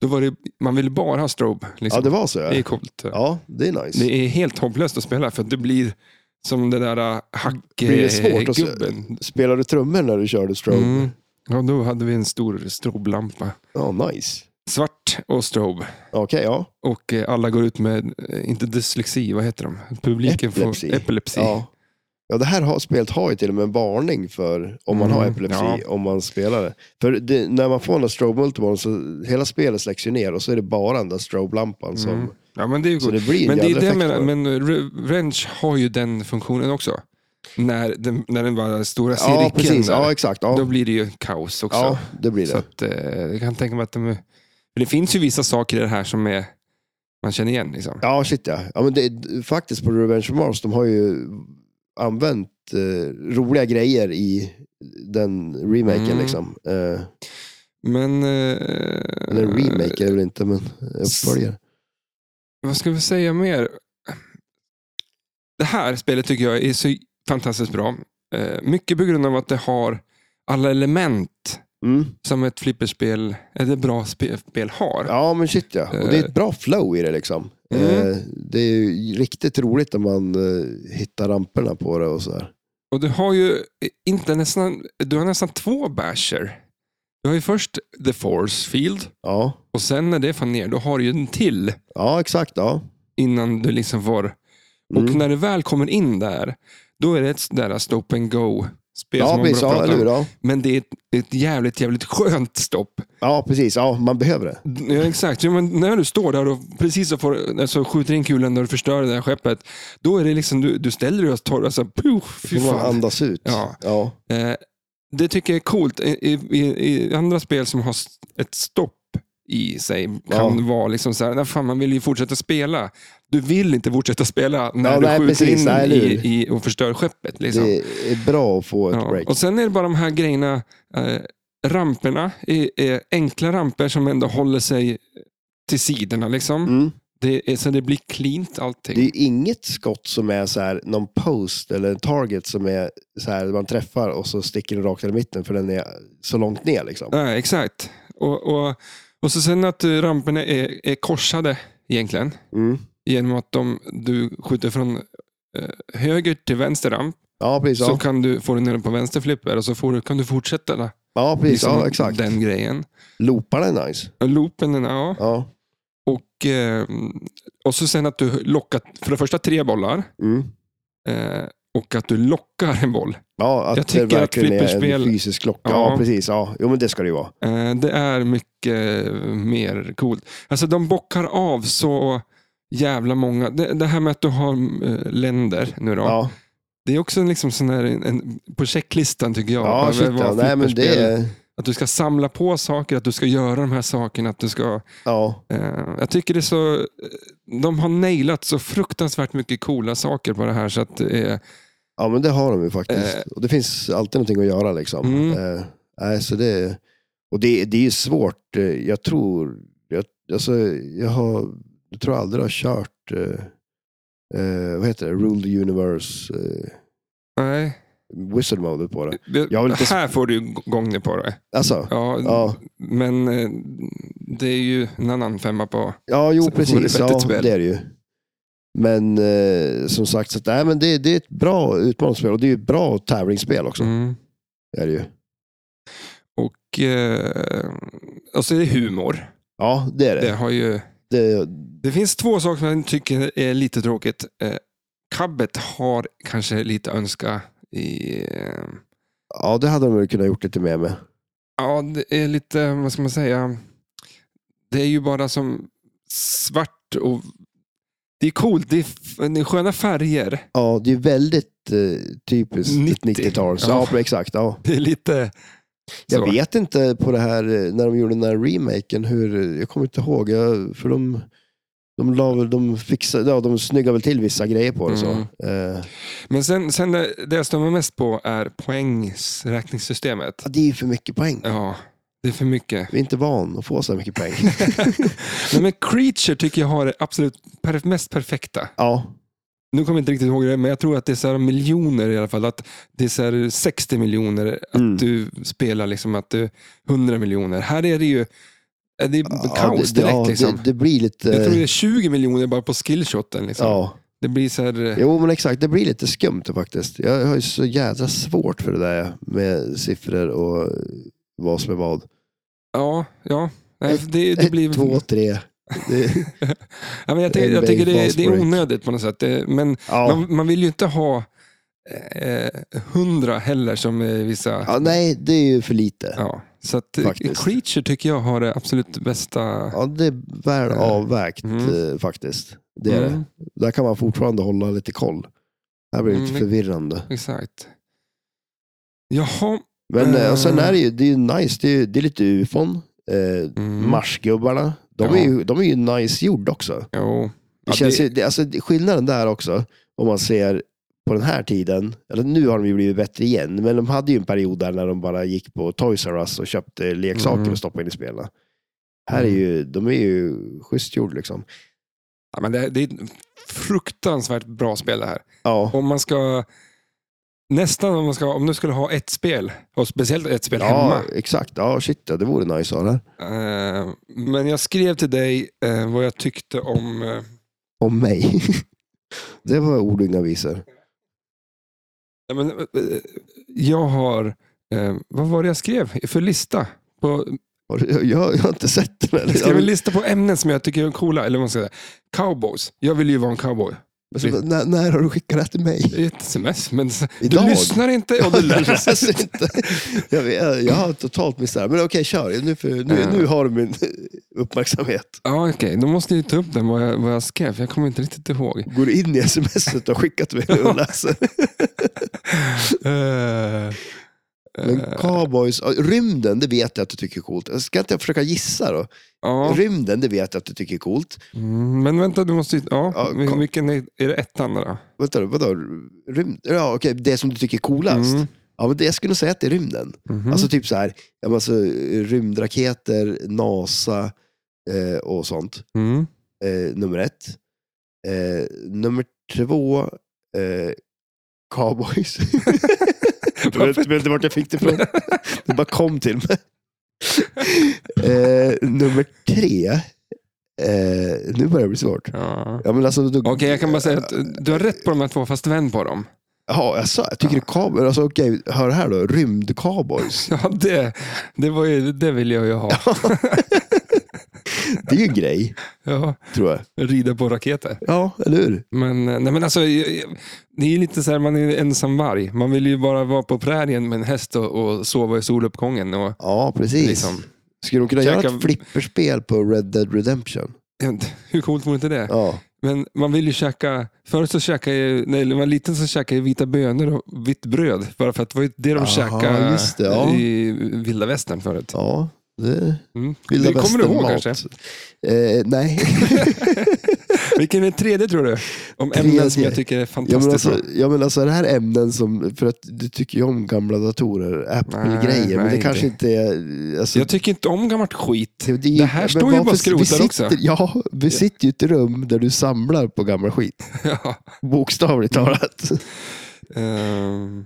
[SPEAKER 1] Då var det, man ville bara ha strobe.
[SPEAKER 2] ja
[SPEAKER 1] Liksom.
[SPEAKER 2] det var så
[SPEAKER 1] det är
[SPEAKER 2] ja.
[SPEAKER 1] coolt.
[SPEAKER 2] Ja, det är nice.
[SPEAKER 1] Det är helt hopplöst att spela för att det blir som den där äh,
[SPEAKER 2] Blir det svårt att se-
[SPEAKER 1] hackgubben.
[SPEAKER 2] Spelar du trummor när du körde strobe?
[SPEAKER 1] Mm. Ja, då hade vi en stor stroblampa.
[SPEAKER 2] Ja, nice.
[SPEAKER 1] Svart och strob.
[SPEAKER 2] Okej, ja.
[SPEAKER 1] Och eh, alla går ut med, eh, inte dyslexi, vad heter de? Publiken
[SPEAKER 2] Epilepsi.
[SPEAKER 1] får epilepsi.
[SPEAKER 2] ja. Ja, det här har, spelet har ju till och med en varning för om man har
[SPEAKER 1] Mm,
[SPEAKER 2] epilepsi, om man spelar det. För det, när man får den där strobe multibollen så hela spelet släcks ju ner och så är det bara den där strobe-lampan som...
[SPEAKER 1] Mm. ja men det är ju
[SPEAKER 2] Så
[SPEAKER 1] coolt.
[SPEAKER 2] det blir en
[SPEAKER 1] Men det är
[SPEAKER 2] jävla
[SPEAKER 1] det jag
[SPEAKER 2] effekt
[SPEAKER 1] menar,
[SPEAKER 2] på det.
[SPEAKER 1] men eh, Revenge har ju den funktionen också. När den, när den bara stora cirkeln
[SPEAKER 2] Ja, precis.
[SPEAKER 1] där,
[SPEAKER 2] Ja, exakt.
[SPEAKER 1] då
[SPEAKER 2] Ja,
[SPEAKER 1] blir det ju kaos också.
[SPEAKER 2] ja det blir
[SPEAKER 1] Så
[SPEAKER 2] det.
[SPEAKER 1] att, eh, jag kan tänka mig att de, är- för det finns ju vissa saker i det här som är, man känner igen. Liksom.
[SPEAKER 2] Ja, shit ja. ja men det, är- faktiskt på Revenge of Mars, de har ju använt eh, roliga grejer i den remaken.
[SPEAKER 1] Mm.
[SPEAKER 2] Liksom. Eh,
[SPEAKER 1] Men... eh,
[SPEAKER 2] eller remake är det väl inte, men uppföljare.
[SPEAKER 1] Vad ska vi säga mer? Det här spelet tycker jag är så fantastiskt bra. Eh, Mycket på grund av att det har alla element
[SPEAKER 2] Mm.
[SPEAKER 1] som ett flipperspel, eller bra spe- spel har.
[SPEAKER 2] Ja, men shit ja. Och det är ett bra flow i det. liksom.
[SPEAKER 1] Eh. Mm.
[SPEAKER 2] Eh, det är ju riktigt roligt när man eh, hittar ramperna på det och så här.
[SPEAKER 1] Och du har ju inte nästan, du har nästan två basher. Du har ju först the force field
[SPEAKER 2] Ja,
[SPEAKER 1] och sen när det fan ner, då har du ju en till
[SPEAKER 2] ja exakt. Ja.
[SPEAKER 1] innan du liksom får...
[SPEAKER 2] Mm.
[SPEAKER 1] Och när du väl kommer in där, då är det ett sånt där stop and go-spel
[SPEAKER 2] Ja,
[SPEAKER 1] som man
[SPEAKER 2] precis.
[SPEAKER 1] börjar
[SPEAKER 2] Ja,
[SPEAKER 1] prata
[SPEAKER 2] eller hur?
[SPEAKER 1] om.
[SPEAKER 2] Ja.
[SPEAKER 1] Men det är ett, ett jävligt, jävligt skönt stopp.
[SPEAKER 2] ja, precis. Ja, man behöver det.
[SPEAKER 1] Ja, exakt. Ja, men när du står där och precis och får, alltså, skjuter in kulan och du förstör det där skeppet, då är det liksom, du, du ställer dig och tar, alltså, puff, fy
[SPEAKER 2] Hur man
[SPEAKER 1] fan.
[SPEAKER 2] andas ut.
[SPEAKER 1] Ja.
[SPEAKER 2] Ja.
[SPEAKER 1] Eh, det tycker jag är coolt. I, i- i, i andra spel som har s- ett stopp i sig kan
[SPEAKER 2] Ja.
[SPEAKER 1] vara liksom så här, "Nej, fan, man vill ju fortsätta spela. Du vill inte fortsätta spela när
[SPEAKER 2] Ja,
[SPEAKER 1] du
[SPEAKER 2] nej,
[SPEAKER 1] skjuter
[SPEAKER 2] precis.
[SPEAKER 1] in
[SPEAKER 2] Nej, eller
[SPEAKER 1] i,
[SPEAKER 2] hur?
[SPEAKER 1] i, och förstör skeppet. Liksom.
[SPEAKER 2] Det är bra att få ett
[SPEAKER 1] Ja.
[SPEAKER 2] break.
[SPEAKER 1] Och sen är det bara de här grejerna, eh, ramperna, är, är enkla ramper som ändå håller sig till sidorna. Liksom.
[SPEAKER 2] Mm.
[SPEAKER 1] Det är, så det blir cleant allting.
[SPEAKER 2] Det är ju inget skott som är så här, någon post eller en target som är så här, man träffar och så sticker den rakt ner i mitten för den är så långt ner. Liksom.
[SPEAKER 1] Ja, exakt. Och, och, och så sen att eh, ramperna är, är korsade egentligen.
[SPEAKER 2] Mm.
[SPEAKER 1] Genom att de, du skjuter från eh, höger till vänster ramp.
[SPEAKER 2] Ja, precis.
[SPEAKER 1] Så
[SPEAKER 2] Ja,
[SPEAKER 1] kan du få den ner på vänster flipper och så får du, kan du fortsätta där,
[SPEAKER 2] ja, precis. ja exakt.
[SPEAKER 1] liksom den grejen.
[SPEAKER 2] Loopar är nice.
[SPEAKER 1] Och Loopen, den- ja.
[SPEAKER 2] Ja.
[SPEAKER 1] Och, eh, och så sen att du lockar, för det första tre bollar.
[SPEAKER 2] Mm.
[SPEAKER 1] Eh, och att du lockar en boll.
[SPEAKER 2] Ja, att
[SPEAKER 1] Jag tycker
[SPEAKER 2] det
[SPEAKER 1] att
[SPEAKER 2] verkligen är en
[SPEAKER 1] flipperspel-
[SPEAKER 2] fysisk klocka.
[SPEAKER 1] Ja.
[SPEAKER 2] Ja, precis. Ja. Jo, men det ska det ju vara.
[SPEAKER 1] Eh, det är mycket eh, mer coolt. Alltså de bockar av så jävla många. Det, det här med att du har eh, länder nu då.
[SPEAKER 2] Ja,
[SPEAKER 1] Det är också en, liksom sån här, en, en, på checklistan tycker jag.
[SPEAKER 2] ja,
[SPEAKER 1] över
[SPEAKER 2] shit,
[SPEAKER 1] vad
[SPEAKER 2] ja. Nej, men det
[SPEAKER 1] flipperspel-
[SPEAKER 2] är...
[SPEAKER 1] Att du ska samla på saker, att du ska göra de här sakerna. Att du ska,
[SPEAKER 2] Ja,
[SPEAKER 1] eh, jag tycker det är så... eh, De har nailat så fruktansvärt mycket coola saker på det här. Så att, det är-
[SPEAKER 2] ja, men det har de ju faktiskt.
[SPEAKER 1] Eh.
[SPEAKER 2] Och det finns alltid någonting att göra. Liksom.
[SPEAKER 1] Mm.
[SPEAKER 2] Eh, nej, så det, och det, det är ju svårt. Eh, Jag tror... Jag, alltså, jag, har, jag tror aldrig jag har kört... Eh, eh, vad heter det? Rule the Universe eh,
[SPEAKER 1] nej,
[SPEAKER 2] Wizard Mode på det.
[SPEAKER 1] det,
[SPEAKER 2] Jag har lite-
[SPEAKER 1] här får du igång det på det.
[SPEAKER 2] Alltså,
[SPEAKER 1] Ja,
[SPEAKER 2] ja.
[SPEAKER 1] Men eh, det är ju en annan femma på...
[SPEAKER 2] Ja,
[SPEAKER 1] Så
[SPEAKER 2] jo
[SPEAKER 1] det vore
[SPEAKER 2] precis.
[SPEAKER 1] ett
[SPEAKER 2] Ja,
[SPEAKER 1] vettigt spel.
[SPEAKER 2] det är det ju. Men eh, som sagt, så att, nej, men det, det är ett bra utmaningsspel och det är ett bra tävlingsspel också.
[SPEAKER 1] Mm.
[SPEAKER 2] Det är det ju.
[SPEAKER 1] Och, eh, och så är det humor.
[SPEAKER 2] Ja, det är
[SPEAKER 1] Det,
[SPEAKER 2] det.
[SPEAKER 1] har ju,
[SPEAKER 2] det.
[SPEAKER 1] det finns två saker som jag tycker är lite tråkigt. Eh, Cabbet har kanske lite önska i... Eh,
[SPEAKER 2] Ja, det hade de väl kunnat gjort lite mer med.
[SPEAKER 1] Ja, det är lite, vad ska man säga? Det är ju bara som svart och... Det är coolt, det är, f- det är sköna färger. [LAUGHS]
[SPEAKER 2] Ja, det är väldigt eh, typiskt
[SPEAKER 1] 90.
[SPEAKER 2] 90. tals
[SPEAKER 1] Ja.
[SPEAKER 2] Ja. men exakt. Ja.
[SPEAKER 1] Det är lite...
[SPEAKER 2] Jag
[SPEAKER 1] så.
[SPEAKER 2] vet inte på det här, eh, när de gjorde den här remaken, hur, eh, jag kommer inte ihåg, jag, för de, de, la, väl- de, fixade, ja, de snyggade väl till vissa grejer på det.
[SPEAKER 1] Mm.
[SPEAKER 2] Så. Eh,
[SPEAKER 1] Men sen, sen det, det jag stör mig mest på är poängräkningssystemet.
[SPEAKER 2] ja, det är ju för mycket poäng.
[SPEAKER 1] Ja, det är för mycket. [LAUGHS]
[SPEAKER 2] Vi är inte van att få så här mycket poäng.
[SPEAKER 1] Nej, men Creature tycker jag har det absolut per, mest perfekta.
[SPEAKER 2] ja,
[SPEAKER 1] Nu kommer jag inte riktigt ihåg det, men jag tror att det är så här miljoner i alla fall. Att det är så här 60 miljoner att
[SPEAKER 2] Mm.
[SPEAKER 1] du spelar, liksom att du 100 miljoner. Här är det ju eh, det är kaos direkt.
[SPEAKER 2] ja,
[SPEAKER 1] liksom.
[SPEAKER 2] det, det blir lite...
[SPEAKER 1] jag tror det är 20 miljoner bara på skillshoten. Liksom.
[SPEAKER 2] ja.
[SPEAKER 1] Det blir så här, eh,
[SPEAKER 2] Jo, men exakt. Det blir lite skumt faktiskt. Jag har ju så jädra svårt för det där med siffror och eh, vad som är vad.
[SPEAKER 1] ja, ja. Nej, det, det blir...
[SPEAKER 2] Ett, två, tre. Det,
[SPEAKER 1] [LAUGHS] Ja, men jag, tycker- jag
[SPEAKER 2] NBA
[SPEAKER 1] tycker det, är- det är
[SPEAKER 2] fastbreak.
[SPEAKER 1] onödigt på något sätt. Det, men
[SPEAKER 2] ja.
[SPEAKER 1] man, man vill ju inte ha eh, hundra heller som eh, vissa...
[SPEAKER 2] ja, nej, det är ju för lite.
[SPEAKER 1] Ja, så att eh,
[SPEAKER 2] Faktiskt.
[SPEAKER 1] Creature tycker jag har det absolut bästa.
[SPEAKER 2] Ja, det är väl avvägt
[SPEAKER 1] Mm.
[SPEAKER 2] eh, faktiskt. Det är
[SPEAKER 1] Mm,
[SPEAKER 2] det. Där kan man fortfarande hålla lite koll. Här blir det lite
[SPEAKER 1] Mm.
[SPEAKER 2] förvirrande.
[SPEAKER 1] Exakt. Jaha.
[SPEAKER 2] Men
[SPEAKER 1] Eh.
[SPEAKER 2] eh, och sen är det ju, det är ju nice. Det är, ju- det är lite ufon. Eh,
[SPEAKER 1] Mm.
[SPEAKER 2] Marsgubbarna. De,
[SPEAKER 1] Ja.
[SPEAKER 2] är ju, de är ju nice gjord också.
[SPEAKER 1] Jo. Ja,
[SPEAKER 2] Det känns
[SPEAKER 1] det,
[SPEAKER 2] ju, det, alltså, skillnaden där också, om man ser på den här tiden, eller nu har de ju blivit bättre igen, men de hade ju en period där när de bara gick på Toys R Us och köpte leksaker
[SPEAKER 1] Mm.
[SPEAKER 2] och stoppade in i spelen. Här är ju, de är ju schysst gjord liksom.
[SPEAKER 1] ja, men det, det är ett fruktansvärt bra spel det här.
[SPEAKER 2] Ja,
[SPEAKER 1] Om man ska... Nästan om man ska, om du skulle ha ett spel, och speciellt ett spel hemma.
[SPEAKER 2] ja exakt. Ja, shit ja, det vore nice att ha det.
[SPEAKER 1] Eh, men jag skrev till dig eh, vad jag tyckte om eh,
[SPEAKER 2] om mig. [LAUGHS] det var ord och inga visor.
[SPEAKER 1] Ja, men, eh, jag har... Eh, vad var det jag skrev för lista? På,
[SPEAKER 2] Har du- Jag, jag, jag har inte sett den.
[SPEAKER 1] jag
[SPEAKER 2] här.
[SPEAKER 1] skrev en lista på ämnen som jag tycker är coola. Eller vad man ska säga. Cowboys. Jag vill ju vara en cowboy.
[SPEAKER 2] Alltså, när, när har du skickat det här till mig?
[SPEAKER 1] I ett sms. Men s-
[SPEAKER 2] Idag?
[SPEAKER 1] du lyssnar inte och du
[SPEAKER 2] [LAUGHS]
[SPEAKER 1] läser.
[SPEAKER 2] läser inte. Jag, vet, jag har totalt missat det. Men okej, kör. Nu, för, nu,
[SPEAKER 1] Ja.
[SPEAKER 2] nu har du min uppmärksamhet.
[SPEAKER 1] Ja, okej. Då måste ni ta upp den, vad jag, vad jag skrev. för Jag kommer inte riktigt ihåg.
[SPEAKER 2] Går du in i smset och skickat till mig
[SPEAKER 1] [LAUGHS]
[SPEAKER 2] och läser?
[SPEAKER 1] Eh,
[SPEAKER 2] Men cowboys, ja, rymden, det vet jag att du tycker är coolt. Ska inte jag försöka gissa då?
[SPEAKER 1] ja.
[SPEAKER 2] Rymden, det vet jag att du tycker är coolt.
[SPEAKER 1] Mm, Men vänta, du måste ju... Ja,
[SPEAKER 2] Ja,
[SPEAKER 1] vil-
[SPEAKER 2] kom.
[SPEAKER 1] vilken är, är det ettan då?
[SPEAKER 2] Vänta, nu, vadå? Rymd? Ja, okej, det som du tycker är coolast.
[SPEAKER 1] Mm.
[SPEAKER 2] Ja, men det, jag skulle nog säga att det är rymden.
[SPEAKER 1] Mhm.
[SPEAKER 2] Mm-hmm. Alltså typ så här, ja, men alltså, rymdraketer, NASA eh, och sånt.
[SPEAKER 1] Mm.
[SPEAKER 2] eh, nummer ett. Eh, nummer två, eh, [LAUGHS] cowboys. jag vet jag vet inte vart jag fick det ifrån. [LAUGHS] Det bara kom till mig. Eh, nummer tre, eh, nu börjar det bli svårt.
[SPEAKER 1] Ja.
[SPEAKER 2] Ja, men alltså,
[SPEAKER 1] Okej, jag kan bara säga att du har rätt på de här två, fast vänd på dem. [LAUGHS]
[SPEAKER 2] Ja, alltså, jag tycker det är cowboys. Alltså, okej, hör här då. Rymdcowboys.
[SPEAKER 1] Ja, det, det, var ju, det vill jag ju ha.
[SPEAKER 2] Det är ju en grej,
[SPEAKER 1] Ja,
[SPEAKER 2] tror jag.
[SPEAKER 1] rida på raketer.
[SPEAKER 2] Ja, eller hur?
[SPEAKER 1] Men, eh, nej, men alltså, jag- jag- det är ju lite så här, man är ensam varg. Man vill ju bara vara på prärien med en häst och, och sova i soluppgången. Och,
[SPEAKER 2] Ja, precis.
[SPEAKER 1] liksom,
[SPEAKER 2] Skulle de kunna göra
[SPEAKER 1] Käka-
[SPEAKER 2] ett flipperspel på Red Dead Redemption?
[SPEAKER 1] jag vet inte, [LAUGHS] hur coolt vore inte det?
[SPEAKER 2] Ja.
[SPEAKER 1] Men man vill ju käka, förut så käkade jag, nej, när man var liten så käkade jag vita bönor och vitt bröd. Bara för att det var ju det de
[SPEAKER 2] Aha,
[SPEAKER 1] käkade
[SPEAKER 2] just det, ja.
[SPEAKER 1] i vilda västern förut.
[SPEAKER 2] Ja, det
[SPEAKER 1] Mm.
[SPEAKER 2] vilda
[SPEAKER 1] det kommer du ihåg
[SPEAKER 2] västern-mat.
[SPEAKER 1] kanske?
[SPEAKER 2] Eh,
[SPEAKER 1] [LAUGHS]
[SPEAKER 2] nej.
[SPEAKER 1] Vilken är den tredje tror du? Om ämnen som
[SPEAKER 2] Tredje.
[SPEAKER 1] jag tycker är
[SPEAKER 2] jag menar
[SPEAKER 1] fantastiskt
[SPEAKER 2] alltså,
[SPEAKER 1] bra.
[SPEAKER 2] jag menar alltså det här är ämnen som, för att du tycker ju om gamla datorer,
[SPEAKER 1] Nej,
[SPEAKER 2] Apple-grejer, men det
[SPEAKER 1] nej,
[SPEAKER 2] kanske
[SPEAKER 1] det-
[SPEAKER 2] inte är... Alltså,
[SPEAKER 1] Jag tycker inte om gammalt skit.
[SPEAKER 2] det, är-
[SPEAKER 1] det här
[SPEAKER 2] men
[SPEAKER 1] står ju bara
[SPEAKER 2] varför-
[SPEAKER 1] och skrotar
[SPEAKER 2] vi sitter,
[SPEAKER 1] också.
[SPEAKER 2] Ja, vi sitter ju i ett rum där du samlar på gammal skit.
[SPEAKER 1] [LAUGHS] Ja.
[SPEAKER 2] Bokstavligt talat.
[SPEAKER 1] Ehm,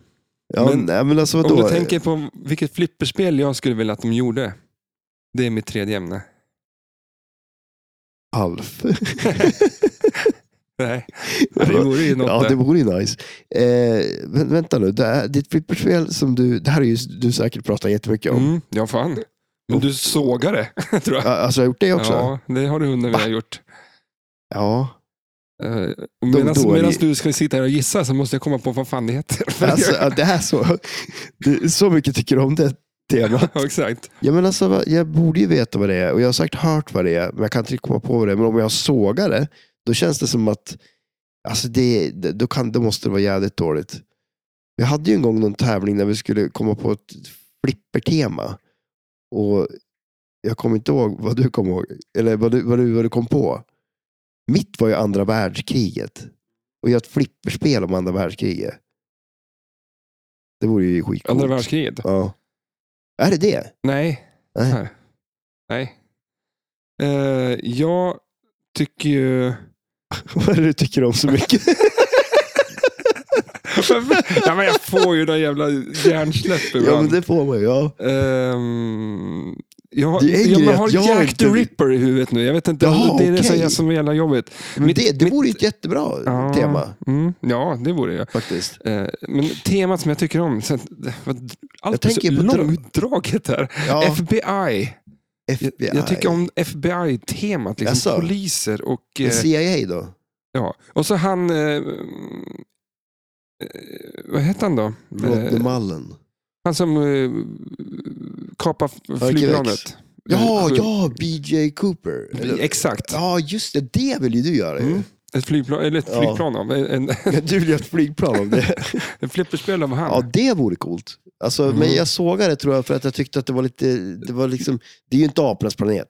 [SPEAKER 2] Ja,
[SPEAKER 1] Men-
[SPEAKER 2] men, nej, men alltså
[SPEAKER 1] om
[SPEAKER 2] vadå?
[SPEAKER 1] du tänker på vilket flipperspel jag skulle vilja att de gjorde. Det är mitt tredje ämne.
[SPEAKER 2] Alf.
[SPEAKER 1] Nej, [LAUGHS] det vore ju något.
[SPEAKER 2] [LAUGHS] Ja,
[SPEAKER 1] där.
[SPEAKER 2] det vore ju nice. Eh, vä- vänta nu, det här, ditt flipperspel som du, det här är ju du säkert pratar jättemycket om.
[SPEAKER 1] Mm, ja, fan. Men du sågar det, tror jag.
[SPEAKER 2] Ja, Alltså jag har gjort det också?
[SPEAKER 1] Ja, det har du hunden vi har gjort. Eh,
[SPEAKER 2] ja. då
[SPEAKER 1] Medan
[SPEAKER 2] är det-
[SPEAKER 1] du ska sitta här och gissa så måste jag komma på vad fan det heter.
[SPEAKER 2] [LAUGHS] Alltså, ja, det här så, [LAUGHS] det, så mycket tycker du om det temat.
[SPEAKER 1] ja, [LAUGHS] exakt.
[SPEAKER 2] Ja, men alltså, vad- jag borde ju veta vad det är och jag har säkert hört vad det är, men jag kan inte komma på vad det är. Men om jag sågar det, då känns det som att alltså det, det- då, kan, då måste det vara jävligt dåligt. Vi hade ju en gång någon tävling där vi skulle komma på ett flippertema. Och jag kommer inte ihåg vad du kom ihåg, eller vad du, vad du, vad du kom på. Mitt var ju andra världskriget. Och jag har ett flipperspel om andra världskriget. Det vore ju skitcoolt.
[SPEAKER 1] Andra världskriget.
[SPEAKER 2] Ja. Är det det?
[SPEAKER 1] Nej.
[SPEAKER 2] Nej.
[SPEAKER 1] Här. Nej. Eh, jag tycker ju... [LAUGHS]
[SPEAKER 2] Vad är det du tycker om så mycket?
[SPEAKER 1] ja, men jag får ju den jävla hjärnsläpp
[SPEAKER 2] ja,
[SPEAKER 1] ibland.
[SPEAKER 2] men det får man ju. Ja.
[SPEAKER 1] Ehm, jag, har-
[SPEAKER 2] Det är
[SPEAKER 1] ja, men jag
[SPEAKER 2] grejen
[SPEAKER 1] har
[SPEAKER 2] att jag
[SPEAKER 1] Jack the
[SPEAKER 2] inte-
[SPEAKER 1] Ripper i huvudet nu. Jag vet inte,
[SPEAKER 2] Jaha,
[SPEAKER 1] det är det som
[SPEAKER 2] okej.
[SPEAKER 1] är så jävla jobbigt.
[SPEAKER 2] Men
[SPEAKER 1] Mitt-
[SPEAKER 2] det, det
[SPEAKER 1] mitt-
[SPEAKER 2] vore ju ett jättebra
[SPEAKER 1] Ja,
[SPEAKER 2] tema
[SPEAKER 1] Mm, ja, det vore jag.
[SPEAKER 2] faktiskt.
[SPEAKER 1] Eh, men temat som jag tycker om, sen, det var d- allt
[SPEAKER 2] Jag tänker
[SPEAKER 1] är så
[SPEAKER 2] på dra-
[SPEAKER 1] långdraget här.
[SPEAKER 2] Ja,
[SPEAKER 1] FBI.
[SPEAKER 2] FBI.
[SPEAKER 1] Jag tycker om FBI-temat. Liksom,
[SPEAKER 2] Jaså?
[SPEAKER 1] Poliser och... eh,
[SPEAKER 2] CIA då?
[SPEAKER 1] ja. Och så han... Eh, eh, vad hette han då?
[SPEAKER 2] Rodney
[SPEAKER 1] Eh,
[SPEAKER 2] Mullen.
[SPEAKER 1] han som eh, kapade
[SPEAKER 2] Arkivex.
[SPEAKER 1] flygplanet.
[SPEAKER 2] Ja,
[SPEAKER 1] Eh,
[SPEAKER 2] ja, BJ Cooper. Eller-
[SPEAKER 1] Exakt.
[SPEAKER 2] Ja, just det. Det vill ju du göra ju.
[SPEAKER 1] Mm. Ett flygplan, eller ett
[SPEAKER 2] Ja.
[SPEAKER 1] flygplan av, en,
[SPEAKER 2] Men [LAUGHS] Du vill göra ett flygplan om det.
[SPEAKER 1] [LAUGHS] en flipperspel av han.
[SPEAKER 2] Ja, det vore coolt. Alltså,
[SPEAKER 1] Mm.
[SPEAKER 2] Men jag sågade det tror jag för att jag tyckte att det var lite, det var liksom, det är ju inte apornas planet.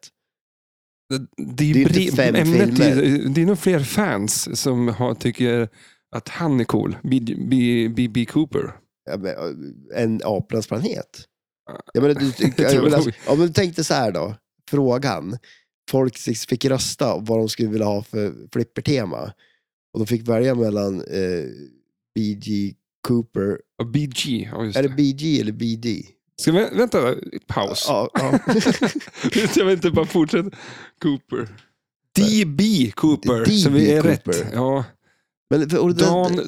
[SPEAKER 1] det, är
[SPEAKER 2] det är
[SPEAKER 1] bre-
[SPEAKER 2] inte fem
[SPEAKER 1] ämnet
[SPEAKER 2] filmer.
[SPEAKER 1] är- det är nog fler fans som har, tycker att han är cool. B.B. Cooper.
[SPEAKER 2] Ja, men, eh, en apornas planet. Jag menar,
[SPEAKER 1] [LAUGHS]
[SPEAKER 2] du, jag,
[SPEAKER 1] tror jag
[SPEAKER 2] menar,
[SPEAKER 1] nog.
[SPEAKER 2] ja, men tänk dig så här då, frågan. Folk fick rösta vad de skulle vilja ha för flippertema. Och de fick välja mellan eh, BG Cooper,
[SPEAKER 1] Och BG, ja just
[SPEAKER 2] är det
[SPEAKER 1] det.
[SPEAKER 2] BG eller BD?
[SPEAKER 1] Ska vi, vänta, paus. [LAUGHS]
[SPEAKER 2] Ja, [LAUGHS] ja.
[SPEAKER 1] Jag vill inte bara fortsätta. Cooper. D.B. Cooper.
[SPEAKER 2] D.B.
[SPEAKER 1] så vi är
[SPEAKER 2] Cooper.
[SPEAKER 1] rätt. Ja.
[SPEAKER 2] Men, för, och det,
[SPEAKER 1] Dan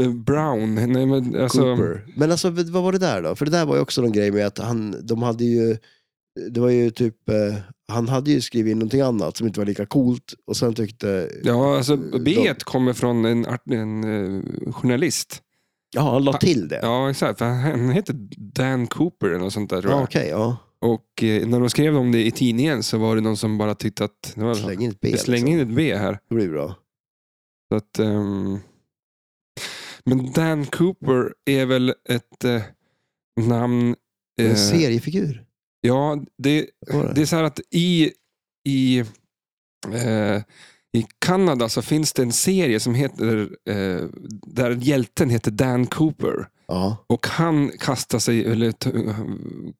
[SPEAKER 1] eh, Brown. Nej, men, alltså,
[SPEAKER 2] Cooper. Men alltså, vad vad var det där då? För det där var ju också någon grej med att han, de hade ju, det var ju typ, eh, han hade ju skrivit in någonting annat som inte var lika coolt och sen tyckte,
[SPEAKER 1] Ja, alltså
[SPEAKER 2] Eh,
[SPEAKER 1] B kommer från en, art, en eh, journalist.
[SPEAKER 2] ja han la till det.
[SPEAKER 1] Ja, exakt. För han heter Dan Cooper eller något sånt där tror jag.
[SPEAKER 2] Ja, okej, ja.
[SPEAKER 1] Och eh, när de skrev om det i tidningen så var det någon som bara tyckte att... Det var,
[SPEAKER 2] Släng in ett B.
[SPEAKER 1] vi Alltså, slänger
[SPEAKER 2] liksom.
[SPEAKER 1] in ett B här.
[SPEAKER 2] Det blir bra.
[SPEAKER 1] Så att, ehm, men Dan Cooper är väl ett eh, namn... eh,
[SPEAKER 2] En seriefigur.
[SPEAKER 1] ja, det,
[SPEAKER 2] Var det?
[SPEAKER 1] det är så här att i, i, eh, i Kanada så finns det en serie som heter eh, där hjälten heter Dan Cooper.
[SPEAKER 2] Ja.
[SPEAKER 1] Och han kastar sig, eller t-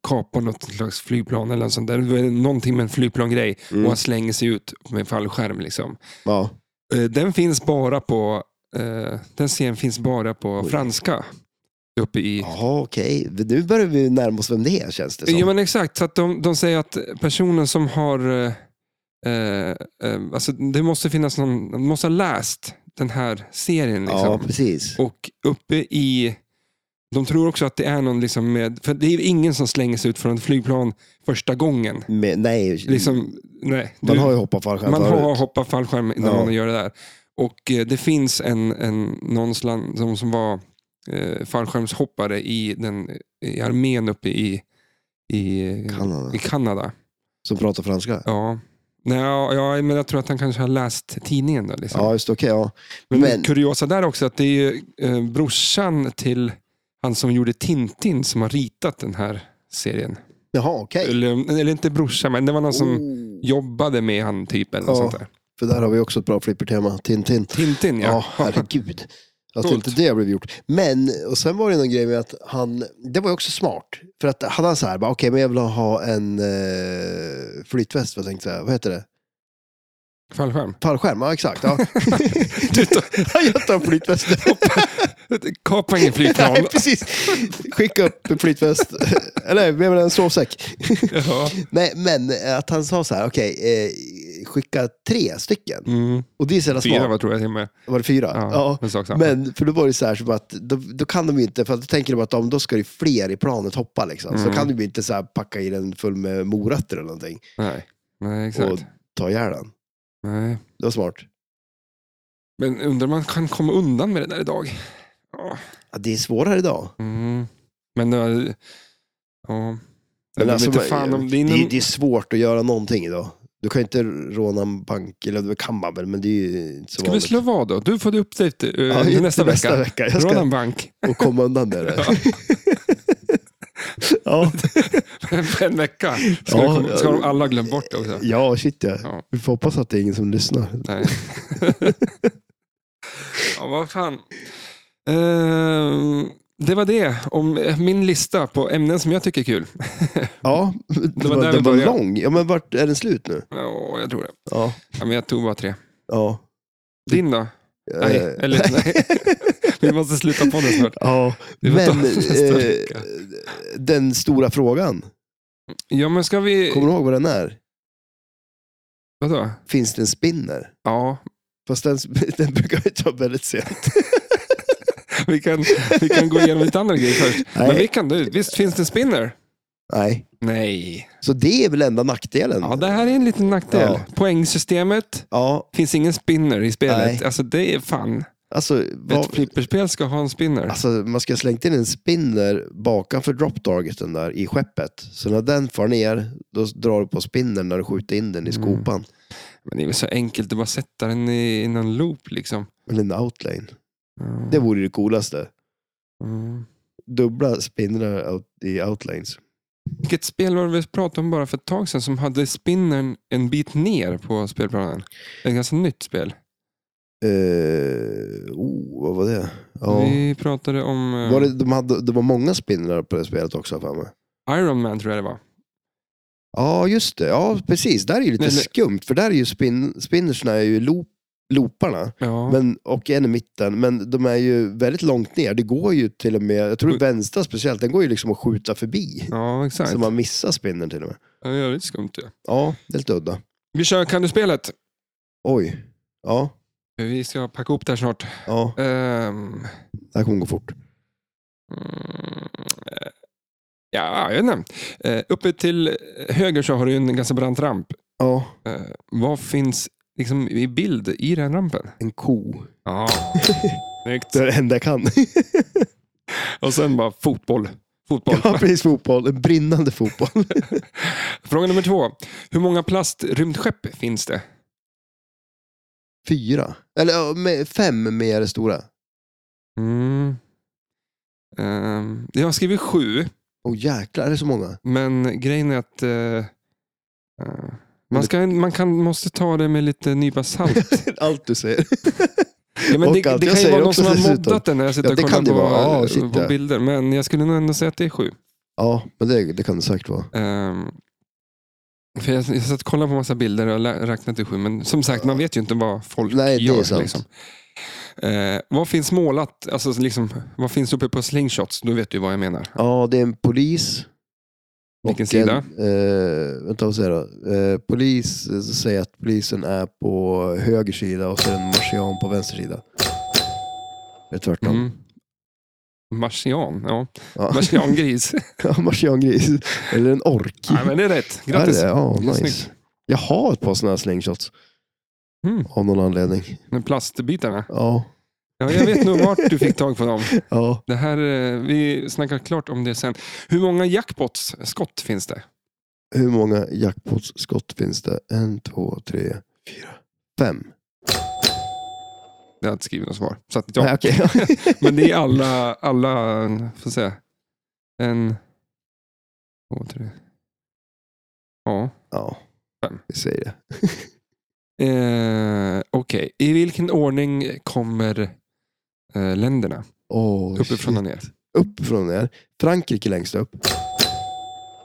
[SPEAKER 1] kapar något slags flygplan eller något sånt där. Det är Någonting med en flygplangrej.
[SPEAKER 2] Mm.
[SPEAKER 1] Och han slänger sig ut med en fallskärm. Liksom.
[SPEAKER 2] ja.
[SPEAKER 1] Eh, Den finns bara på eh, den serien finns bara på
[SPEAKER 2] Oj.
[SPEAKER 1] franska. Uppe i...
[SPEAKER 2] Jaha, okej. Nu börjar vi närma oss vem det är känns det som.
[SPEAKER 1] Ja, men exakt. Så att de, de säger att personen som har... Eh, eh, eh, alltså det måste finnas någon... De måste ha läst den här serien.
[SPEAKER 2] Ja,
[SPEAKER 1] Liksom.
[SPEAKER 2] precis.
[SPEAKER 1] Och uppe i... De tror också att det är någon liksom med... För det är ju ingen som slänger sig ut från ett flygplan första gången.
[SPEAKER 2] Men, nej,
[SPEAKER 1] Liksom, nej,
[SPEAKER 2] man
[SPEAKER 1] du-
[SPEAKER 2] har ju hoppat fallskärm
[SPEAKER 1] Man
[SPEAKER 2] förut.
[SPEAKER 1] har hoppat fallskärm när
[SPEAKER 2] Ja.
[SPEAKER 1] man gör det där. Och eh, det finns en, en någon slan, som, som var eh, fallskärmshoppare i, den, i armén uppe i, i,
[SPEAKER 2] Kanada.
[SPEAKER 1] i Kanada.
[SPEAKER 2] Som pratar franska.
[SPEAKER 1] Ja. Nej, ja, ja, men jag tror att han kanske har läst tidningen. Då, liksom.
[SPEAKER 2] Ja, just det. Okej, ja.
[SPEAKER 1] men,
[SPEAKER 2] men-
[SPEAKER 1] kuriosa där också att det är ju eh, brorsan till han som gjorde Tintin som har ritat den här serien.
[SPEAKER 2] Jaha, okej.
[SPEAKER 1] Eller, eller inte brorsan, men det var någon Liksom som
[SPEAKER 2] Oh.
[SPEAKER 1] jobbade med han typ. Eller något
[SPEAKER 2] Ja.
[SPEAKER 1] sånt där.
[SPEAKER 2] För där har vi också ett bra flippertema. Tintin.
[SPEAKER 1] Tintin
[SPEAKER 2] Ja,
[SPEAKER 1] ja.
[SPEAKER 2] herregud. Att
[SPEAKER 1] Coolt.
[SPEAKER 2] inte det blev gjort. Men, och sen var det någon grej med att han, det var ju också smart. För att hade han så här, bara, okej men jag vill ha en eh, flytväst, vad tänkte jag säga, vad heter det?
[SPEAKER 1] Fallskärm.
[SPEAKER 2] Fallskärm, ja exakt. Ja.
[SPEAKER 1] [LAUGHS] Du tar-
[SPEAKER 2] [LAUGHS] jag
[SPEAKER 1] [LAUGHS]
[SPEAKER 2] tar flytväst.
[SPEAKER 1] Kapa ingen flygplan.
[SPEAKER 2] [LAUGHS] Nej, precis. Skicka upp en flytväst, [LAUGHS] eller jag menar en sovsäck.
[SPEAKER 1] Ja.
[SPEAKER 2] Nej, men eh, att han sa så här, okej, eh, skicka tre stycken.
[SPEAKER 1] Mm.
[SPEAKER 2] Och det är så jävla smart.
[SPEAKER 1] Fyra var tror jag till och med.
[SPEAKER 2] Var det fyra?
[SPEAKER 1] Ja, en sak samma.
[SPEAKER 2] Men för då var det så här som att då, då kan de ju inte, för att då tänker de att de, då ska det fler i planet hoppa liksom. Så
[SPEAKER 1] Mm.
[SPEAKER 2] då kan de ju inte så här packa i den full med morötter eller någonting
[SPEAKER 1] Nej, Nej exakt.
[SPEAKER 2] och ta ihjäl den.
[SPEAKER 1] Nej.
[SPEAKER 2] Det var smart.
[SPEAKER 1] Men undrar om man kan komma undan med det där idag. Ja.
[SPEAKER 2] Ja, det är svårare idag.
[SPEAKER 1] Mm. Men det var... Ja. Jag
[SPEAKER 2] Men
[SPEAKER 1] vet
[SPEAKER 2] alltså,
[SPEAKER 1] inte fan om det är
[SPEAKER 2] det,
[SPEAKER 1] någon...
[SPEAKER 2] är, det är svårt att göra någonting idag. Du kan ju inte råna en bank, eller det kan man väl, men det är ju inte så
[SPEAKER 1] Ska vi
[SPEAKER 2] vanligt.
[SPEAKER 1] slå vad då? Du får det uppdate eh,
[SPEAKER 2] Ja,
[SPEAKER 1] till
[SPEAKER 2] inte
[SPEAKER 1] nästa
[SPEAKER 2] nästa
[SPEAKER 1] vecka.
[SPEAKER 2] vecka. Jag
[SPEAKER 1] Råna
[SPEAKER 2] ska
[SPEAKER 1] en bank. [LAUGHS]
[SPEAKER 2] och komma undan med det.
[SPEAKER 1] Ja.
[SPEAKER 2] ja.
[SPEAKER 1] en vecka. Ska,
[SPEAKER 2] Ja,
[SPEAKER 1] det komma, ska
[SPEAKER 2] ja.
[SPEAKER 1] de alla ha glömt bort det också?
[SPEAKER 2] ja, shit ja.
[SPEAKER 1] Ja.
[SPEAKER 2] Vi får hoppas att det är ingen som lyssnar.
[SPEAKER 1] Nej. [LAUGHS] ja, vad fan. Ehm, det var det om eh, min lista på ämnen som jag tycker är kul.
[SPEAKER 2] Ja,
[SPEAKER 1] var där
[SPEAKER 2] den
[SPEAKER 1] vi
[SPEAKER 2] var
[SPEAKER 1] började.
[SPEAKER 2] lång. Ja, men vart är den slut nu?
[SPEAKER 1] Ja, jag tror det.
[SPEAKER 2] Ja.
[SPEAKER 1] Ja, men jag tog bara tre.
[SPEAKER 2] ja.
[SPEAKER 1] Din då? Nej,
[SPEAKER 2] Eh,
[SPEAKER 1] eller nej.
[SPEAKER 2] [LAUGHS]
[SPEAKER 1] Vi måste sluta på det snart.
[SPEAKER 2] Ja,
[SPEAKER 1] Vi får ta [LAUGHS]
[SPEAKER 2] men
[SPEAKER 1] nästa
[SPEAKER 2] eh,
[SPEAKER 1] vecka.
[SPEAKER 2] den stora frågan.
[SPEAKER 1] Ja, men ska vi...
[SPEAKER 2] Kommer du ihåg vad den är?
[SPEAKER 1] Vadå?
[SPEAKER 2] Finns det en spinner?
[SPEAKER 1] Ja,
[SPEAKER 2] Fast den, [LAUGHS] den brukar vi ta väldigt sent.
[SPEAKER 1] vi kan, vi kan gå igenom lite andra grejer först. Men
[SPEAKER 2] Nej.
[SPEAKER 1] vi kan du. Visst finns det en spinner?
[SPEAKER 2] Nej.
[SPEAKER 1] Nej.
[SPEAKER 2] Så det är väl enda nackdelen?
[SPEAKER 1] Ja, det här är en liten nackdel.
[SPEAKER 2] Ja.
[SPEAKER 1] Poängsystemet.
[SPEAKER 2] Ja,
[SPEAKER 1] Finns ingen spinner i spelet.
[SPEAKER 2] Nej.
[SPEAKER 1] Alltså det är fan.
[SPEAKER 2] alltså,
[SPEAKER 1] Ett
[SPEAKER 2] vad,
[SPEAKER 1] flipperspel ska ha en spinner.
[SPEAKER 2] alltså man ska ha slängt in en spinner bakanför drop-targeten där i skeppet. Så när den far ner, då drar du på spinnern när du skjuter in den i
[SPEAKER 1] Mm.
[SPEAKER 2] skopan.
[SPEAKER 1] Men det är väl så enkelt att bara sätta den i, i någon loop liksom.
[SPEAKER 2] Eller en outlane.
[SPEAKER 1] Mm.
[SPEAKER 2] Det vore det coolaste.
[SPEAKER 1] Mm.
[SPEAKER 2] Dubbla spinnrar out, i outlanes.
[SPEAKER 1] Vilket spel var det vi pratade om bara för ett tag sedan som hade spinnern en bit ner på spelplanen? Ett ganska nytt spel.
[SPEAKER 2] Eh, oh, vad var det? Ja.
[SPEAKER 1] Vi pratade om eh,
[SPEAKER 2] Var det, de hade, det var många spinnrar på det spelet också för mig.
[SPEAKER 1] Iron Man tror jag det var.
[SPEAKER 2] Ja, just det. Ja, precis. Där är ju lite
[SPEAKER 1] Nej, nej.
[SPEAKER 2] skumt, för där är ju spin, spinnersna är ju loop, looparna.
[SPEAKER 1] Ja.
[SPEAKER 2] Men, och en i mitten, men de är ju väldigt långt ner. Det går ju till och med, jag tror
[SPEAKER 1] Mm.
[SPEAKER 2] vänstra speciellt, den går ju liksom att skjuta förbi.
[SPEAKER 1] ja, exakt.
[SPEAKER 2] Så man missar spinnern till och med.
[SPEAKER 1] Ja, det är lite skumt. Ja.
[SPEAKER 2] Ja, det är lite udda.
[SPEAKER 1] Vi kör Kan du-spelet.
[SPEAKER 2] Oj. Ja,
[SPEAKER 1] Vi ska packa upp det här snart.
[SPEAKER 2] ja.
[SPEAKER 1] Ehm,
[SPEAKER 2] Det här kommer gå fort.
[SPEAKER 1] Mm, eh, Ja, jag vet inte. Eh, Uppe till höger så har du en ganska brant ramp.
[SPEAKER 2] Ja,
[SPEAKER 1] Eh, Vad finns liksom i bild i den rampen?
[SPEAKER 2] en ko.
[SPEAKER 1] Ja, [LAUGHS] snyggt.
[SPEAKER 2] Det är det enda jag kan. [LAUGHS]
[SPEAKER 1] Och sen bara fotboll. Fotboll.
[SPEAKER 2] Ja, precis fotboll. En brinnande fotboll.
[SPEAKER 1] Fråga nummer två. Hur många plastrymdskepp finns det?
[SPEAKER 2] Fyra. Eller ja, med- fem med det stora.
[SPEAKER 1] Mm. Ehm, Jag har skrivit sju,
[SPEAKER 2] Åh jäklar, är det
[SPEAKER 1] [LAUGHS]
[SPEAKER 2] så många?
[SPEAKER 1] men grejen är att eh, eh, man, ska, man kan, måste ta det med lite nypa salt.
[SPEAKER 2] Allt du säger.
[SPEAKER 1] Ja, men
[SPEAKER 2] Och
[SPEAKER 1] det, det
[SPEAKER 2] allt
[SPEAKER 1] kan ju vara
[SPEAKER 2] jag säger
[SPEAKER 1] någon
[SPEAKER 2] också
[SPEAKER 1] som har
[SPEAKER 2] dessutom.
[SPEAKER 1] moddat den när jag sitter
[SPEAKER 2] Ja,
[SPEAKER 1] och
[SPEAKER 2] det
[SPEAKER 1] kollar
[SPEAKER 2] kan det
[SPEAKER 1] på,
[SPEAKER 2] vara. Ja, shit,
[SPEAKER 1] på
[SPEAKER 2] ja.
[SPEAKER 1] bilder. Men jag skulle nog ändå säga att det är sju.
[SPEAKER 2] [LAUGHS] Ja, men det, det kan det säkert vara.
[SPEAKER 1] Ehm, för jag, jag satt och kollade på massa bilder och lä- räknade till sju. Men som sagt, man vet ju inte vad folk
[SPEAKER 2] Nej, det
[SPEAKER 1] gör. liksom.
[SPEAKER 2] är sant.
[SPEAKER 1] Eh, vad finns målat? Alltså, liksom, vad finns uppe på slingshots? Då vet du vad jag menar.
[SPEAKER 2] Ja, det är en polis.
[SPEAKER 1] Vilken
[SPEAKER 2] och en,
[SPEAKER 1] sida?
[SPEAKER 2] Eh, vänta, vad säger jag då? Eh, polis eh, säger att polisen är på höger sida och så är det en marsian på vänster sida. Det är tvärtom.
[SPEAKER 1] Mm. Marsian, ja.
[SPEAKER 2] Ja.
[SPEAKER 1] Marsiangris.
[SPEAKER 2] [LAUGHS] Ja, marsiangris. Eller en ork.
[SPEAKER 1] Nej, men det är rätt.
[SPEAKER 2] Ja, det
[SPEAKER 1] Grattis.
[SPEAKER 2] är det. Ja,
[SPEAKER 1] Det är
[SPEAKER 2] nice.
[SPEAKER 1] snyggt.
[SPEAKER 2] Jag har ett par sådana här slingshots.
[SPEAKER 1] Mm.
[SPEAKER 2] Av någon anledning.
[SPEAKER 1] Men plastbitarna.
[SPEAKER 2] Ja.
[SPEAKER 1] Ja, jag vet nog vart du fick tag på dem.
[SPEAKER 2] ja.
[SPEAKER 1] Det här, eh, vi snackar klart om det sen. Hur många jackpots-skott finns det?
[SPEAKER 2] Hur många jackpotskott finns det? En, två, tre, fyra, fem.
[SPEAKER 1] Det har jag inte skrivit något svar. Så att, ja.
[SPEAKER 2] Nej, okej.
[SPEAKER 1] [LAUGHS] Men det är alla, alla eh, får säga. En, två, tre. Ja.
[SPEAKER 2] ja.
[SPEAKER 1] Fem.
[SPEAKER 2] Vi säger det.
[SPEAKER 1] Eh, Okej, i vilken ordning kommer eh, länderna?
[SPEAKER 2] Oh,
[SPEAKER 1] Uppifrån och ner.
[SPEAKER 2] Uppifrån och ner. Frankrike längst upp.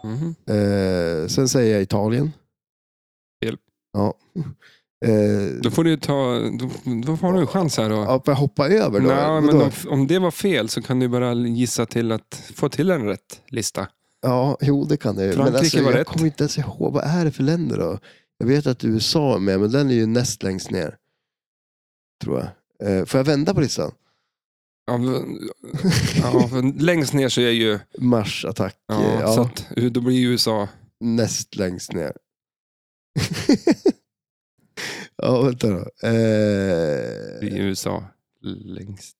[SPEAKER 1] Mhm.
[SPEAKER 2] Eh, sen säger jag Italien.
[SPEAKER 1] Fel.
[SPEAKER 2] Ja. Eh,
[SPEAKER 1] Då får du ju ta, då, då har du en chans här. Och,
[SPEAKER 2] ja, får jag hoppa över då?
[SPEAKER 1] Nej, men
[SPEAKER 2] Vadå?
[SPEAKER 1] om, om det var fel så kan du bara gissa till att få till en rätt lista.
[SPEAKER 2] Ja, jo det kan det ju. Men
[SPEAKER 1] Frankrike
[SPEAKER 2] alltså,
[SPEAKER 1] var
[SPEAKER 2] jag
[SPEAKER 1] rätt.
[SPEAKER 2] kommer inte ens ihåg, vad är det för länder då? Jag vet att USA är med, men den är ju näst längst ner. Tror jag. Eh, får jag vända på listan?
[SPEAKER 1] Ja, v- ja, [LAUGHS] för längst ner så är ju...
[SPEAKER 2] Marsattack.
[SPEAKER 1] Ja,
[SPEAKER 2] eh, ja,
[SPEAKER 1] Så att, då blir ju USA...
[SPEAKER 2] Näst längst ner. [LAUGHS] ja, vänta då. Eh,
[SPEAKER 1] Det är USA längst.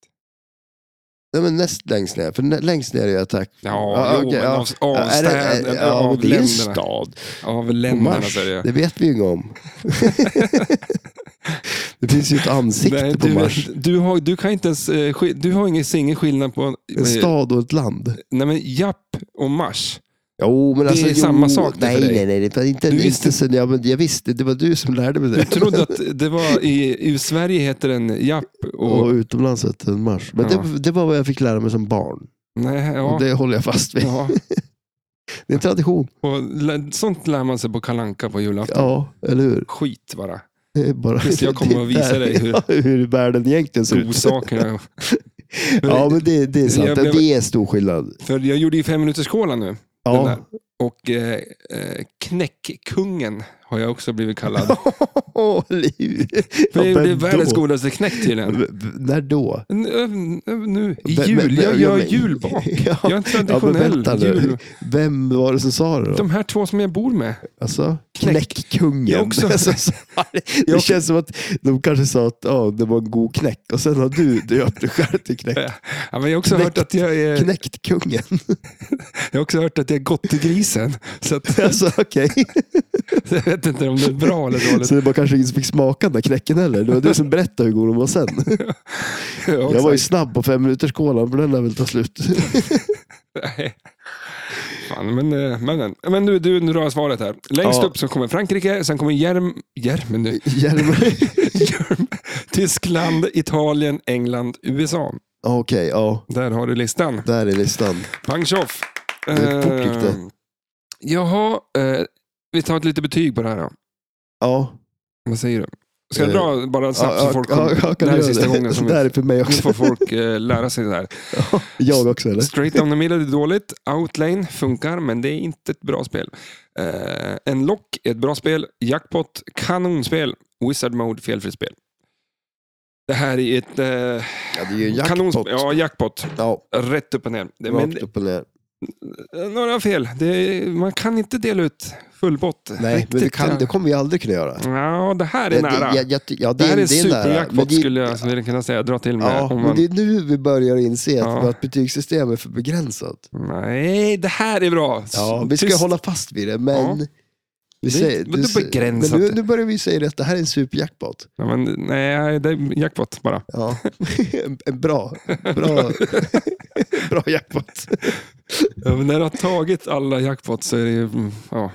[SPEAKER 2] nej, men näst längst ner, för nä- längst ner är attack.
[SPEAKER 1] Ja,
[SPEAKER 2] Ja,
[SPEAKER 1] jo,
[SPEAKER 2] okej,
[SPEAKER 1] men
[SPEAKER 2] ja.
[SPEAKER 1] av, av
[SPEAKER 2] Ja, är det- är-
[SPEAKER 1] städerna,
[SPEAKER 2] ja, men
[SPEAKER 1] av
[SPEAKER 2] det är ju en
[SPEAKER 1] länderna.
[SPEAKER 2] stad.
[SPEAKER 1] Av
[SPEAKER 2] På
[SPEAKER 1] länderna
[SPEAKER 2] Mars,
[SPEAKER 1] så är det
[SPEAKER 2] det vet vi ju
[SPEAKER 1] [LAUGHS]
[SPEAKER 2] inget om. det finns ju ett ansikte
[SPEAKER 1] Nej,
[SPEAKER 2] på
[SPEAKER 1] du,
[SPEAKER 2] Mars.
[SPEAKER 1] du, har, du kan inte ens... eh, sk- Du har ingen, ser ingen skillnad på... eh,
[SPEAKER 2] En stad och ett land.
[SPEAKER 1] Nej, men Japp och Mars.
[SPEAKER 2] Jo, men
[SPEAKER 1] Det
[SPEAKER 2] alltså,
[SPEAKER 1] är
[SPEAKER 2] jo,
[SPEAKER 1] samma sak det för
[SPEAKER 2] nej,
[SPEAKER 1] dig.
[SPEAKER 2] Nej, nej, det var inte,
[SPEAKER 1] Du
[SPEAKER 2] inte
[SPEAKER 1] visste-
[SPEAKER 2] sen, ja, men jag visste, det var du som lärde mig det.
[SPEAKER 1] Du trodde att det var i, i Sverige heter den Japp och...
[SPEAKER 2] [LAUGHS] Och utomlands hette den mars. Men
[SPEAKER 1] Ja.
[SPEAKER 2] det, det var vad jag fick lära mig som barn.
[SPEAKER 1] nej, ja,
[SPEAKER 2] Och det håller jag fast vid.
[SPEAKER 1] ja.
[SPEAKER 2] Det är en tradition.
[SPEAKER 1] Och, lä- sånt lär man sig på Kalanka på julafton.
[SPEAKER 2] Ja, eller hur?
[SPEAKER 1] Skit bara.
[SPEAKER 2] Det är bara,
[SPEAKER 1] Visst, jag kommer att visa dig
[SPEAKER 2] [LAUGHS]
[SPEAKER 1] hur-
[SPEAKER 2] hur... hur världen egentligen ser ut.
[SPEAKER 1] Godsakerna.
[SPEAKER 2] Ja, men det, det är sant.
[SPEAKER 1] Jag blev-
[SPEAKER 2] Det är stor skillnad.
[SPEAKER 1] För jag gjorde ju fem minuters kola nu. Den där.
[SPEAKER 2] Ja.
[SPEAKER 1] Och eh, eh, knäckkungen har jag också blivit
[SPEAKER 2] [LAUGHS]
[SPEAKER 1] kallad.
[SPEAKER 2] [LAUGHS] Åh, liv.
[SPEAKER 1] För jag
[SPEAKER 2] Ja, men
[SPEAKER 1] gjorde världens
[SPEAKER 2] då?
[SPEAKER 1] godaste knäck tydligen.
[SPEAKER 2] V- När då?
[SPEAKER 1] N- ö- ö- Nu, i
[SPEAKER 2] Vem-
[SPEAKER 1] jul.
[SPEAKER 2] vem-
[SPEAKER 1] Jag
[SPEAKER 2] vem-
[SPEAKER 1] gör
[SPEAKER 2] vem-
[SPEAKER 1] julbak. Jag är en
[SPEAKER 2] [LAUGHS] Ja, men
[SPEAKER 1] traditionell
[SPEAKER 2] vänta nu.
[SPEAKER 1] jul.
[SPEAKER 2] Vem var det som sa det då?
[SPEAKER 1] De här två som jag bor med.
[SPEAKER 2] Alltså,
[SPEAKER 1] Knäck.
[SPEAKER 2] knäckkungen.
[SPEAKER 1] Jag också.
[SPEAKER 2] [LAUGHS] Alltså, så här, det
[SPEAKER 1] [LAUGHS] Jag-
[SPEAKER 2] känns som att de kanske sa att ja, det var en god knäck och sen har du döpt dig själv till knäck.
[SPEAKER 1] [LAUGHS] Ja, men jag har också
[SPEAKER 2] Knäckt.
[SPEAKER 1] hört att jag är,
[SPEAKER 2] Knäckt kungen.
[SPEAKER 1] jag har också hört att jag är gott i grisen. Så att, [LAUGHS]
[SPEAKER 2] [LAUGHS] Alltså, okej.
[SPEAKER 1] jag vet inte om det är bra eller dåligt.
[SPEAKER 2] Så det var kanske ingen som fick smaka den där knäcken heller. Det var du som berättade hur god den var sen. [LAUGHS] Jag var ju snabb på fem minuters kolan, men den lär väl ta slut.
[SPEAKER 1] [LAUGHS] Nej. Fan, men, eh, men, men, men nu, du, nu drar jag svaret här. Längst
[SPEAKER 2] Ja.
[SPEAKER 1] upp så kommer Frankrike, sen kommer Järm, Järm nu. [LAUGHS]
[SPEAKER 2] Järv-
[SPEAKER 1] Järm, Tyskland, Italien, England, USA.
[SPEAKER 2] Ja, Okej, ja.
[SPEAKER 1] Där har du listan.
[SPEAKER 2] Där är listan.
[SPEAKER 1] Pang tjoff!
[SPEAKER 2] är fort gick det.
[SPEAKER 1] Eh, Jaha, eh, vi tar ett lite betyg på det här då.
[SPEAKER 2] Ja.
[SPEAKER 1] Vad säger du? Ska jag
[SPEAKER 2] Eh,
[SPEAKER 1] dra bara snabbt
[SPEAKER 2] ja,
[SPEAKER 1] så folk
[SPEAKER 2] ja,
[SPEAKER 1] kommer?
[SPEAKER 2] ja, kan
[SPEAKER 1] det här är
[SPEAKER 2] du göra
[SPEAKER 1] sista gången som
[SPEAKER 2] Det här
[SPEAKER 1] vi...
[SPEAKER 2] är för mig
[SPEAKER 1] Nu får
[SPEAKER 2] också.
[SPEAKER 1] folk eh, lära sig det här.
[SPEAKER 2] Jag också, eller?
[SPEAKER 1] Straight down the middle är dåligt. Outlane funkar, men det är inte ett bra spel. Eh, en lock är ett bra spel. Jackpot, kanonspel. Wizard Mode, felfritt spel. Det här är ett eh,
[SPEAKER 2] Ja, det är ju en
[SPEAKER 1] kanonspel.
[SPEAKER 2] jackpot. Ja,
[SPEAKER 1] Ja, jackpot. Rätt upp och ner. Det- Men,
[SPEAKER 2] rakt upp och ner.
[SPEAKER 1] några fel. Det, man kan inte dela ut full bott.
[SPEAKER 2] Nej, men det, kan, det kommer vi aldrig kunna göra.
[SPEAKER 1] Ja, det här är
[SPEAKER 2] Det-
[SPEAKER 1] nära.
[SPEAKER 2] Det, ja, ja, ja,
[SPEAKER 1] det
[SPEAKER 2] det,
[SPEAKER 1] här är
[SPEAKER 2] det är nära. Men
[SPEAKER 1] superjackpot
[SPEAKER 2] det,
[SPEAKER 1] skulle jag skulle kunna säga. Dra till med.
[SPEAKER 2] ja,
[SPEAKER 1] om
[SPEAKER 2] men
[SPEAKER 1] man...
[SPEAKER 2] det är nu vi börjar inse att
[SPEAKER 1] Ja.
[SPEAKER 2] vårt betygssystem är för begränsat.
[SPEAKER 1] Nej, det här är bra.
[SPEAKER 2] Ja, vi ska
[SPEAKER 1] Tyst.
[SPEAKER 2] hålla fast vid det, men...
[SPEAKER 1] Ja.
[SPEAKER 2] Vi
[SPEAKER 1] Det är
[SPEAKER 2] säger,
[SPEAKER 1] inte- men
[SPEAKER 2] du
[SPEAKER 1] det är
[SPEAKER 2] säger-
[SPEAKER 1] begränsat.
[SPEAKER 2] men nu, nu börjar vi säga att det här är en superjackpot.
[SPEAKER 1] Ja, men, nej, det är jackpot bara.
[SPEAKER 2] Ja. [LAUGHS] en en bra, bra, [LAUGHS] bra jackpot.
[SPEAKER 1] Ja, men när du har tagit alla jackpot så är det ju, mm, ja,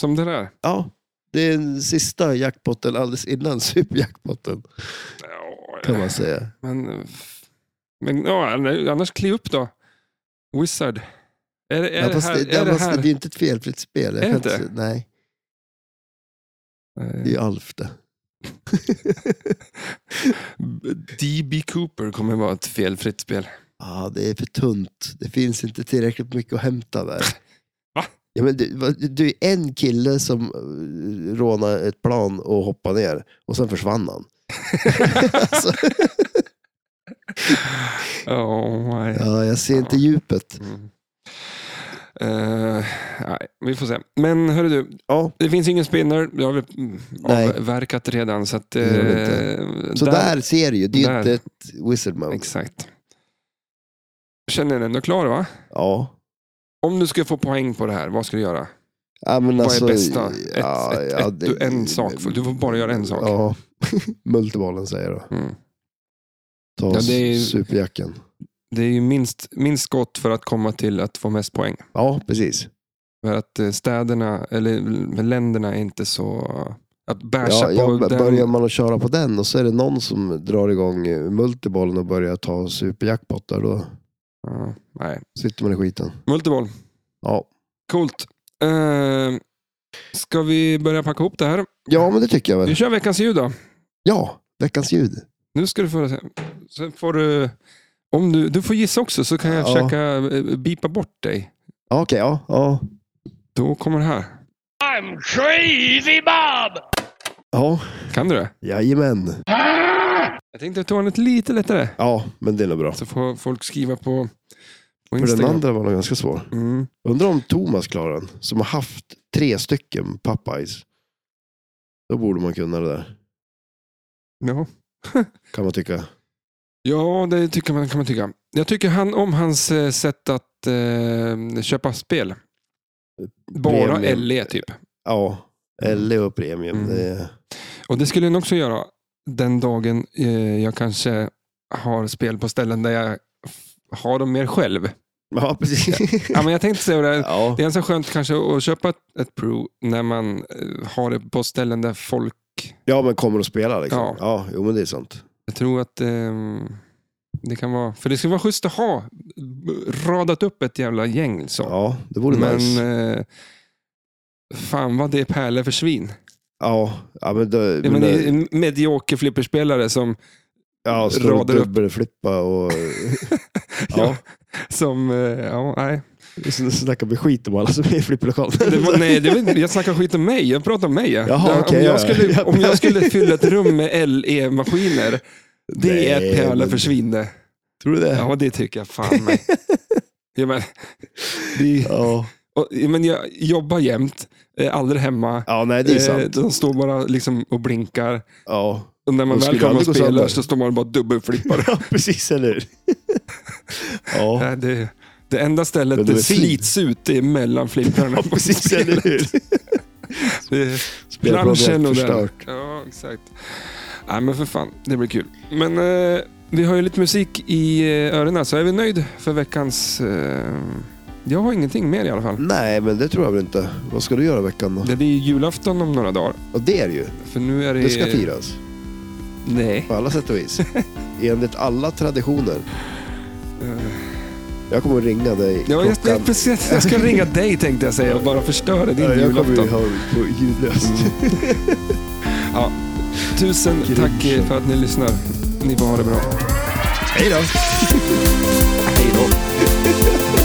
[SPEAKER 1] som det där.
[SPEAKER 2] Ja, det är den sista jackpotten alldeles innan superjackpotten kan
[SPEAKER 1] Ja,
[SPEAKER 2] man säga.
[SPEAKER 1] men, eh, men ja, annars kliv upp då. Wizard. Är, det- är
[SPEAKER 2] Ja,
[SPEAKER 1] det
[SPEAKER 2] fast
[SPEAKER 1] här?
[SPEAKER 2] det,
[SPEAKER 1] är det
[SPEAKER 2] ja, fast
[SPEAKER 1] här?
[SPEAKER 2] det är inte ett felfritt spel. Jag
[SPEAKER 1] Är
[SPEAKER 2] kan
[SPEAKER 1] det
[SPEAKER 2] inte- Nej, det är
[SPEAKER 1] Eh,
[SPEAKER 2] ju Alf det.
[SPEAKER 1] DB Cooper kommer vara ett felfritt [LAUGHS] spel.
[SPEAKER 2] Ja, det är för tunt. Det finns inte tillräckligt mycket att hämta där.
[SPEAKER 1] [LAUGHS] Va?
[SPEAKER 2] Ja, men du, vad- du är en kille som eh, rånade ett plan och hoppade ner och sen försvann han. [LAUGHS] [LAUGHS] alltså,
[SPEAKER 1] Oh, my.
[SPEAKER 2] ja, jag ser inte
[SPEAKER 1] Ja.
[SPEAKER 2] djupet.
[SPEAKER 1] Mm. Eh, nej, vi får se. Men hörru du,
[SPEAKER 2] Ja.
[SPEAKER 1] det finns ingen spinner. Det har vi mm,
[SPEAKER 2] Nej.
[SPEAKER 1] avverkat redan. Så, att, eh,
[SPEAKER 2] Det gör vi Så där, ser du ju. Det är ju
[SPEAKER 1] där.
[SPEAKER 2] inte ett wizard mode.
[SPEAKER 1] Exakt. Känner den ändå klar va?
[SPEAKER 2] Ja.
[SPEAKER 1] Om du ska få poäng på det här, vad ska du göra?
[SPEAKER 2] ja men
[SPEAKER 1] Vad är
[SPEAKER 2] alltså,
[SPEAKER 1] bästa? Ett- ett- ett- du- en sak. Du får bara göra en sak.
[SPEAKER 2] Ja. [LAUGHS] Multibollen säger jag då.
[SPEAKER 1] Mm.
[SPEAKER 2] Ta
[SPEAKER 1] Ja, det är ju-
[SPEAKER 2] superjacken.
[SPEAKER 1] Det är ju minst, minst skott för att komma till att få mest poäng.
[SPEAKER 2] Ja, precis.
[SPEAKER 1] För att eh, städerna, eller länderna är inte så... Att basha
[SPEAKER 2] Ja, ja,
[SPEAKER 1] på den...
[SPEAKER 2] börjar man att köra på den och så är det någon som drar igång eh, multibollen och börjar ta superjackpottar då
[SPEAKER 1] Ja, nej.
[SPEAKER 2] sitter man i skiten.
[SPEAKER 1] Multiboll.
[SPEAKER 2] Ja,
[SPEAKER 1] Coolt. Uh, ska vi börja packa ihop det här?
[SPEAKER 2] ja men det tycker jag
[SPEAKER 1] Vi
[SPEAKER 2] väl.
[SPEAKER 1] kör veckans ljud då.
[SPEAKER 2] Ja, veckans ljud.
[SPEAKER 1] Nu ska du få... Sen får du... Om du, du får gissa också så kan jag
[SPEAKER 2] Ja.
[SPEAKER 1] försöka eh, bipa bort dig.
[SPEAKER 2] Ja, Okej, ja, ja.
[SPEAKER 1] Då kommer det här.
[SPEAKER 3] I'm crazy, Bob!
[SPEAKER 2] Ja,
[SPEAKER 1] Kan du det?
[SPEAKER 2] jajamän.
[SPEAKER 1] Jag tänkte ta något lite lättare.
[SPEAKER 2] Ja, men det är nog bra.
[SPEAKER 1] Så får folk skriva på, på
[SPEAKER 2] För den
[SPEAKER 1] Instagram.
[SPEAKER 2] andra var nog ganska svår.
[SPEAKER 1] Mm.
[SPEAKER 2] Undrar om Thomas klarar den, som har haft tre stycken Popeyes. Då borde man kunna det där,
[SPEAKER 1] Ja.
[SPEAKER 2] kan man tycka.
[SPEAKER 1] ja, det tycker man, kan man tycka. Jag tycker han, om hans eh, sätt att eh, köpa spel. Bara
[SPEAKER 2] Premium.
[SPEAKER 1] LE typ.
[SPEAKER 2] Ja, eller och premium.
[SPEAKER 1] Mm.
[SPEAKER 2] Det är...
[SPEAKER 1] Och det skulle jag nog också göra den dagen eh, jag kanske har spel på ställen där jag f- har dem mer
[SPEAKER 2] [LAUGHS]
[SPEAKER 1] själv.
[SPEAKER 2] Ja,
[SPEAKER 1] [LAUGHS]
[SPEAKER 2] precis.
[SPEAKER 1] Ja, men jag tänkte säga det. här.
[SPEAKER 2] Ja,
[SPEAKER 1] Det är så skönt kanske att köpa ett, ett Pro när man eh, har det på ställen där folk...
[SPEAKER 2] ja men kommer att spela liksom.
[SPEAKER 1] Ja.
[SPEAKER 2] Ja, ja jo, men det är sant.
[SPEAKER 1] Jag tror att ehm, det kan vara... För det skulle vara schysst att ha radat upp ett jävla gäng. Så.
[SPEAKER 2] Ja, det vore
[SPEAKER 1] men
[SPEAKER 2] nice.
[SPEAKER 1] eh, fan vad det är pärlor för svin.
[SPEAKER 2] Ja, ja men, då,
[SPEAKER 1] Ja, men det är en medioker flipperspelare som...
[SPEAKER 2] ja, slå
[SPEAKER 1] rader upp. [LAUGHS]
[SPEAKER 2] dubbelflippa och
[SPEAKER 1] Ja.
[SPEAKER 2] Ja.
[SPEAKER 1] [LAUGHS] som eh, ja, nej.
[SPEAKER 2] ja. snacka med skit om alla som är i flipplokalen.
[SPEAKER 1] [LAUGHS] Det var, nej, det var, jag snackar skit om mig. Jag pratar om mig. ja.
[SPEAKER 2] Jaha,
[SPEAKER 1] Det- om,
[SPEAKER 2] okej,
[SPEAKER 1] jag
[SPEAKER 2] ja.
[SPEAKER 1] skulle, om
[SPEAKER 2] [LAUGHS]
[SPEAKER 1] jag skulle fylla ett rum med LE-maskiner, det
[SPEAKER 2] Nej,
[SPEAKER 1] är ett pärla
[SPEAKER 2] men-
[SPEAKER 1] för svin det.
[SPEAKER 2] Tror du det? Ja.
[SPEAKER 1] Ja, det tycker jag fan mig. ja, men, det,
[SPEAKER 2] Ja.
[SPEAKER 1] och, ja, men jag jobbar jämt, är aldrig hemma.
[SPEAKER 2] nej det är
[SPEAKER 1] Eh,
[SPEAKER 2] sant.
[SPEAKER 1] De står bara liksom och blinkar.
[SPEAKER 2] Ja,
[SPEAKER 1] Och när man
[SPEAKER 2] De
[SPEAKER 1] väl
[SPEAKER 2] skulle
[SPEAKER 1] kommer och
[SPEAKER 2] aldrig gå
[SPEAKER 1] spelar
[SPEAKER 2] sönder.
[SPEAKER 1] så står man bara och dubbelflippar.
[SPEAKER 2] ja [LAUGHS] precis, eller hur? ja.
[SPEAKER 1] [LAUGHS] Nej, det, det enda
[SPEAKER 2] Men
[SPEAKER 1] stället
[SPEAKER 2] det
[SPEAKER 1] det
[SPEAKER 2] är fint.
[SPEAKER 1] slits ut det är mellan flipprarna.
[SPEAKER 2] ja, precis, eller hur?
[SPEAKER 1] Det-
[SPEAKER 2] Spelplanen
[SPEAKER 1] Planschen
[SPEAKER 2] är
[SPEAKER 1] och den.
[SPEAKER 2] förstört.
[SPEAKER 1] Ja, exakt. Nej, men för fan. Det blir kul. Men eh, vi har ju lite musik i eh, öronen, så är vi nöjd för veckans... Eh, jag har ingenting mer i alla fall.
[SPEAKER 2] Nej, men det tror jag väl inte. Vad ska du göra i veckan då?
[SPEAKER 1] Det är ju julafton om några dagar.
[SPEAKER 2] Och det är det ju.
[SPEAKER 1] För nu är det...
[SPEAKER 2] Det ska firas.
[SPEAKER 1] Nej.
[SPEAKER 2] På alla sätt
[SPEAKER 1] [LAUGHS]
[SPEAKER 2] och vis. Enligt alla traditioner.
[SPEAKER 1] Eh,
[SPEAKER 2] Jag kommer att ringa dig
[SPEAKER 1] Ja, jag, jag, precis, jag ska ringa dig tänkte jag säga och bara förstöra din
[SPEAKER 2] Ja, jag kommer ju
[SPEAKER 1] julafton.
[SPEAKER 2] ha det på ljudlöst. [LAUGHS]
[SPEAKER 1] Tusen tack eh, för att ni lyssnar. Ni får ha det bra.
[SPEAKER 2] Hej då!
[SPEAKER 1] Hej då.